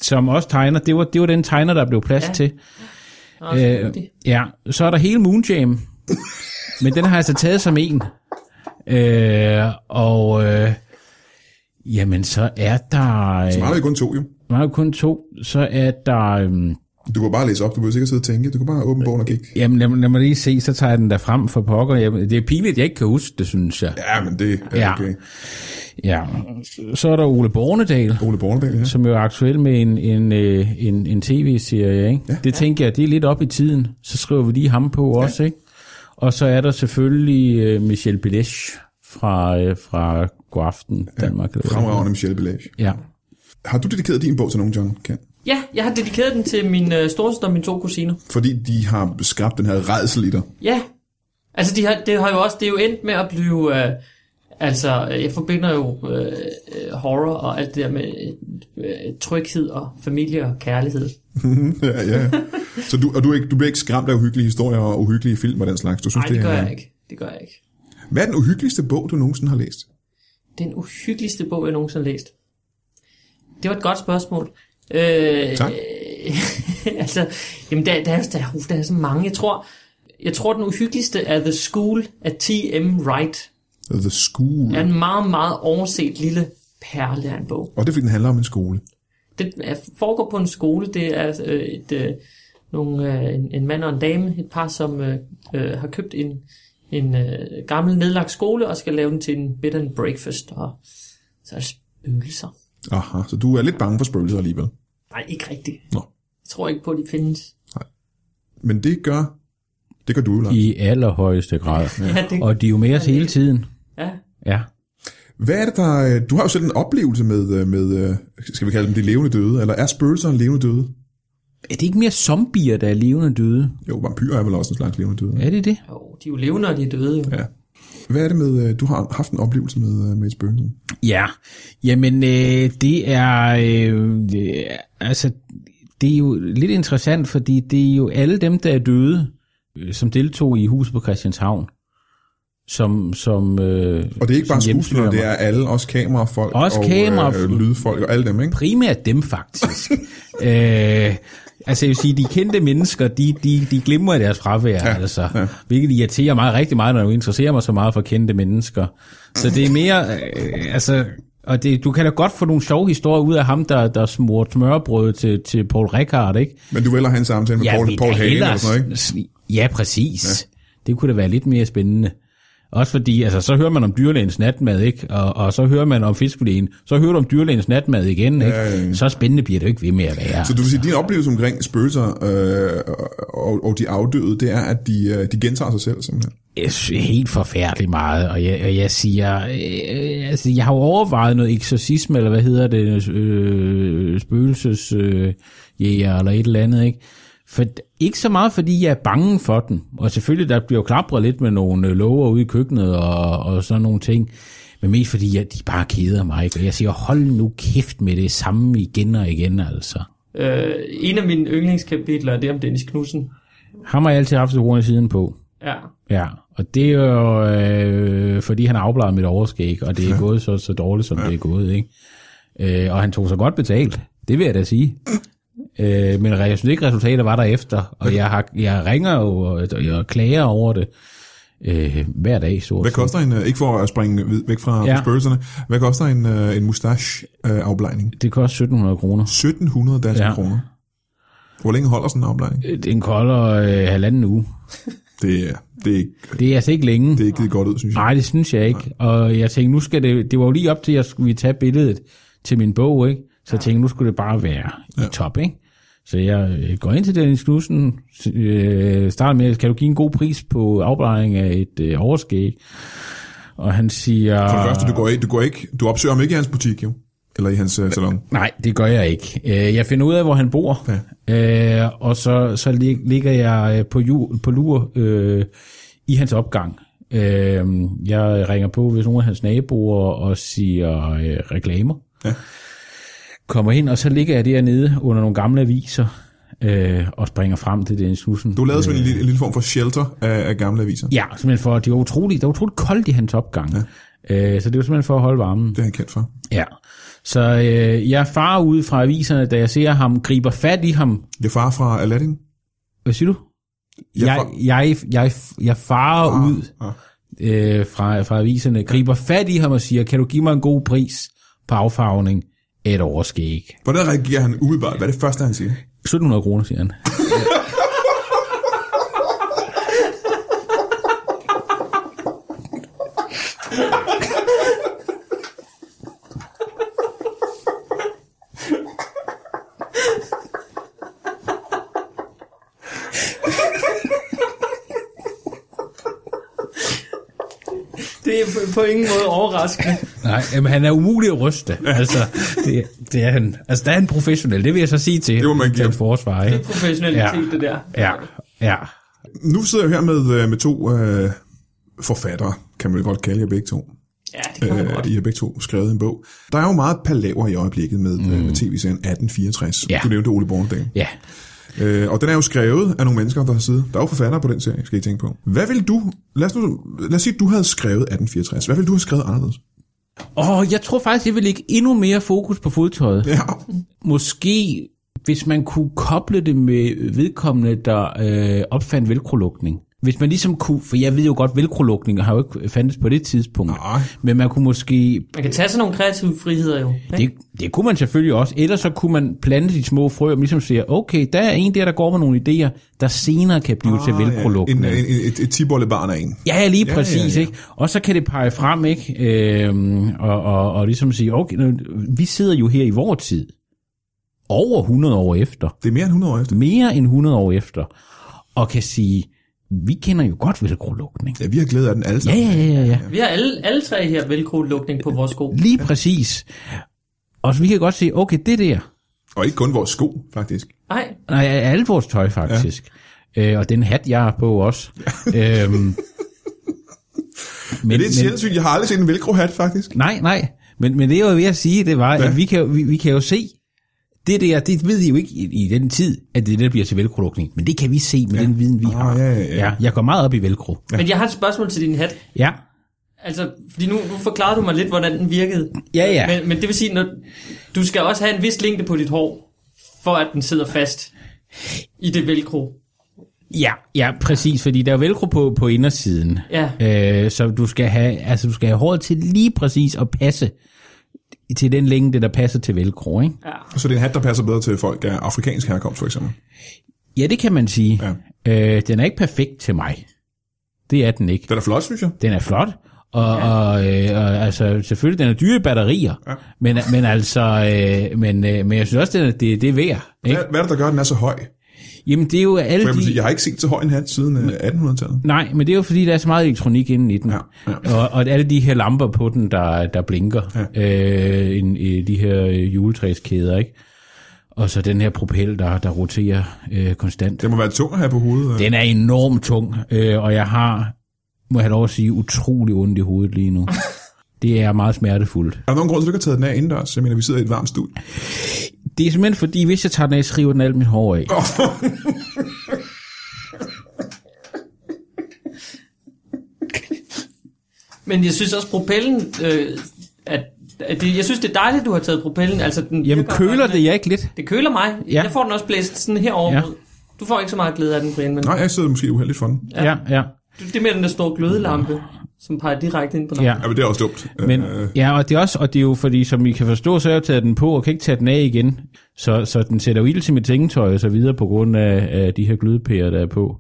Speaker 5: som også tegner. Det var, det var den tegner, der blev plads ja. til.
Speaker 1: Øh,
Speaker 5: Ja, så er der hele Moonjam. Men den har jeg så taget som en. Øh, og øh, jamen, så er der...
Speaker 3: Så
Speaker 5: Øh,
Speaker 3: meget er vi kun to, jo.
Speaker 5: der er jo kun to. Så er der... Øh,
Speaker 3: Du kan bare læse op, du behøver sikkert sidde og tænke. Du kan bare
Speaker 1: Øh,
Speaker 3: åbne bogen og kigge.
Speaker 5: jamen, lad, mig- lad mig lige se, så tager jeg den der frem for pokker. Jamen, det er pinligt, jeg ikke kan huske det, synes jeg.
Speaker 3: Ja, men det er
Speaker 5: Ja.
Speaker 3: okay.
Speaker 5: Ja. Så er der Ole Bornedal.
Speaker 3: Ole Bornedal, ja.
Speaker 5: som jo er aktuel med en, en, øh, en, en tv-serie. Ikke? Ja. Det tænker jeg, det er lidt op i tiden. Så skriver vi lige ham på ja. også. Ikke? Og så er der selvfølgelig øh, Michel Bilesch fra, øh, fra God Aften Danmark. eller hvad
Speaker 3: Fremragende Michelle Bellage.
Speaker 5: det hedder.
Speaker 3: Har du dedikeret din bog til nogen, John? Kan?
Speaker 1: ja, jeg har dedikeret den til min øh, storesøster og mine to kusiner.
Speaker 3: Fordi de har skabt den her redsel i dig.
Speaker 1: Ja. Altså, de har, det har jo også, det er jo endt med at blive, øh, altså, øh, jeg forbinder jo øh, øh, horror og alt det der med øh, tryghed og familie og kærlighed.
Speaker 3: ja, ja. Så du, og du, er ikke, du bliver ikke skræmt af uhyggelige historier og uhyggelige film og den slags? Du synes,
Speaker 1: Nej, det gør
Speaker 3: er,
Speaker 1: jeg ikke. Det gør jeg ikke.
Speaker 3: Hvad er den uhyggeligste bog, du nogensinde har læst?
Speaker 1: Den uhyggeligste bog, jeg nogensinde har læst. Det var et godt spørgsmål. Øh,
Speaker 3: Tak.
Speaker 1: Øh, altså, jamen, der, der, er, der, er- der er så mange. Jeg tror, jeg tror, den uhyggeligste er The School af T.M. Wright.
Speaker 3: The School.
Speaker 1: Det er
Speaker 3: Ja.
Speaker 1: en meget, meget overset lille perle af en bog.
Speaker 3: Og det er, fordi den handler om en skole.
Speaker 1: Det er- foregår på en skole. Det er øh, et, øh, nogle, øh, en, en mand og en dame, et par, som øh, øh, har købt en, en øh, gammel nedlagt skole og skal lave den til en bed and breakfast. Og så er der spøgelser.
Speaker 3: Aha, så du er lidt bange for spøgelser alligevel.
Speaker 1: Nej, ikke rigtigt.
Speaker 3: Nå.
Speaker 1: Jeg tror ikke på, at de findes.
Speaker 3: Men det gør, det gør du jo
Speaker 5: Ja,
Speaker 3: langt.
Speaker 5: i allerhøjeste grad.
Speaker 1: Ja, det,
Speaker 5: Og de er jo med os hele tiden.
Speaker 1: ja.
Speaker 5: Ja.
Speaker 3: Hvad er det, der... øh, Du har jo selv en oplevelse med, øh, med øh, skal vi kalde dem de levende døde, eller er spøgelser en levende døde?
Speaker 5: Er det ikke mere zombier, der er levende døde?
Speaker 3: Jo, vampyrer er vel også en slags levende døde.
Speaker 5: Er det det?
Speaker 1: Jo, de er jo levende, og de er døde. Jo.
Speaker 3: Ja. Hvad er det med, øh, du har haft en oplevelse med, øh, med et spøgelse?
Speaker 5: Ja, jamen øh, det er øh, øh, altså det er jo lidt interessant, fordi det er jo alle dem, der er døde, øh, som deltog i huset på Christianshavn, som som øh,
Speaker 3: Og det er ikke bare
Speaker 5: som
Speaker 3: skuespillere, det
Speaker 5: hjemsøger
Speaker 3: er alle, også kamerafolk
Speaker 5: Også
Speaker 3: og
Speaker 5: kamerafolk.
Speaker 3: Øh, lydfolk og alle dem, ikke?
Speaker 5: primært dem faktisk. øh, altså jeg vil sige, de kendte mennesker, de, de, de glemmer deres fravær, ja, altså, ja. hvilket irriterer mig rigtig meget, når jeg interesserer mig så meget for kendte mennesker. Så det er mere, øh, altså, og det, du kan da godt få nogle sjove historier ud af ham, der, der smurte smørbrød til, til Paul Rickard, ikke?
Speaker 3: Men du vælger have en samtale med Paul,
Speaker 5: vil
Speaker 3: Paul
Speaker 5: da
Speaker 3: Hagen eller
Speaker 5: hellere
Speaker 3: sådan noget, ikke?
Speaker 5: sn- Ja, præcis. Ja. Det kunne da være lidt mere spændende. Også fordi, altså, så hører man om dyrlægens natmad, ikke? Og, og så hører man om fiskelægen. Så hører du om dyrlægens natmad igen, ikke?
Speaker 3: Ja, ja, ja.
Speaker 5: Så spændende bliver det jo ikke ved med at være.
Speaker 3: Så du vil sige, at din oplevelse omkring spøgelser øh, og, og de afdøde, det er, at de, øh, de gentager sig selv, simpelthen.
Speaker 5: Jeg synes, helt forfærdeligt meget, og jeg, og jeg siger, øh, altså, jeg har jo overvejet noget eksorcisme, eller hvad hedder det, øh, spøgelsesjæger, øh, jæger eller et eller andet, ikke? For, ikke så meget, fordi jeg er bange for den, og selvfølgelig, der bliver jo klapret lidt med nogle øh, lover ude i køkkenet og, og sådan nogle ting, men mest fordi, jeg, de bare keder mig, ikke? og jeg siger, hold nu kæft med det samme igen og igen, altså.
Speaker 1: Øh, en af mine yndlingskapitler er det om Dennis Knudsen.
Speaker 5: Ham har jeg altid haft ordene siden på.
Speaker 1: Ja.
Speaker 5: Ja, og det er jo, øh, fordi han har afbladet mit overskæg, og det er gået så, så dårligt, som ja. det er gået, ikke? Øh, og han tog sig godt betalt, det vil jeg da sige. Øh, men re- jeg synes ikke, resultater var der efter, og jeg, har, jeg ringer jo og jeg klager over det øh, hver dag, så
Speaker 3: Hvad
Speaker 5: at sige.
Speaker 3: koster en, øh, ikke for at springe vid- væk fra ja.
Speaker 5: Ja.
Speaker 3: spøgelserne, hvad koster en, øh, en mustache-afblejning?
Speaker 5: Det koster 1700 kroner.
Speaker 3: 1700 danske ja.
Speaker 5: Ja.
Speaker 3: kroner. Hvor længe holder sådan en afblejning?
Speaker 5: Øh, Den kolder øh, halvanden uge.
Speaker 3: Det, er- det, er ikke,
Speaker 5: Det er altså ikke længe.
Speaker 3: det er ikke givet godt ud, synes jeg.
Speaker 5: Nej, det synes jeg ikke. Og jeg tænkte, nu skal det, det var jo lige op til, at jeg skulle vi tage billedet til min bog, ikke? Så jeg tænkte, nu skulle det bare være ja. i top, ikke? Så jeg øh, går ind til Dennis Knudsen, øh, starter med, kan du give en god pris på afblejring af et øh, overskæg? Og han siger...
Speaker 3: For det første, du går, ikke, du går ikke, du opsøger ham ikke i hans butik, jo. Eller i hans uh, salon.
Speaker 5: Nej, det gør jeg ikke. Øh, Jeg finder ud af, hvor han bor, ja. og så, så lig- ligger jeg øh, på, jul, på lur øh, i hans opgang. Øh, jeg ringer på, hvis nogen af hans naboer og siger øh, reklamer. Ja. Kommer ind, og så ligger jeg dernede under nogle gamle aviser øh, og springer frem til den snussen.
Speaker 3: Du lavede simpelthen en lille, en lille form for shelter af, af gamle aviser.
Speaker 5: Ja, simpelthen for, at det var utroligt, det var utroligt koldt i hans opgang. Ja. Øh, så det var simpelthen for at holde varmen.
Speaker 3: Det er han kendt for.
Speaker 5: Ja. Så øh, jeg farer ud fra aviserne, da jeg ser ham, griber fat i ham.
Speaker 3: Jeg er far fra Aladdin.
Speaker 5: Hvad siger du?
Speaker 3: Jeg
Speaker 5: Jeg,
Speaker 3: far-
Speaker 5: jeg, jeg, jeg farer ah. ud
Speaker 3: Ah.
Speaker 5: øh, fra, fra aviserne, griber fat i ham og siger, kan du give mig en god pris på affarvning? Et overskæg.
Speaker 3: Hvordan reagerer han umiddelbart? Hvad er det første, han siger?
Speaker 5: 1700 kroner, siger han.
Speaker 1: Det er på- på ingen måde overraskende.
Speaker 5: Nej, jamen, han er umulig at ryste. Altså, det, det er han. Altså, der er han professionel. Det vil jeg så sige til,
Speaker 3: Det må man
Speaker 5: til
Speaker 3: give
Speaker 5: hans forsvar.
Speaker 1: Det
Speaker 5: Ikke?
Speaker 1: er professionalitet,
Speaker 5: Ja.
Speaker 1: det der.
Speaker 5: Ja, ja.
Speaker 3: Nu sidder jeg her med, øh, med to øh, forfattere, kan man vel godt kalde jer begge to.
Speaker 1: Ja, det kan man godt.
Speaker 3: Øh, I har begge to skrevet en bog. Der er jo meget palaver i øjeblikket med, mm. med tv-serien 1864.
Speaker 5: Ja.
Speaker 3: Du nævnte Ole Bornedal.
Speaker 5: Ja.
Speaker 3: Øh, og den er jo skrevet af nogle mennesker, der har siddet. Der er jo forfattere på den serie, skal I tænke på. Hvad vil du... Lad os, nu, lad os sige, at du havde skrevet 1864. Hvad vil du have skrevet anderledes?
Speaker 5: Og jeg tror faktisk, jeg vil lægge endnu mere fokus på fodtøjet.
Speaker 3: Ja.
Speaker 5: Måske, hvis man kunne koble det med vedkommende, der øh, opfandt velcrolukning. Hvis man ligesom kunne, for jeg ved jo godt, velcrolukning har jo ikke fandtes på det tidspunkt.
Speaker 3: Nej.
Speaker 5: Men man kunne måske
Speaker 1: Man kan tage sådan nogle kreative friheder jo.
Speaker 5: Det, det kunne man selvfølgelig også. Ellers så kunne man plante de små frø, og ligesom siger, okay, der er en der, der går med nogle idéer, der senere kan blive ah, til velprodukter.
Speaker 3: en,
Speaker 5: Ja,
Speaker 3: en, en, et, et tibollebarn af en.
Speaker 5: ja, lige
Speaker 3: ja,
Speaker 5: præcis.
Speaker 3: ja.
Speaker 5: Ikke? Og så kan det pege frem, ikke? Øhm, og, og, og ligesom sige, okay, nu, vi sidder jo her i vor tid. Over 100 år efter.
Speaker 3: Det er mere end 100 år efter.
Speaker 5: Mere end 100 år efter. Og kan sige, vi kender jo godt velcrolukning.
Speaker 3: Ja, vi har glæde af den alle
Speaker 5: Ja,
Speaker 3: sammen.
Speaker 5: ja, ja, ja, ja.
Speaker 1: Vi har alle, alle tre her velcro-lukning på vores sko.
Speaker 5: Lige præcis. Og så vi kan godt se, okay, det der,
Speaker 3: Og ikke kun vores sko, faktisk.
Speaker 1: Nej,
Speaker 5: Nej, af alt vores tøj faktisk. Ja. Øh, og den hat, jeg har på også. øhm, men,
Speaker 3: Men,
Speaker 5: men,
Speaker 3: det er sjældent, jeg har aldrig set en velcro-hat, faktisk.
Speaker 5: nej, nej. Men, men det jeg var ved at sige, det var, ja. at vi kan, jo- vi, vi kan jo se, det der, det ved I jo ikke i, i den tid, at det der bliver til velcro-lukning. Men det kan vi se med ja. den viden, vi
Speaker 3: Ah,
Speaker 5: har.
Speaker 3: ja, ja, ja.
Speaker 5: jeg går meget op i velcro.
Speaker 1: men jeg har et spørgsmål til din hat.
Speaker 5: Ja.
Speaker 1: Altså, fordi nu, nu forklarede du mig lidt, hvordan den virkede.
Speaker 5: Ja, ja.
Speaker 1: Men, men det vil sige, når, du skal også have en vis længde på dit hår, for at den sidder fast i det velcro.
Speaker 5: Ja, ja, præcis, fordi der er velcro på, på indersiden.
Speaker 1: Ja.
Speaker 5: Øh, så du skal have, altså du skal have håret til lige præcis at passe til den længde, der passer til velcro, ikke?
Speaker 1: Ja.
Speaker 3: Så det er en hat, der passer bedre til folk af afrikansk herkomst, for eksempel.
Speaker 5: Ja, det kan man sige. Ja. Øh, den er ikke perfekt til mig. Det er den ikke.
Speaker 3: Den er flot, synes jeg.
Speaker 5: Den er flot, og, ja. og, øh, og altså, selvfølgelig, den er dyre i batterier, ja. men, men altså, øh, men, øh, men jeg synes også, den er, det, det er værd. Ikke?
Speaker 3: Hvad, hvad er det, der gør, at den er så høj?
Speaker 5: Jamen, det er jo alle
Speaker 3: For jeg, må sige,
Speaker 5: de...
Speaker 3: jeg har ikke set så høj en hat siden øh, 1800-tallet.
Speaker 5: Nej, men det er jo fordi, der er så meget elektronik inde i den.
Speaker 3: Ja, ja.
Speaker 5: Og, og alle de her lamper på den, der, der blinker. Ja. Øh, en, øh, de her øh, juletræskæder, ikke? Og så den her propel, der, der roterer øh, konstant.
Speaker 3: Det må være tung at have på hovedet. øh.
Speaker 5: Den er enormt tung, øh, og jeg har, må jeg have lov at sige, utrolig ondt i hovedet lige nu. Det er meget smertefuldt.
Speaker 3: Er der nogen grund til, at du ikke har taget den af indendørs? Jeg mener, vi sidder i et varmt studie.
Speaker 5: Det er simpelthen fordi, hvis jeg tager den af, så river den alt mit hår af.
Speaker 1: Men jeg synes også, propellen... Øh, at, at det, jeg synes, det er dejligt, du har taget propellen. Altså, den
Speaker 5: Jamen
Speaker 1: virker-
Speaker 5: køler det jeg ikke lidt?
Speaker 1: Det køler mig.
Speaker 5: Ja.
Speaker 1: Ja. Jeg får den også blæst sådan herover.
Speaker 5: Ja.
Speaker 1: Ja. Du får ikke så meget glæde af den, Brian, men
Speaker 3: Nej, jeg sidder måske uheldigt for den.
Speaker 5: Ja, ja. ja.
Speaker 1: du- det er mere den der store glødelampe, som peger direkte ind på lampen.
Speaker 5: ja.
Speaker 3: Ja, men det er også dumt.
Speaker 5: Men,
Speaker 3: Øh,
Speaker 5: ja, og det, er også, og det er jo fordi, som I kan forstå, så har jeg taget den på og kan ikke tage den af igen. Så, så den sætter jo ild til mit tænketøj og så videre på grund af, af de her glødepærer, der er på.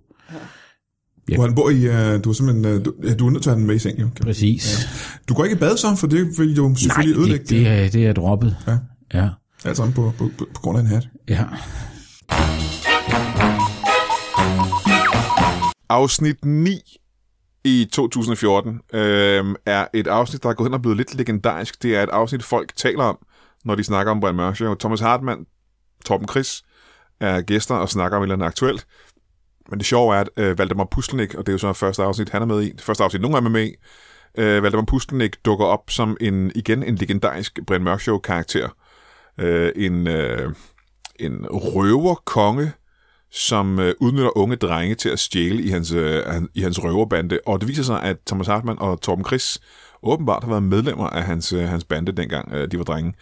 Speaker 3: ja. Hvor han bor i... Øh, du er simpelthen... Øh, du, ja, du er nødt til at have den med i seng, jo. Kan man-
Speaker 5: Præcis.
Speaker 3: Du går ikke i bad så, for det vil jo selvfølgelig
Speaker 5: Nej,
Speaker 3: ødelægge
Speaker 5: det, det, er, det er droppet.
Speaker 3: Ja.
Speaker 5: Ja.
Speaker 3: alt sammen på, på, på, på grund af en hat.
Speaker 5: ja.
Speaker 2: Afsnit 9 i 2014 øh, er et afsnit, der er gået hen og blevet lidt legendarisk. Det er et afsnit, folk taler om, når de snakker om Brian Mørk Show. Thomas Hartmann, Torben Chris er gæster og snakker om et eller andet aktuelt. Men det sjove er, at øh, Valdemar Puslenik, og det er jo så første afsnit, han er med i, det første afsnit, nogen af dem er med i, øh, Valdemar Puslenik dukker op som en, igen en legendarisk Brian Mørk Show karakter. Øh, en, øh, en røverkonge, som øh, udnytter unge drenge til at stjæle i hans, øh, han- i hans røverbande. Og det viser sig, at Thomas Hartmann og Torben Chris åbenbart har været medlemmer af hans, øh, hans bande, dengang øh, de var drenge.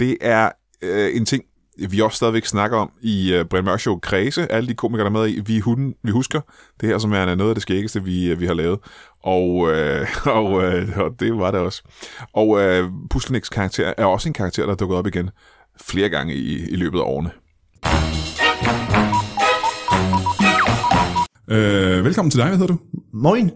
Speaker 2: Det er øh, en ting, vi også stadigvæk snakker om i øh, Brian Mørk Show Kredse. Alle de komikere, der er med i, vi, hunden, vi husker det her, som er noget af det skæggeste, vi, øh, vi har lavet. Og, øh, og, øh, og det var det også. Og øh, Pusleneks karakter er også en karakter, der er dukket op igen flere gange i, i løbet af årene.
Speaker 3: Øh, velkommen til dig, hvad hedder du?
Speaker 6: Moin.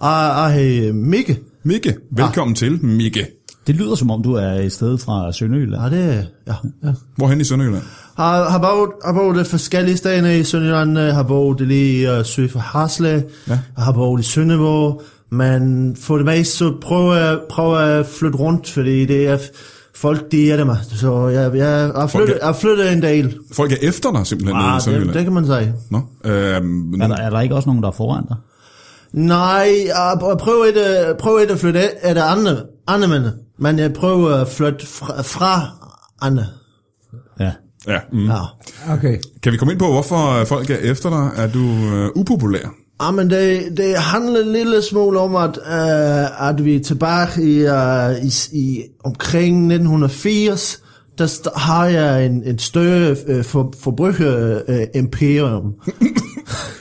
Speaker 6: Og, og hey, Mikke.
Speaker 3: Mikke. Velkommen ah. til Mikke.
Speaker 7: Det lyder som om, du er et sted fra Sønderjylland.
Speaker 6: Ja, det ja, ja.
Speaker 3: Hvorhen i Sønderjylland?
Speaker 6: Har, har boet, har boet øh, forskellige steder i Sønderjylland. øh, Har boet lige i uh, syd for Hasle. Ja. Har boet i Sønderborg. Men for det meste så prøver jeg prøver jeg at flytte rundt, fordi det er folk, de er det mig. Så jeg, jeg, jeg, flyttet, jeg flytter en del.
Speaker 3: Folk er efter dig simpelthen nede
Speaker 6: Ah,
Speaker 3: i
Speaker 6: det,
Speaker 3: Sønderjylland.
Speaker 6: det, kan man sige.
Speaker 3: Nå, øh,
Speaker 7: Er der, er der ikke også nogen, der er foran dig?
Speaker 6: Nej, jeg pr- prøver ikke, øh, prøver ikke at flytte af af det andet, andet mænd. Men jeg prøver at flytte fra, fra andet.
Speaker 7: Ja.
Speaker 3: ja, mm.
Speaker 6: Ja.
Speaker 8: Okay.
Speaker 3: Kan vi komme ind på, hvorfor øh, folk er efter dig? Er du øh, upopulær?
Speaker 6: Jamen, Ah, det, det handler en lille smule om, at, øh, at vi er tilbage i, øh, i, i omkring 1980, der st- har jeg en, en større øh, for, forbruger-imperium. Øh,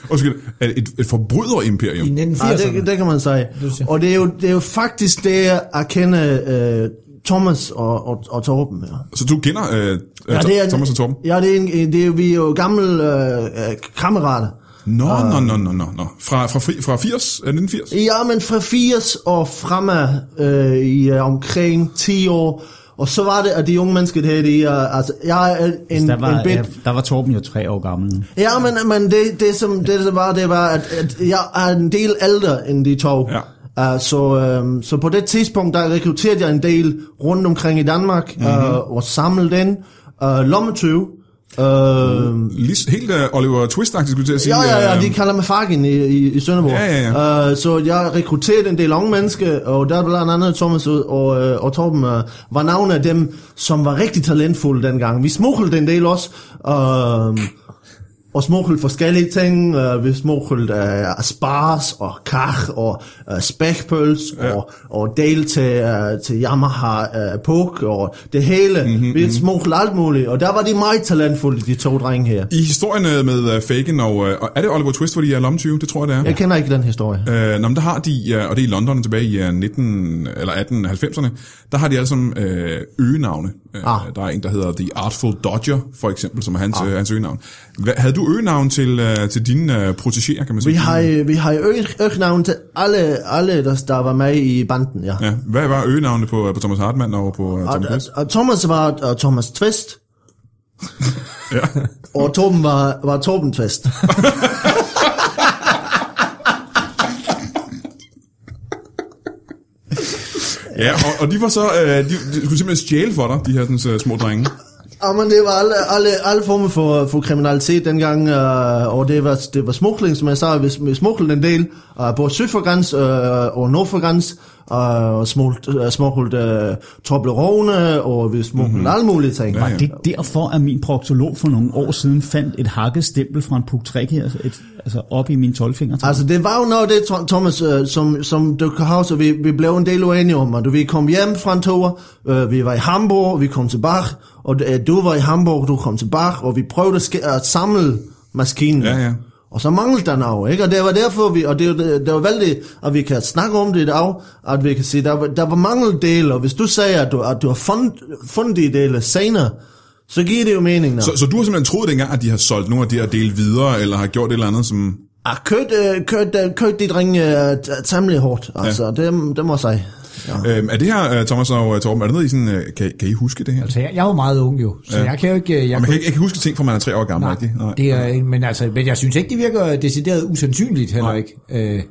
Speaker 3: Undskyld, er det et, et forbryderimperium?
Speaker 8: I
Speaker 6: ja,
Speaker 8: 1980'erne.
Speaker 6: det, det kan man sige.
Speaker 8: siger.
Speaker 6: Og det er jo, det er jo faktisk det, jeg kender øh, Thomas og, og, og Torben. Ja.
Speaker 3: Så du kender øh, ja,
Speaker 6: det er-
Speaker 3: Thomas og Torben?
Speaker 6: Ja, det er, en, en- det er, vi er jo gamle øh, øh, kammerater.
Speaker 3: Nå, nå, nå, nå, nå, nå. Fra, fra, fri, fra 80? Er det 1980?
Speaker 6: Ja, men fra 80 og fremme øh, i øh, omkring 10 år. Og så var det, at de unge mennesker her, de er, altså, jeg er en, en
Speaker 7: Der var,
Speaker 6: bit...
Speaker 7: ja, der var Torben jo tre år gammel.
Speaker 6: Ja, men, men det, det, som, det, som var, det var, at, at jeg er en del ældre end de to.
Speaker 3: Ja.
Speaker 6: Uh, så, øhm, så på det tidspunkt, der rekrutterede jeg en del rundt omkring i Danmark,
Speaker 3: Mhm.
Speaker 6: mm-hmm. uh, og samlede den. Uh, lommetyv. Uh, mm.
Speaker 3: Lige, helt øh, Oliver Twist-agtigt skulle jeg til at sige.
Speaker 6: Ja, ja, ja,
Speaker 3: øh,
Speaker 6: de kalder mig Fagin i, i, i Sønderborg.
Speaker 3: Ja, ja,
Speaker 6: ja. Uh, så jeg rekrutterede en del unge mennesker, og der er blandt andet Thomas og, og, øh, og Torben uh, var navne af dem, som var rigtig talentfulde dengang. Vi smuglede en del også, uh, og smuglede forskellige ting. Uh, vi smuglede uh, spars og kach og uh, spækpøls ja. og, og del til, uh, til Yamaha uh, Puk og det hele. Mm-hmm, vi smuglede alt muligt, og der var de meget talentfulde, de to drenge her.
Speaker 3: I historien øh, med øh, Fagin og... Øh, og er det Oliver Twist, hvor de er lomtyve? Det tror jeg, det er.
Speaker 6: Jeg kender ikke den historie.
Speaker 3: Øh, nå, men der har de, øh, og det er i London tilbage i øh, 19 eller 1890'erne, der har de alle sammen øh, øgenavne. Øh,
Speaker 6: Ah.
Speaker 3: Der er en, der hedder The Artful Dodger, for eksempel, som er hans, øh, hans øgenavn. Hva, havde du øgenavn til, øh, til dine øh, protegerer, kan man sige?
Speaker 6: Vi har, øh, vi har øgenavn til alle, alle der, der var med i banden, ja.
Speaker 3: Ja, hvad var øgenavnene på, øh, på Thomas Hartmann og på øh, Thomas
Speaker 6: Og,
Speaker 3: Chris?
Speaker 6: og Thomas var og Thomas Twist,
Speaker 3: Ja.
Speaker 6: og Torben var, var Torben Twist.
Speaker 3: ja, og, og de var så, øh, de, de skulle simpelthen stjæle for dig, de her sådan, øh, små drenge.
Speaker 6: og men det var alle, alle, alle former for, for kriminalitet dengang, øh, og det var, det var smugling, som jeg sagde, vi, vi smuglede en del, øh, både syd for græns øh, og nord for græns, øh, og smuglede, øh, smuglede øh, Toblerone, og vi smuglede mm-hmm. alle mulige ting.
Speaker 3: Mhm. Ja, ja.
Speaker 7: Det er derfor, at min proktolog for nogle år siden fandt et hakket stempel fra en puktræk her, et, altså op i min tolvfinger.
Speaker 6: Altså, det var jo noget af det, Tho- Thomas, øh, som, som du kan huske, vi, vi blev en del uenige om, og du, vi kom hjem fra en tur, øh, vi var i Hamburg, vi kom til Bach, og øh, du var i Hamburg, du kom til Bach, og vi prøvede at, ske, at samle maskinen.
Speaker 3: Ja, ja.
Speaker 6: Og så manglede der noget, ikke? Og det var derfor, vi, og det, er jo- det, det var vældig, at vi kan snakke om det i dag, at vi kan sige, der, var- der var mangeldele, og hvis du siger, at du, at du har fundet, fundet de dele senere, så giver det jo mening. nu.
Speaker 3: Så, så du har simpelthen troet dengang, at de har solgt nogle af de her dele videre, eller har gjort et eller andet, som...
Speaker 6: Ah, kørt, øh, kørt, øh, kørt de drenge øh, t- temmelig hårdt, altså, ja. det, det må jeg sige. Ja.
Speaker 3: Øhm, er det her, øh, Thomas og øh, Torben, er det noget, I sådan, øh, kan, kan I huske det her?
Speaker 8: Så jeg, jeg var meget ung jo, så ja. jeg kan jo ikke... Altså, øh, Jeg
Speaker 3: Og man kan
Speaker 8: kunne-
Speaker 3: ikke, jeg kan huske ting, fra man er tre år gammel,
Speaker 8: Nej,
Speaker 3: rigtigt? Nej.
Speaker 8: det er, men, altså, men jeg synes ikke, det virker decideret usandsynligt heller ikke. Øh,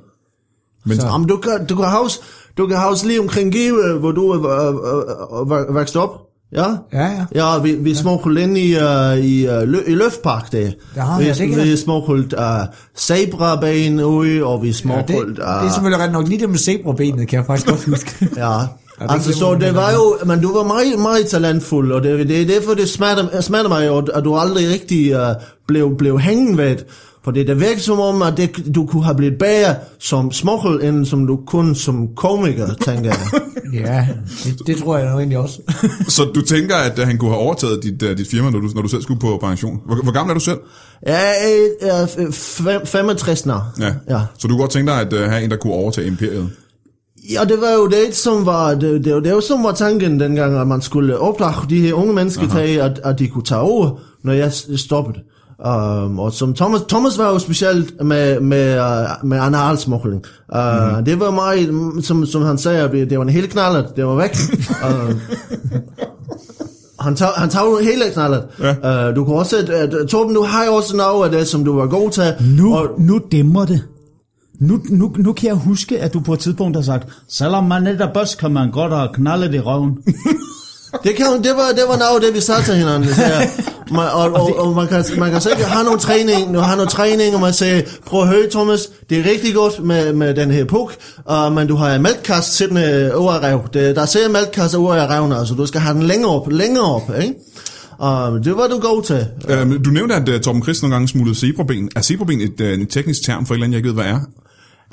Speaker 6: Så. Jamen, du kan, du kan huske, du kan huske lige omkring Give, hvor du øh, øh, øh, øh, voksede op. Ja?
Speaker 8: Ja, ja.
Speaker 6: Ja, vi, vi smuglede ind i, uh, i, uh, lø, i Løfpark der.
Speaker 8: Ja,
Speaker 6: vi,
Speaker 8: ja, det kan
Speaker 6: vi
Speaker 8: jeg-
Speaker 6: smuglede uh, Sabrabanen ud, og vi
Speaker 8: Ja, det,
Speaker 6: smuglede...
Speaker 8: det er ah. selvfølgelig ret nok lige det med zebrabenet, kan jeg faktisk godt huske.
Speaker 6: Ja,
Speaker 8: det
Speaker 6: altså
Speaker 8: glemmer
Speaker 6: så
Speaker 8: man
Speaker 6: det
Speaker 8: heller
Speaker 6: var jo, men du var meget, meget talentfuld, og det, det er derfor, det smatter, smatter mig, og, at du aldrig rigtig uh, blev, blev hængen ved det. For det der virker som om, at det, du kunne have blivet bedre som smokkel, end som du kun som komiker, tænker jeg.
Speaker 8: ja, det, det tror jeg nu egentlig også.
Speaker 3: Så du tænker, at øh, han kunne have overtaget dit, øh, dit firma, når du, når du selv skulle på pension? Hvor, hvor gammel er du selv?
Speaker 6: Ja, øh, øh, fem- 65 nå. ja.
Speaker 3: Så du kunne godt tænke dig at øh, have en, der kunne overtage imperiet?
Speaker 6: Ja, det var jo det, som var, det, det, var- det var, som var tanken dengang, at man skulle opdrage de her unge mennesker Aha. til, at, at de kunne tage over, når jeg s- stoppede. Um, og som Thomas, Thomas var jo specielt med, med, uh, med analsmokling. Uh, mm-hmm. Det var meget, mm, som, som han sagde, at det var en hel knallert, det var væk. uh, han tager, han tager jo hele knallert. Ja. Uh, du kan også, uh, Torben, du har jo også noget af det, som du var god til.
Speaker 7: Nu,
Speaker 6: og,
Speaker 7: nu dæmmer det. Nu, nu, nu kan jeg huske, at du på et tidspunkt har sagt, selvom man er der bus, kan man godt have knaldet i røven.
Speaker 6: Det, kan, det var, det var noget af det, vi sagde til hinanden. Så jeg, man, og, og, og, man kan, man kan sikkert have noget træning, og have noget træning, og man siger, prøv at høre, Thomas, det er rigtig godt med, med den her puk, og, men du har en maltkast siddende over rev. Det, der sidder en maltkast over i revne, altså du skal have den længere op, længere op, ikke? Og det var du god til.
Speaker 3: Øhm, du nævnte, at uh, Torben Christ nogle gange smuglede zebraben. Er zebraben et, uh, en teknisk term for et eller andet, jeg ikke ved, hvad er?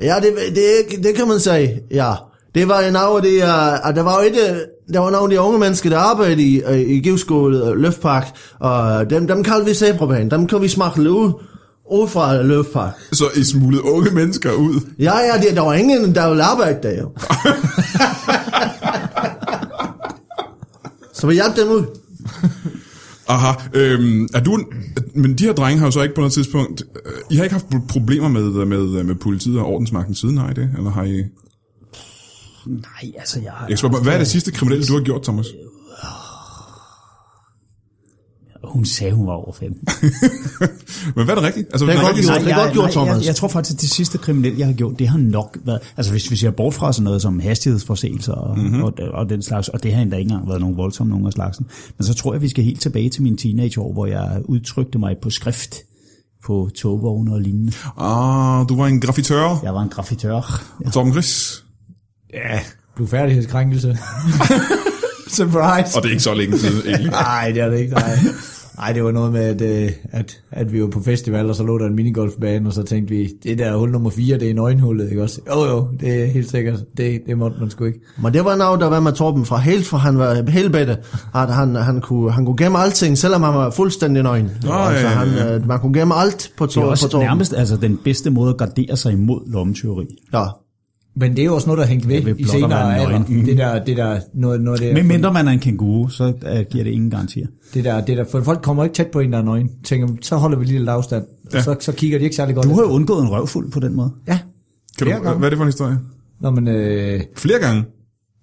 Speaker 6: Ja, det, det, det kan man sige, ja. Det var en af det, uh, der var jo et, øh, der var nogle af de unge mennesker, der arbejdede i, øh, i Givskål uh, Løftpark, og dem, dem kaldte vi Sæbrabanen, dem kan vi smagte ud, ud fra Løftpark.
Speaker 3: Så I smuglede unge mennesker ud.
Speaker 6: Ja, ja, det, der var ingen, der ville arbejde der jo. Så vi hjalp dem ud.
Speaker 3: Aha. Øhm, er du en, men de her drenge har jo så ikke på noget tidspunkt... Øh, I har ikke haft pro- problemer med, øh, med, med politiet og ordensmagten siden, har I det? Eller har I...
Speaker 7: Nej, altså jeg har...
Speaker 3: Jeg spørger, bare, hvad er det sidste kriminelle, du har gjort, Thomas?
Speaker 7: Hun sagde, hun var over 15.
Speaker 3: Men hvad er det rigtigt? Altså,
Speaker 6: Det er
Speaker 3: nej,
Speaker 6: godt
Speaker 3: ikke-
Speaker 6: gjort. Det er godt gjort,
Speaker 7: Jeg,
Speaker 6: Thomas.
Speaker 7: jeg tror faktisk, at det sidste kriminelle, jeg har gjort, det har nok været... Altså hvis vi ser bort fra sådan noget som hastighedsforseelser og,
Speaker 6: Mhm.
Speaker 7: mm-hmm. og, og den slags, og det har endda ikke engang været nogen voldsomme nogen af slagsen, men så tror jeg, vi skal helt tilbage til mine teenageår, hvor jeg udtrykte mig på skrift på togvogne og lignende.
Speaker 3: Ah, du var en graffitør. Ja.
Speaker 7: Jeg var en graffitør.
Speaker 3: Og Torben Gris.
Speaker 8: Ja, blufærdighedskrænkelse. Surprise.
Speaker 3: Og det er ikke så længe siden, egentlig.
Speaker 8: Nej, det er det ikke. Nej. Nej, det var noget med, at, øh, at, at vi var på festival, og så lå der en minigolfbane, og så tænkte vi, det der hul nummer 4, det er i nøgenhullet, ikke også? Jo, jo, det er helt sikkert. Det, det måtte man sgu ikke.
Speaker 6: Men det var noget, der var med Torben fra helt fra han var helt bedre, at han, han, kunne, han kunne gemme alting, selvom han var fuldstændig nøgen.
Speaker 3: ja,
Speaker 6: altså,
Speaker 3: ja,
Speaker 6: han,
Speaker 3: ja.
Speaker 6: øh, man kunne gemme alt på,
Speaker 7: Det er
Speaker 6: tor- på
Speaker 7: også
Speaker 6: Torben.
Speaker 7: nærmest altså, den bedste måde at gardere sig imod lommetyveri.
Speaker 6: Ja.
Speaker 8: Men det er jo også noget, der hængte ved
Speaker 7: ved
Speaker 8: i
Speaker 7: blot at
Speaker 8: senere
Speaker 7: være
Speaker 8: alder.
Speaker 7: nøgen.
Speaker 8: Det der, det der, noget, noget af det,
Speaker 7: Men mindre man er en kænguru, så øh, giver det ingen garantier.
Speaker 8: det der, det der, for folk kommer ikke tæt på en, der er nøgen. Tænker, så holder vi lige lidt afstand, ja. og så, så kigger de ikke særlig godt.
Speaker 7: Du har
Speaker 8: efter.
Speaker 7: jo undgået en røvfuld på den måde.
Speaker 8: Ja,
Speaker 3: Kan du,
Speaker 8: Flere gange.
Speaker 3: hvad er det for en historie?
Speaker 8: Nå, men, øh,
Speaker 3: Flere gange?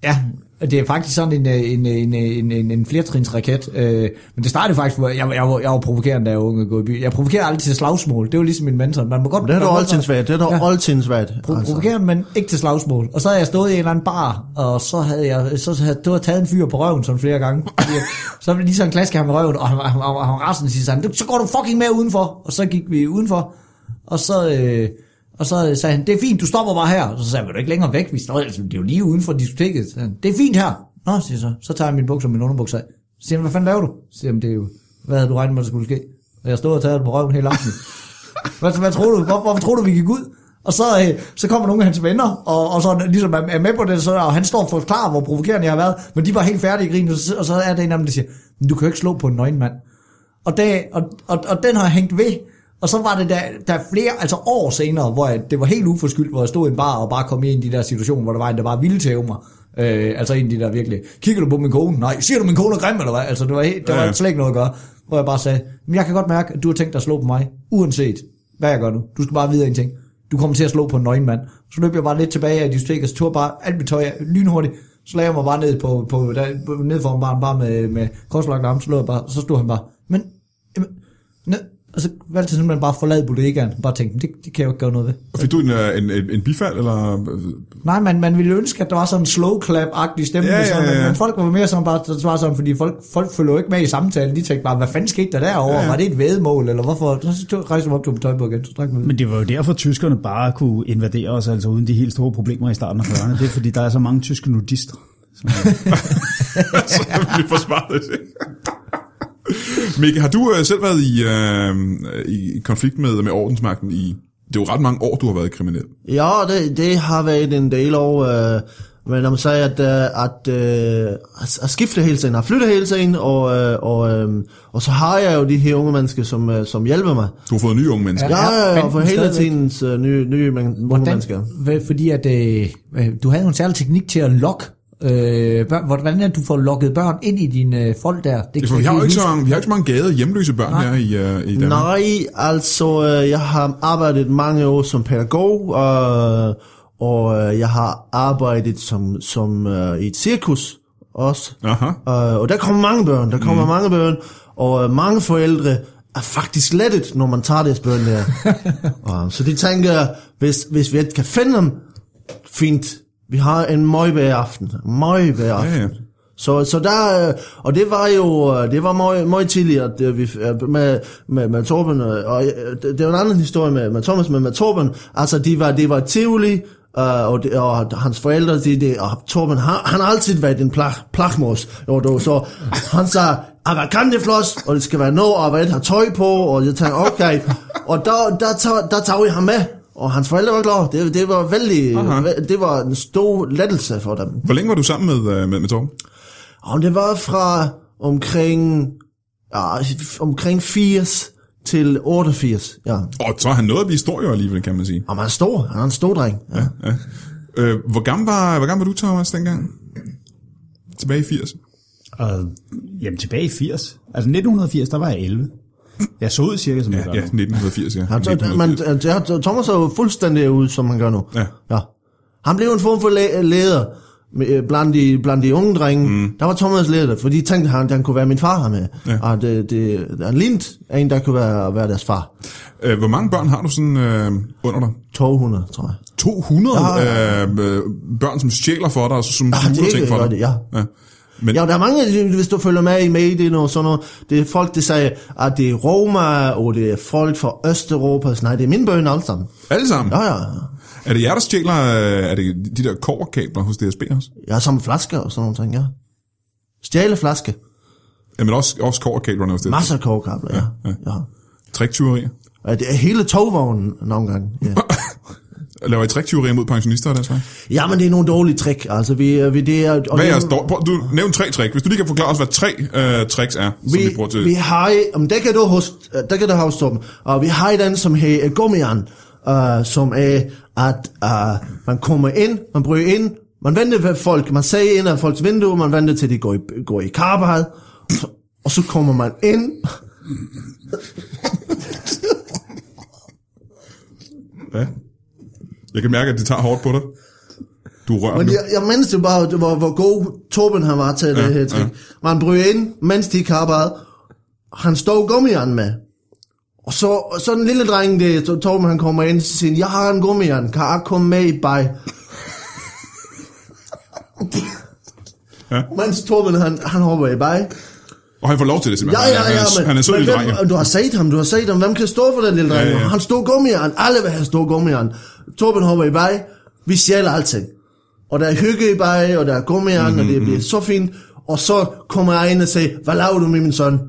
Speaker 8: Ja, og det er faktisk sådan en, øh, en, en, en, en, en flertrinsraket. Øh, men det startede faktisk, hvor jeg, jeg, var, jeg var provokerende, da jeg var ung og gå i by. Jeg provokerede aldrig til slagsmål. Det var ligesom min mentor. Man må godt,
Speaker 6: Det har
Speaker 8: man
Speaker 6: du
Speaker 8: må godt
Speaker 6: altid været. Det har du
Speaker 8: Ja.
Speaker 6: altid altså. været.
Speaker 8: pro- provokerende, men ikke til slagsmål. Og så havde jeg stået i en eller anden bar, og så havde jeg, så havde, du havde taget en fyr på røven sådan flere gange. Fordi jeg- så blev lige sådan en klaske ham i røven, og han, han, han, han var rasende og siger sådan, "Du- så går du fucking med udenfor. Og så gik vi udenfor, og så... Øh, og så øh, sagde han, det er fint, du stopper bare her. Og så sagde jeg, vil du ikke længere væk? Vi står, altså, det er jo lige uden for diskoteket. Så sagde han, det er fint her. Nå, siger jeg så. Så tager jeg min bukser og min underbukser af. Så siger han, hvad fanden laver du? Så siger han, det er jo, hvad havde du regnet med, der skulle ske? Og jeg stod og taget på røven hele aftenen. Hvad, hvad tror du? Hvor, hvorfor tror du, vi gik ud? Og så, øh, så kommer nogle af hans venner, og, og så ligesom er, er med på det, så, og han står og forklarer, hvor provokerende jeg har været, men de var helt færdige i grin, og så, og så er der en af dem, der siger, "Men du kan jo ikke slå på en nøgen mand. Og, det, og, og, og den har jeg hængt ved, og så var det der, der flere, altså år senere, hvor jeg, det var helt uforskyldt, hvor jeg stod i en bar og bare kom i en af de der situationer, hvor der var en, der bare ville tæve mig. Øh, altså en af de der virkelig, kigger du på min kone? Nej, siger du min kone er grim, eller hvad? Altså det var, helt, det var
Speaker 3: Ja.
Speaker 8: slet ikke noget at gøre, hvor jeg bare sagde, "Men jeg kan godt mærke, at du har tænkt dig at slå på mig, uanset hvad jeg gør nu. Du skal bare vide en ting. Du kommer til at slå på en nøgen mand. Så løb jeg bare lidt tilbage af diskoteket, og så tog jeg bare alt mit tøj af, lynhurtigt. Så lagde jeg mig bare ned, på, på, der, på ned foran barn, bare med, med korslagt arm, så lå jeg bare, så stod han bare, men, jamen, nø- Og så valgte jeg simpelthen bare at forlade bodegaen. Bare tænkte, det, det kan jeg jo ikke gøre noget ved.
Speaker 3: Fik du en, øh, en, en, en bifald, eller...
Speaker 8: Nej, man, man ville ønske, at der var sådan en slow clap-agtig stemning,
Speaker 3: Ja, ja,
Speaker 8: ja, ja,
Speaker 3: ja.
Speaker 8: ja. men folk var mere sådan bare, det var sådan, fordi folk, folk følger jo ikke med i samtalen, de tænkte bare, hvad fanden skete der derovre, ja. var det et vedmål, eller hvorfor, så tog- rejste jeg mig op, tog på tøjbog igen, så drak vi
Speaker 7: Men det var jo derfor, at tyskerne bare kunne invadere os, altså uden de helt store problemer i starten af 40'erne. Det er fordi, der er så mange tyske nudister.
Speaker 3: så vi forsvarer det. Mikke, har du øh, selv været i, øh, i konflidt med, med ordensmagten i... Det er jo ret mange år, du har været kriminel.
Speaker 6: Ja, det, det har været en del år. Øh, men når man siger, at, øh, at, øh, at, at skifte hele tiden, at flytte hele tiden, og, øh, og, øh, og så har jeg jo de her unge mennesker, som, øh, som hjælper mig.
Speaker 3: Du har fået nye unge mennesker.
Speaker 6: Ja, ja, ja,
Speaker 8: banden
Speaker 6: for hele
Speaker 8: stadigvæk?
Speaker 6: tidens øh, nye, nye men, unge
Speaker 8: Hvordan,
Speaker 6: mennesker.
Speaker 8: hvad- fordi at, øh, øh, du havde jo en særlig teknik til at lokke øh, børn, hvordan er det, du får lukket børn ind i dine øh, folk der? Det,
Speaker 3: For vi
Speaker 8: kan
Speaker 3: har jo
Speaker 8: jeg
Speaker 3: ikke
Speaker 8: huske.
Speaker 3: så, vi har ikke så mange gade hjemløse børn Nej. her i, øh, i Danmark.
Speaker 6: Nej, altså, øh, jeg har arbejdet mange år som pædagog, øh, og øh, jeg har arbejdet som, som øh, i et cirkus også.
Speaker 3: Aha.
Speaker 6: Øh, og der kommer mange børn, der kommer mm. mange børn, og øh, mange forældre er faktisk lettet, når man tager deres børn der. og, så de tænker, hvis, hvis vi ikke kan finde dem, fint, vi har en møgbær aften, møgbær aften.
Speaker 3: Ja, ja.
Speaker 6: Så, så der, øh, og det var jo, øh, det var meget, meget tidligere, det, vi, øh, med, med, med Torben, øh, og øh, det, det er jo en anden historie med, med Thomas, men med Torben, altså de var, det var Tivoli, øh, og, det, og hans forældre, de, de, og Torben, han, han har altid været en plak, plakmos, jo, du, så han sagde, "Aber kan det floss, og det skal være noget, og hvad har tøj på, og jeg tænkte, okay, og der, der, tager, der tager vi ham med, og hans forældre var glade, det, det var vældig, det var en stor lettelse for dem.
Speaker 3: Hvor længe var du sammen med, øh, med, med Torben?
Speaker 6: Og det var fra omkring, ja, omkring 80 til 88, ja.
Speaker 3: Og så har han nået at blive stor jo alligevel, kan man sige.
Speaker 6: Og man er stor, han er en stor dreng. Ja.
Speaker 3: Øh, hvor, gammel var, hvor gammel var du, Thomas, dengang? Tilbage i 80.
Speaker 7: Og, jamen tilbage i 80. Altså 1980, der var jeg 11. Jeg så ud cirka som jeg
Speaker 3: Ja,
Speaker 7: gør
Speaker 3: ja
Speaker 7: nu.
Speaker 3: 1980, ja.
Speaker 6: Han, så, man,
Speaker 3: 1980.
Speaker 6: ja, Thomas er jo fuldstændig ud, som han gør nu.
Speaker 3: Ja.
Speaker 6: ja. Han blev en form for læ- leder med, øh, blandt de, blandt de unge drenge. Mm. Der var Thomas leder, for de tænkte, han, han kunne være min far her med. Ja. Og det, det, han lignede en, der kunne være, være deres far.
Speaker 3: Øh, hvor mange børn har du sådan øh, under dig?
Speaker 6: 200, tror jeg.
Speaker 3: 200
Speaker 6: Ja.
Speaker 3: øh, øh, børn, som stjæler for dig, og som ja,
Speaker 6: Ah. det
Speaker 3: skjuler
Speaker 6: er
Speaker 3: ting
Speaker 6: ikke
Speaker 3: for dig.
Speaker 6: godt, ja.
Speaker 3: ja. Men, ja.
Speaker 6: Ja, der er mange, hvis du følger med i medien og sådan noget, det er folk, der siger, at det er Roma, og det er folk fra Østeuropa. Så Nej, det er mine bønder alle sammen.
Speaker 3: Alle sammen?
Speaker 6: Ja, ja.
Speaker 3: Er det jer, der stjæler øh, er det de der koverkabler hos DSB også?
Speaker 6: Jeg er som flasker og sådan nogle ting, ja. Stjæle flaske.
Speaker 3: Ja, men også, også koverkablerne hos DSB.
Speaker 6: Masser af kogekabler, ja. ja, ja.
Speaker 3: Triktyverier.
Speaker 6: ja. det er hele togvognen nogle gange. Ja.
Speaker 3: Laver I triktyverier mod pensionister, der så?
Speaker 6: ja, men det er nogle dårlige trick. Altså, vi, øh, vi det er... og
Speaker 3: Hvad er
Speaker 6: det-
Speaker 3: jeres dår- prøv, Du nævn tre trick. Hvis du lige kan forklare os, hvad tre øh, tricks er, som vi, vi bruger til...
Speaker 6: Vi har, om det kan du huske, øh, det kan du huske, Torben. Og vi har den, som hedder gummian, uh, som er, at uh, man kommer ind, man bryder ind, man venter ved folk, man ser ind af folks vindue, man venter til de går i, går i karpehal, og så kommer man ind,
Speaker 3: Ja. Jeg kan mærke, at det tager hårdt på dig. Du rører
Speaker 6: Men
Speaker 3: nu.
Speaker 6: jeg, jeg mindes jo bare, det var, hvor god Torben han var til ja, det her trick. Ja. Man bryder ind, mens de kappede. Han stod gummian med. Og så, og så den lille dreng, det, er Torben han kommer ind, og siger, jeg har en gummian, kan jeg komme med i bag?
Speaker 3: Ja.
Speaker 6: Ja. Mens Torben han, han hopper i bag.
Speaker 3: Og han får lov til det
Speaker 6: Ja,
Speaker 3: simpelthen.
Speaker 6: ja,
Speaker 3: Han
Speaker 6: ja,
Speaker 3: er,
Speaker 6: men,
Speaker 3: han er sød
Speaker 6: men
Speaker 3: lille dreng. jo.
Speaker 6: hvem, du har set ham, du har set ham. Hvem kan stå for den lille dreng?
Speaker 3: Ja,
Speaker 6: Ja,
Speaker 3: ja.
Speaker 6: ja. Han stod gummian. Alle vil have stå gummian. Torben hopper i vej. Vi stjæler alting. Og der er hygge i vej, og der er gummian, mm-hmm.
Speaker 3: Mhm,
Speaker 6: og det bliver så fint. Og så kommer jeg ind og siger, hvad laver du med min søn?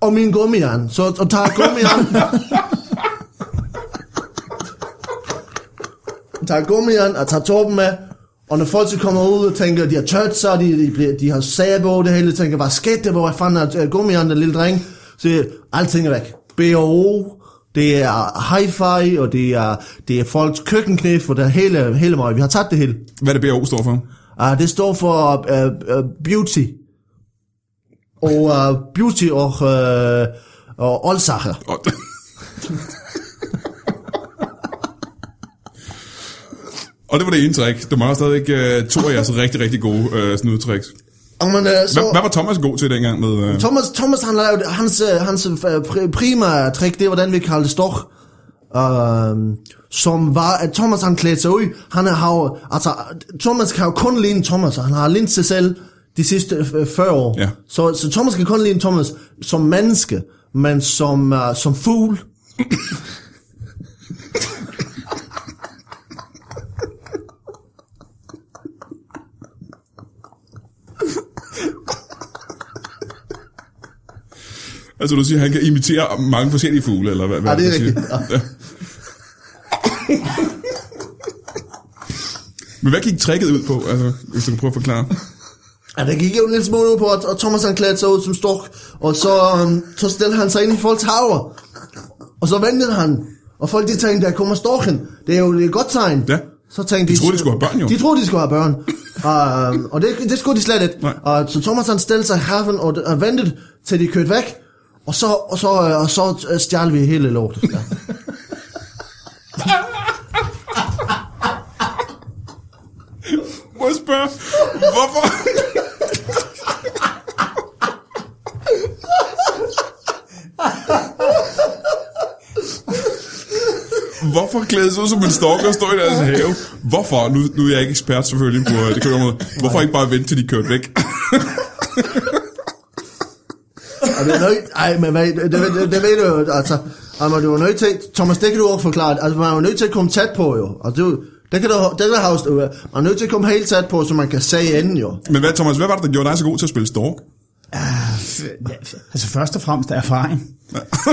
Speaker 6: og min gummian. Så og tager gummian. tager gummian og tager Torben med. Og når folk så kommer ud og tænker, at de har tørt sig, og de, de, bliver, de har sæbe over det hele, tænker, hvad skete der, hvor fanden er øh, gummian, den lille dreng? Så øh, alting er væk. B&O, det er hi-fi, og det er, det er folks køkkenknæf, og det er hele, hele meget. Vi har taget det hele.
Speaker 3: Hvad er det BRO står for?
Speaker 6: Uh, det står for uh, uh, beauty. Og uh, beauty og, uh, og oldsager.
Speaker 3: Og, og det var det ene trick. Der var stadig øh, to af jeres rigtig, rigtig gode øh, snydetricks.
Speaker 6: Jamen, øh, så...
Speaker 3: Hvad, hvad var Thomas god til dengang med... Øh,
Speaker 6: Thomas, Thomas han lavede, hans, øh, hans øh, pri- primære trick, det var den, vi kaldte stok. Uh, som var, at Thomas han klædte sig ud. Han har jo, altså, Thomas kan jo kun ligne Thomas, og han har lignet sig selv de sidste øh, 40 år.
Speaker 3: Ja.
Speaker 6: Så, så Thomas kan kun ligne Thomas som menneske, men som, uh, som fugl.
Speaker 3: altså du siger, han kan imitere mange forskellige fugle, eller hvad? hvad
Speaker 6: Ja, det er
Speaker 3: du siger?
Speaker 6: rigtigt. Ja.
Speaker 3: Men hvad gik tricket ud på, altså, hvis du kan prøve at forklare?
Speaker 6: Ja, der gik jo en lille smule ud på, at og Thomas han klædte sig ud som stork, og så, um, så stillede han sig ind i folks haver, og så ventede han, og folk de tænkte, der kommer storken, det er jo et godt tegn.
Speaker 3: Ja.
Speaker 6: Så tænkte
Speaker 3: De troede, de skulle have børn, jo.
Speaker 6: De troede, de skulle have børn. uh, og det, det skulle de slet ikke.
Speaker 3: Nej.
Speaker 6: Uh, så Thomas han stillede sig i haven og, og ventede, til de kørte væk, og så, og så, øh, og så øh, stjal vi hele lortet. Ja.
Speaker 3: Må jeg spørge, hvorfor? Hvorfor klædes ud som en stork og står i deres have? Hvorfor? Nu, nu er jeg ikke ekspert selvfølgelig på øh, det kører område. Hvorfor ikke bare vente til de er kørt væk?
Speaker 6: Og det er nødt... Ej, men hvad, det, det, det, det ved du jo, altså... Ej, men du er nødt til... Thomas, det kan du også forklare. Altså, man er jo nødt til at komme tæt på, jo. Og du, det kan du... Det kan du have, man er nødt til at komme helt tæt på, så man kan se enden, jo.
Speaker 3: Men hvad Thomas, hvad var det, der gjorde dig så god til at spille stork?
Speaker 7: Ja, altså først og fremmest erfaring.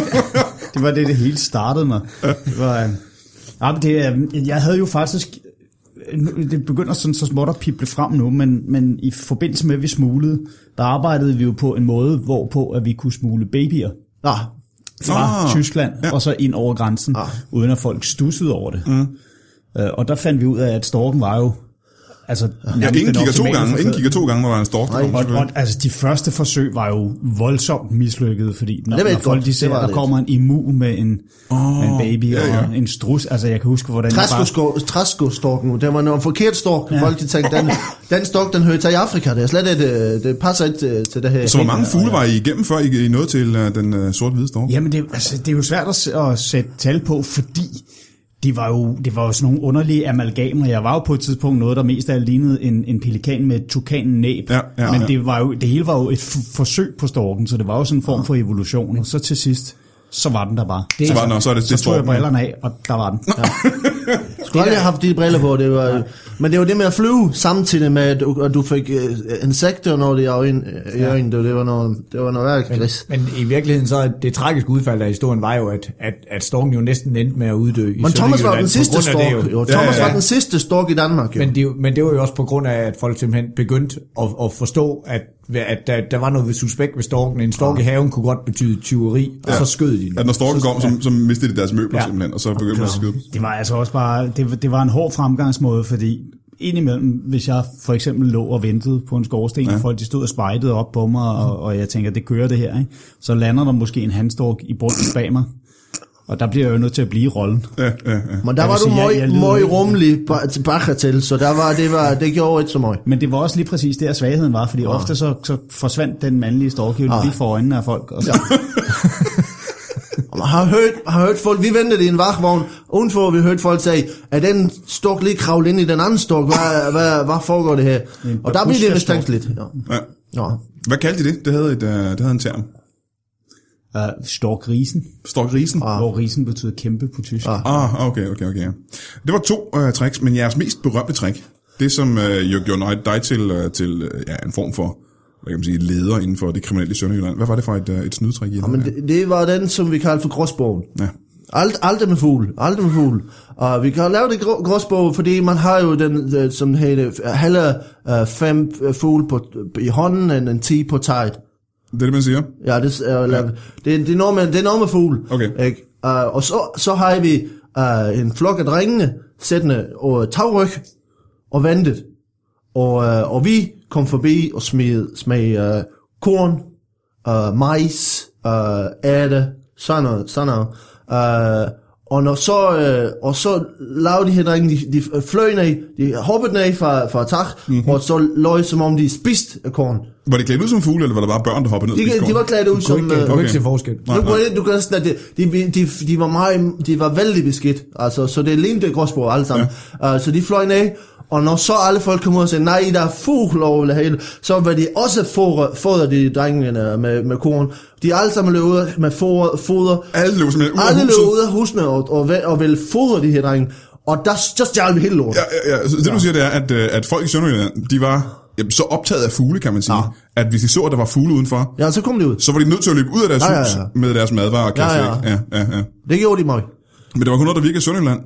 Speaker 7: det var det, det hele startede med. Det var, øh, ja, men det, øh, jeg havde jo faktisk, øh, nu- det begynder sådan så småt at pible frem nu, men, men i forbindelse med, at vi smuglede, der arbejdede vi jo på en måde, hvorpå at vi kunne smule babyer
Speaker 6: Nå,
Speaker 7: fra
Speaker 3: Ah.
Speaker 7: ah, Tyskland, ja. og så ind over grænsen,
Speaker 6: Ah.
Speaker 7: ah. uden at folk stussede over det. Mm. Øh, og der fandt vi ud af, at storken var jo... Altså,
Speaker 3: Ja, ingen kigger to gange. Ingen
Speaker 7: kigger
Speaker 3: kigger to gange, når der er en stork. der kommer
Speaker 7: og,
Speaker 3: tilbage.
Speaker 7: og, altså, de første forsøg var jo voldsomt mislykkede, fordi når,
Speaker 6: det var
Speaker 7: når
Speaker 6: ikke
Speaker 7: folk
Speaker 6: godt.
Speaker 7: de
Speaker 6: Det
Speaker 7: ser,
Speaker 6: var
Speaker 7: der
Speaker 6: det
Speaker 7: kommer en immu med en, oh, en baby ja,
Speaker 3: Ah. ja.
Speaker 7: ja. og en strus. Altså, jeg kan huske, hvordan jeg bare...
Speaker 6: træsko- træskostorken, det var en forkert stork. Ja. Folk, de tænkte, den, den stork, den hører til i Afrika. Det er slet ikke... øh, Det passer ikke til, til det her.
Speaker 3: Så hvor mange fugle var I igennem, før I, I nåede til uh, den uh, sort-hvide stork?
Speaker 7: Jamen, det, altså, det er jo svært at, s- at sætte tal på, fordi det var, jo, det var jo sådan nogle underlige amalgamer. Jeg var jo på et tidspunkt noget, der mest af alt lignede en, en pelikan med et tukannæb.
Speaker 3: Ja, ja,
Speaker 7: men
Speaker 3: ja.
Speaker 7: Det, var jo, det hele var jo et f- forsøg på storken, så det var jo sådan en form for evolution. Og så til sidst, så var den der bare.
Speaker 3: Så var den, og så er det,
Speaker 7: Så
Speaker 3: det
Speaker 7: tog jeg
Speaker 3: storken.
Speaker 7: brillerne af, og der var den.
Speaker 6: Skulle aldrig have haft de briller på, det var, men det var det med at flyve, samtidig med, at du, at du fik øh, insekter, når de i øjnene, ja. det, det var noget, det var noget værre gris.
Speaker 8: Men i virkeligheden så er det tragiske udfald af historien var jo, at, at, at storken jo næsten endte med at uddø i
Speaker 6: Men Thomas var
Speaker 8: Sønderjylland
Speaker 6: den
Speaker 8: på
Speaker 6: sidste
Speaker 8: grund af det
Speaker 6: stork, jo.
Speaker 8: jo.
Speaker 6: jo. Thomas
Speaker 3: Ja, ja.
Speaker 6: var den sidste stork i Danmark, jo.
Speaker 8: Men det, er jo- men det var jo også på grund af, at folk simpelthen begyndte at, at forstå, at, at der, der var noget suspekt ved storken. En stork i
Speaker 3: Ah.
Speaker 8: haven kunne godt betyde tyveri, og så skød de den.
Speaker 3: At når storken kom, så, så mistede de deres møbler ja.
Speaker 8: Ja.
Speaker 3: simpelthen, og så begyndte man at skyde dem.
Speaker 7: Det var altså også bare, det, det var en hård fremgangsmåde, fordi indimellem, hvis jeg for eksempel lå og ventede på en skorsten, ja. og folk de stod og spejtede op på mig, og, og jeg tænker, det kører det her, ikke? så lander der måske en handstork i bunden bag mig, og der bliver jeg jo nødt til at blive i rollen.
Speaker 3: Ja, ja, ja.
Speaker 6: Men der
Speaker 7: Jeg
Speaker 6: var
Speaker 7: vil
Speaker 6: du
Speaker 7: sige, jeg-
Speaker 6: møg,
Speaker 7: jeg lider
Speaker 6: møg
Speaker 7: ikke.
Speaker 6: rummelig ba- til bakker til, så der var, det, var, det gjorde ikke så meget.
Speaker 7: Men det var også lige præcis der svagheden var, fordi
Speaker 3: Ah.
Speaker 7: ofte så, så forsvandt den mandlige stork jo
Speaker 6: Ah.
Speaker 7: lige for øjnene af folk. Og så,
Speaker 6: Og man har hørt, har hørt folk, vi ventede i en vagtvogn, udenfor vi hørte folk sige, at den stork lige kravle ind i den anden stork, hvad, hvad, hvad foregår det her?
Speaker 7: en
Speaker 6: Og der blev det
Speaker 7: babusjka-stork.
Speaker 6: mistænkeligt. Ja.
Speaker 3: Ja.
Speaker 6: Ja.
Speaker 3: Hvad kaldte de det? Det havde, et, uh, det havde en term.
Speaker 7: uh, storkrisen,
Speaker 3: Storkrisen.
Speaker 7: ah. hvor risen betyder kæmpe på tysk. Ah.
Speaker 3: Ah, okay, okay, okay. Ja. Det var to uh, tricks, men jeres mest berømte trick, det som uh, jo gjorde nej- dig til, uh, til uh, ja, en form for hvad kan man sige, leder inden for det kriminelle i Sønderjylland. Hvad var det for et, uh, et snydtrik, I
Speaker 6: Ah, Men
Speaker 3: havde?
Speaker 6: det, det, var den, som vi kaldte for gråsbogen.
Speaker 3: Ja.
Speaker 6: Alt, alt med fugl, alt med fugl. Og vi kan lave det grå- gråsbog, fordi man har jo den, øh, som hedder, heller øh, fem øh, fugle på, i hånden, end en ti på tight.
Speaker 3: Det er det, man siger.
Speaker 6: Ja, det er, ja. det, det, er noget med, det er noget med fugle.
Speaker 3: Okay.
Speaker 6: Ikke? Uh, og så, så har vi uh, en flok af drengene sættende og tagryg og vandet. Og, uh, og vi kom forbi og smed, smed uh, korn, øh, uh, majs, uh, ærte, sådan noget. Sådan noget. Uh, Og, når så, øh, og så lavede de her drenge, de, de fløj ned, de hoppede ned fra, fra tak,
Speaker 3: Mhm.
Speaker 6: mm-hmm. og så løj som om de spiste af korn.
Speaker 3: Var det klædt ud som fugle, eller var der bare børn, der hoppede ned? og spiste
Speaker 6: De, de
Speaker 3: korn?
Speaker 6: var klædt ud som...
Speaker 8: Du
Speaker 6: øh,
Speaker 8: kan
Speaker 3: Okay.
Speaker 8: ikke se forskel.
Speaker 3: Nej,
Speaker 6: nu
Speaker 3: nej.
Speaker 6: går jeg- du kan sådan, at de, de, de, de, var meget, de var vældig beskidt, altså, så det lignede gråsbord alle sammen. Ja. Uh, så de fløj ned, og når så alle folk kom ud og sagde, nej, der er fugl over det hele, så var de også fodre- fodret de drengene øh, med, med korn. De alle sammen løb ud med foder, foder
Speaker 3: Alle løb simpelthen ud af
Speaker 6: alle løb
Speaker 3: huset.
Speaker 6: ud af husene og, og, væ- og ville fodre de her drenge, og der, der stjal vi hele lortet.
Speaker 3: Ja, ja, ja. Så det du siger, det er, at, øh, at folk i Sønderjylland, de var jamen, så optaget af fugle, kan man sige, ja. at hvis de så, at der var fugle udenfor,
Speaker 6: Ja, så kom de ud.
Speaker 3: så var de nødt til at løbe ud af deres
Speaker 6: Ja, ja,
Speaker 3: hus
Speaker 6: ja.
Speaker 3: med deres madvarer og kasse
Speaker 6: Ja, ja.
Speaker 3: væk. Ja, ja, ja.
Speaker 6: Det gjorde de mig.
Speaker 3: Men det var kun noget, der virkede i Sønderjylland.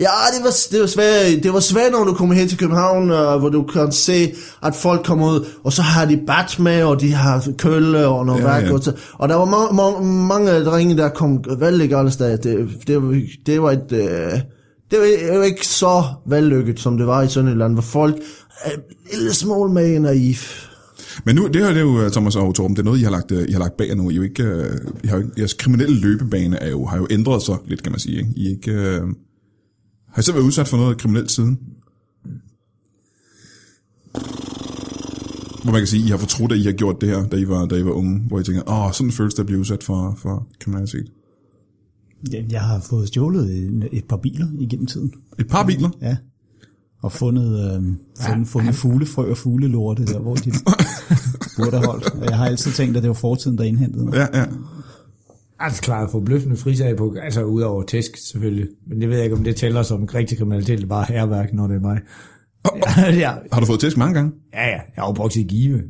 Speaker 6: Ja, det var, det var svært. Det var svært, når du kommer hen til København, øh, hvor du kan se, at folk kommer ud, og så har de bat med, og de har kølle og noget
Speaker 3: Ja,
Speaker 6: ja, værk.
Speaker 3: ja.
Speaker 6: Ja. Og, så, og der var ma- ma- mange drenge, der kom vældig galt afsted. Det, det, var- det var et... Øh, det var- det var ikke så vellykket, som det var i Sønderjylland, hvor folk er en lille smule mere naiv.
Speaker 3: Men nu, det her, det er jo, øh, Thomas og Torben, det er noget, I har lagt, øh, I har lagt bag jer nu. I er jo ikke, øh, I har jo ikke, jeres kriminelle løbebane er jo, har jo ændret sig lidt, kan man sige. Ikke? I er ikke, øh, har I selv været udsat for noget kriminelt siden? Hvor man kan sige, I har fortrudt, at I har gjort det her, da I var, da I var unge, hvor I tænker, åh, sådan føles det at blive udsat for, for kriminalitet.
Speaker 7: Ja, Jeg har fået stjålet en- et par biler igennem tiden.
Speaker 3: Et par biler?
Speaker 7: Ja. Og fundet, øh, fundet, fundet fuglefrø og fuglelorte, der hvor de burde have holdt. Og Jeg har altid tænkt, at det var fortiden, der indhentede mig.
Speaker 3: Ja, ja.
Speaker 8: Altså klart forbløffende frisag på, altså udover tæsk selvfølgelig. Men det ved jeg ikke, om det tæller som rigtig kriminalitet, det er bare herværk, når det er mig. ja,
Speaker 3: Har du fået tæsk mange gange?
Speaker 8: ja, ja, jeg er opvokset i Give.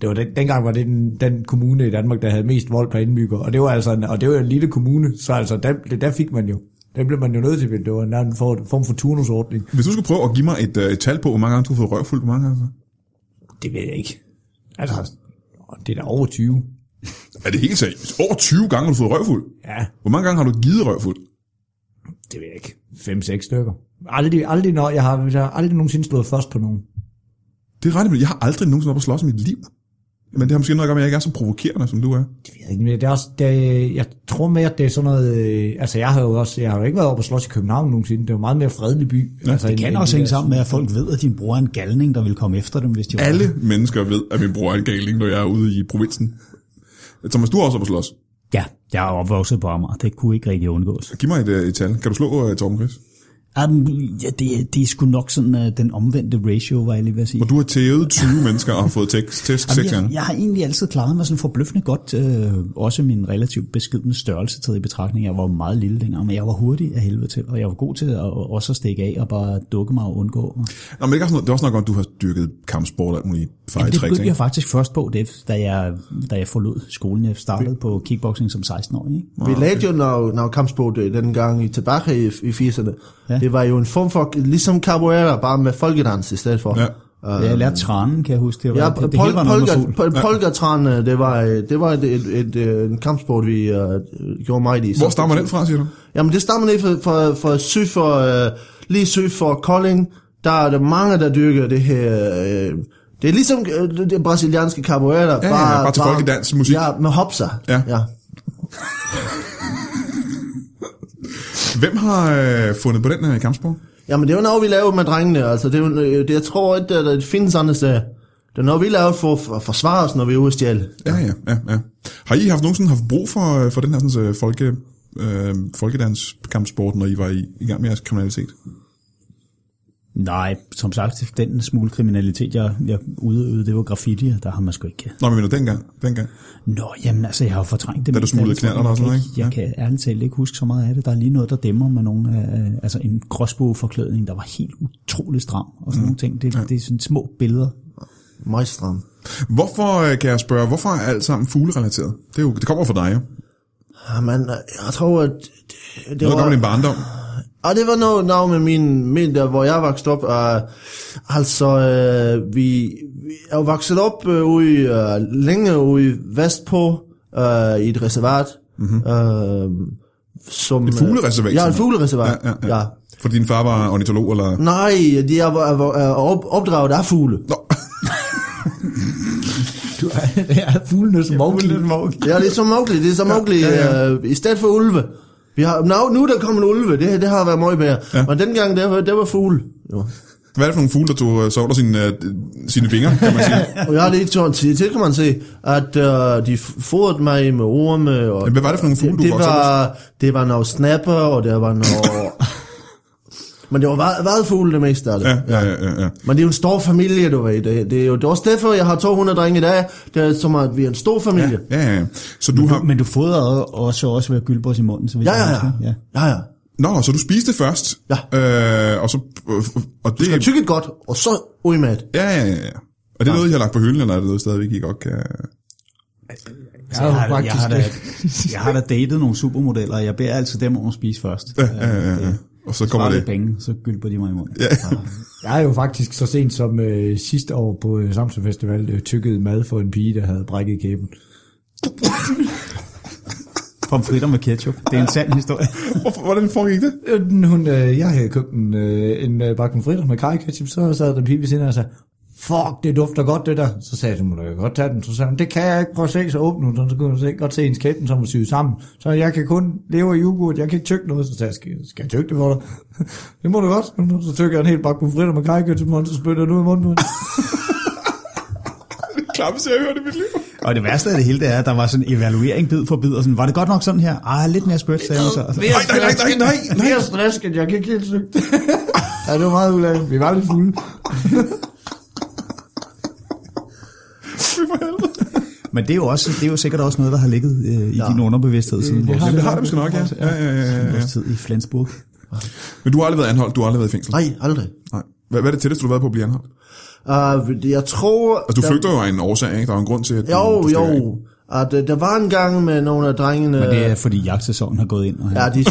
Speaker 8: Det var den, dengang var det den, den kommune i Danmark, der havde mest vold per indbygger, og det var altså en, og det var en lille kommune, så altså der, det, der fik man jo. Den blev man jo nødt til, det var en anden for- form for turnusordning.
Speaker 3: Hvis du skulle prøve at give mig et, øh, et tal på, hvor mange gange du har fået røvfuld, hvor mange gange?
Speaker 8: Det ved jeg ikke. Altså, det er da over 20.
Speaker 3: Er det helt seriøst? Over 20 gange har du fået røvfuld?
Speaker 8: Ja,
Speaker 3: Hvor mange gange har du givet røvfuld?
Speaker 8: det ved jeg ikke. 5-6 stykker. Aldrig, aldrig, når jeg har, jeg har aldrig nogensinde slået først på nogen.
Speaker 3: Det er ret vildt. Jeg har aldrig nogensinde været på slås i mit liv. Men det har måske noget at gøre med, at jeg ikke er så provokerende, som du er.
Speaker 8: Det ved jeg ikke, men det er også, det, jeg tror mere, at det er sådan noget, øh, altså jeg har jo også, jeg har jo ikke været oppe og slås i København nogensinde, det er jo en meget mere fredelig by. Ja, altså,
Speaker 7: Det kan også hænge sammen med, at folk ved, at din bror er en galning, der vil komme efter dem, hvis de var
Speaker 3: Alle mennesker ved, at min bror er en galing, når jeg er ude i provinsen. Thomas, du har også været på slås.
Speaker 7: Ja, jeg er opvokset på Amager. Det kunne ikke rigtig undgås.
Speaker 3: Giv mig et, øh, et tal. Kan du slå uh, Torben Chris?
Speaker 7: Um, ja, det, det er sgu nok sådan uh, den omvendte ratio, var jeg lige ved at sige.
Speaker 3: Hvor du har tævet 20 mennesker og har fået tæsk, tæsk seks
Speaker 7: Jamen,
Speaker 3: gange.
Speaker 7: jeg, jeg har egentlig altid klaret mig sådan forbløffende godt, øh, også min relativt beskidende størrelse taget i betragtning. Jeg var jo meget lille dengang, men jeg var hurtig af helvede til, og jeg var god til at, også at stikke af og bare dukke mig og undgå. mig.
Speaker 3: Nå, men det er, også noget, det er også nok godt, at du har dyrket kampsport og alt muligt
Speaker 7: Jamen, det
Speaker 3: fejltræk.
Speaker 7: begyndte jeg faktisk først på, det, da, jeg, da jeg forlod skolen. Jeg startede på kickboxing som 16-årig. Ikke?
Speaker 6: Vi lavede jo noget, noget kampsport øh, dengang i tilbage i, i 80'erne.
Speaker 7: Ja.
Speaker 6: Ja. Det var jo en form for, ligesom capoeira, bare med folkedans i stedet for.
Speaker 3: Ja.
Speaker 7: Jeg lærte
Speaker 3: Øh.
Speaker 7: tranen, kan jeg huske. Det, var,
Speaker 6: Ja,
Speaker 7: det, det, hele var noget med fugl.
Speaker 6: polka, pol, polkatran, øh, det var, øh, det var et, et, et, øh, en kampsport, vi uh, gjorde meget i.
Speaker 3: Hvor stammer den fra, siger du?
Speaker 6: Jamen, det stammer ned fra, fra, fra syd for, øh, lige syd for Kolding. Der er der mange, der dyrker det her... Øh, det er ligesom øh, det, det brasilianske capoeira. Ja,
Speaker 3: ja, bare til folkedans, musik.
Speaker 6: Ja, med hopser.
Speaker 3: Ja.
Speaker 6: ja.
Speaker 3: Hvem har øh, fundet på den her kampsport?
Speaker 6: Jamen, det er jo noget, vi laver med drengene. Altså, det, er jo, øh, det jeg tror ikke, at det findes andre steder. Det er noget, vi laver for for at forsvare os, når vi er ude at stjæle.
Speaker 3: Ja, ja, ja. ja. Har I haft nogensinde haft brug for, øh, for den her sådan, øh, folke, øh, folkedanskampsport, når I var i, i gang med jeres kriminalitet?
Speaker 7: Nej, som sagt, den smule kriminalitet, jeg, jeg udøvede, det var graffiti, og der har man sgu ikke
Speaker 3: Nå, men jeg mener, dengang, dengang.
Speaker 7: Nå, jamen altså, jeg har jo fortrængt det.
Speaker 3: Da du
Speaker 7: meste af
Speaker 3: smuglede
Speaker 7: det, tror jeg.
Speaker 3: knallerter og sådan noget, ikke?
Speaker 7: Jeg kan, jeg kan ærligt talt ikke huske så meget af det. Der er lige noget, der dæmmer med nogle, øh, altså en crossbow-forklædning, der var helt utrolig stram og sådan mm. nogle ting. Det, ja. det er sådan små billeder.
Speaker 6: Meget stram.
Speaker 3: Hvorfor, øh, kan jeg spørge, hvorfor er alt sammen fuglerelateret? Det, er jo, det kommer fra dig, jo.
Speaker 6: Jamen, øh, jeg tror, at... Det, det
Speaker 3: Noget kommer din barndom.
Speaker 6: Og Ah, det var noget, noget med min, min der, hvor jeg voksede op. Uh, altså, uh, vi, vi er jo vokset op uh, ude, uh, længe ude vestpå uh, i et reservat. Mm-hmm. Uh, som,
Speaker 3: Mhm. Et fuglereservat,
Speaker 6: Ja, et
Speaker 3: simpelthen.
Speaker 6: fuglereservat.
Speaker 3: Ja, ja, ja.
Speaker 6: ja. Mm,
Speaker 3: Fordi din far var ornitolog, eller...
Speaker 6: Nej, de er, er, er op, opdraget af fugle.
Speaker 3: Nå,
Speaker 8: Du er, det er fuglene som ja,
Speaker 6: Ja, det er så Mowgli. Det er så Mowgli. Ja, ja, ja. Øh, I stedet for ulve. Vi har, no, nu er der kommet en ulve, det, det har været meget bedre. Ja. Og dengang, det var, det var fugle. Jo.
Speaker 3: Hvad er det for nogle fugle, der tog, øh, så under sine, øh, sine vinger, kan man sige?
Speaker 6: Og jeg har lige tårt til, til kan man se, at øh, de fodrede mig med orme. Og,
Speaker 3: Men hvad var det for nogle fugle, du
Speaker 6: det,
Speaker 3: voksede op
Speaker 6: var, det var noget snapper, og det var noget... Men det var va- vadfugle det meste af det.
Speaker 3: Ja, ja, ja, ja, ja.
Speaker 6: Men det er jo en stor familie, du ved. Det, det er jo det er også derfor, jeg har 200 drenge i dag. Det er som at vi er en stor familie.
Speaker 3: Ja, ja, ja. Så du har...
Speaker 7: Men du fodrede også, også ved at gylde på os i munden. Så vidt
Speaker 6: Ja,
Speaker 7: jeg
Speaker 6: ja,
Speaker 7: husker.
Speaker 6: ja. ja, ja.
Speaker 3: Nå, så du spiste først.
Speaker 6: Ja.
Speaker 3: Øh, og så... Og det...
Speaker 6: Det er tykket godt, og så ud med det.
Speaker 3: Ja, ja, ja. ja. Og det er noget, I har lagt på hylden, eller er det noget, stadigvæk I godt kan...
Speaker 7: Altså, jeg, har, jeg, har da, jeg har da datet nogle supermodeller, og jeg beder altid dem om at spise først. Ja,
Speaker 3: Ja, ja, ja. Og så kommer
Speaker 7: Bare
Speaker 3: det...
Speaker 7: lidt penge, så gylder de mig i munden. Ja.
Speaker 8: Jeg er jo faktisk så sent som øh, sidste år på øh, Samsung Festival øh, tykket mad for en pige, der havde brækket kæben.
Speaker 7: Pomfritter med ketchup. Det er en sand historie.
Speaker 3: Hvorfor, hvordan foregik det?
Speaker 8: Øh, den- Hun, øh, jeg havde købt en, øh, en øh, bakken fritter med kaj ketchup, så sad den pige ved siden af og sagde, fuck, det dufter godt det der. Så sagde jeg, må du kan godt tage den. Så sagde hun, det kan jeg ikke, prøv at se, så åbne hun, den, så kunne hun se, godt se hendes kæben, som var syet sammen. Så jeg kan kun leve af yoghurt, jeg kan ikke tykke noget. Så sagde jeg, skal, skal jeg tykke det for dig? det må du godt. Så tykker jeg en hel bakken fritter med kaj ketchup, på hånden, så spytter jeg den ud af munden. på hende.
Speaker 3: Klamme, jeg hørte i mit liv.
Speaker 7: Og det værste af det hele, det er, at der var sådan en evaluering bid for bid, og sådan, var det godt nok sådan her? Ah, lidt mere spødt, sagde jeg så. Og så-
Speaker 3: Nej, nej, nej, nej, nej, nej.
Speaker 8: Jeg er stresket, jeg kan ikke helt tykke det. ja, det var meget ulækkert. Vi var lidt fulde.
Speaker 7: Men det er jo, også, det er jo sikkert også noget, der har ligget øh, i ja. din underbevidsthed siden vores,
Speaker 3: Jamen, det har det måske nok, ja. Ja, ja, ja, ja, ja.
Speaker 7: vores tid i Flensburg.
Speaker 3: Men du har aldrig været anholdt, du har aldrig været i fængsel.
Speaker 6: Nej, aldrig.
Speaker 3: Nej. Hvad, hvad er det tætteste, du har været på at blive anholdt?
Speaker 6: Uh, jeg tror...
Speaker 3: Altså, du flygter jo af en årsag, ikke? Der er jo en grund til, at du,
Speaker 6: Jo,
Speaker 3: du stikker af.
Speaker 6: jo. At, øh, der var en gang med nogle af drengene...
Speaker 7: Men det er, fordi jagtsæsonen har gået ind, og han
Speaker 6: Ja, de, de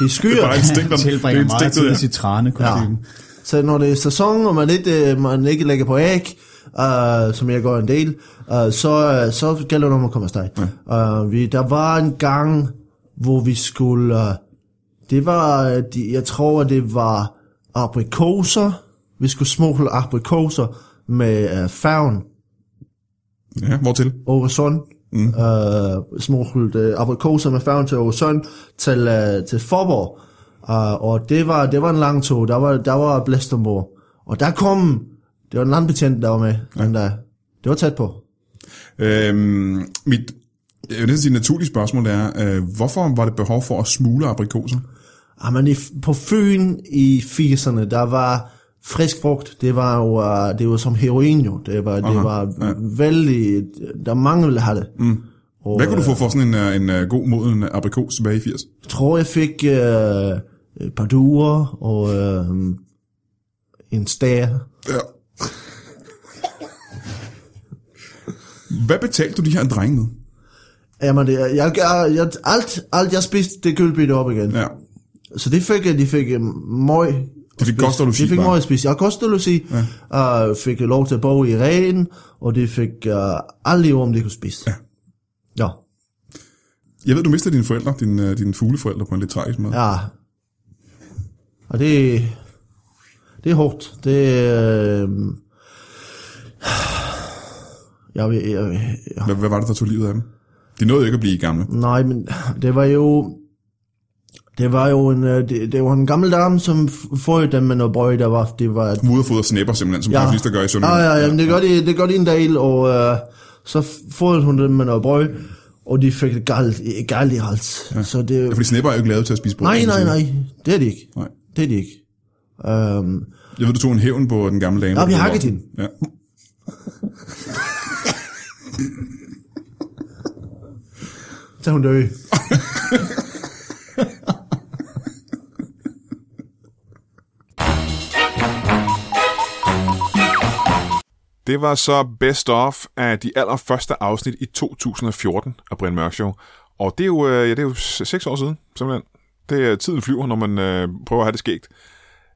Speaker 3: Det
Speaker 6: skyer.
Speaker 3: er bare en stinker.
Speaker 7: tilbringer
Speaker 3: det er en stinker,
Speaker 7: meget tid i
Speaker 3: ja.
Speaker 7: sit trænekostyme. Ja.
Speaker 6: Så når det er sæson, og man ikke, øh, man ikke lægger på æg, Uh, som jeg gør en del, uh, så, øh, så gælder det om at komme afsted. Ja. Uh, vi, der var en gang, hvor vi skulle, uh, det var, øh, de, jeg tror, det var aprikoser, vi skulle smugle aprikoser med uh, færgen
Speaker 3: Ja, hvortil?
Speaker 6: Åresund, mm. uh, smuglet uh, aprikoser med færgen til Åresund, til, uh, til Forborg. Uh, og det var, det var en lang tog, der var, der var Blæstermor. Og der kom, det var en landbetjent, der var med, ja. den der, det var tæt på.
Speaker 3: Øhm, mit, jeg vil næsten sige, naturlige spørgsmål er, øh, hvorfor var det behov for at smule aprikoser?
Speaker 6: Ah, men i, på Fyn i 80'erne, der var frisk frugt, det var jo, uh, det var som heroin jo, det var, det var
Speaker 3: ja.
Speaker 6: vældig, der mange ville have det. Mm. Og,
Speaker 3: Hvad kunne du få for sådan en, øh, en øh, god moden aprikos tilbage i 80?
Speaker 6: Jeg tror, jeg fik øh, et par duer og øh, en stær.
Speaker 3: Ja. Hvad betalte du de her drenge med?
Speaker 6: Jamen, det, jeg, jeg, jeg, alt, alt jeg spiste, det gølbidte op igen. Ja.
Speaker 3: Ja.
Speaker 6: Så det fik jeg, de fik øh, møg. at spise.
Speaker 3: kost og logi,
Speaker 6: De fik
Speaker 3: bare.
Speaker 6: møg at spise. Jeg kost og logi, ja. øh, fik lov til at bo i regn, og de fik øh, alle om de kunne spise. Ja. Ja,
Speaker 3: Jeg ved, du mistede dine forældre, dine, øh, dine fugleforældre på en lidt tragisk måde. Ja.
Speaker 6: ja. Og det, det er hårdt. Det, øh, jeg, jeg, jeg, jeg
Speaker 3: Hvad, hvad var det, der tog livet af dem? De nåede ikke at blive gamle.
Speaker 6: Nej, men det var jo... Det var jo en, øh, det, det var en gammel dame, som f- fået dem med noget brød, der var... Det var
Speaker 3: Muderfoder snæpper simpelthen, som ja. pensionister gør i
Speaker 6: ja, Ah,
Speaker 3: Sønderjylland.
Speaker 6: ja, ja, men det gør de, det gør de en del, og øh, så fået hun dem med noget brød, og de fik det galt, i- galt i hals. Ja. Så det,
Speaker 3: Fordi snæpper er jo ikke lavet til at spise brød.
Speaker 6: nej,
Speaker 3: kan man
Speaker 6: nej,
Speaker 3: sige.
Speaker 6: nej, det er de ikke.
Speaker 3: Nej.
Speaker 6: Det er de ikke. Øhm,
Speaker 3: Jeg ved, du tog en hævn på den gamle dame.
Speaker 6: Ja, vi
Speaker 3: der blev
Speaker 6: hakkede
Speaker 3: voksen. Ja.
Speaker 6: så hun døde.
Speaker 2: Det var så best of af de allerførste afsnit i 2014 af Brian Mørk Show. Og det er jo, øh, ja, det er jo s- seks år siden, simpelthen. Det er tiden flyver, når man øh, prøver at have det skægt.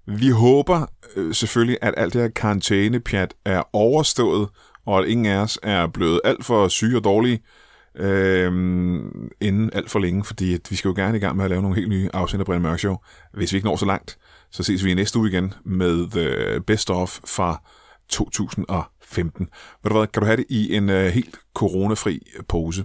Speaker 2: Vi håber øh, selvfølgelig, at alt det her karantænepjat er overstået, og at ingen af os er blevet alt for syge og dårlige øh, inden alt for længe, fordi at vi skal jo gerne i gang med at lave nogle helt nye afsnit af Brian Mørk Show. Hvis vi ikke når så langt, så ses vi i næste uge igen med The Best Of fra 2015. Ved du hvad, kan du have det i en øh, helt coronafri pose?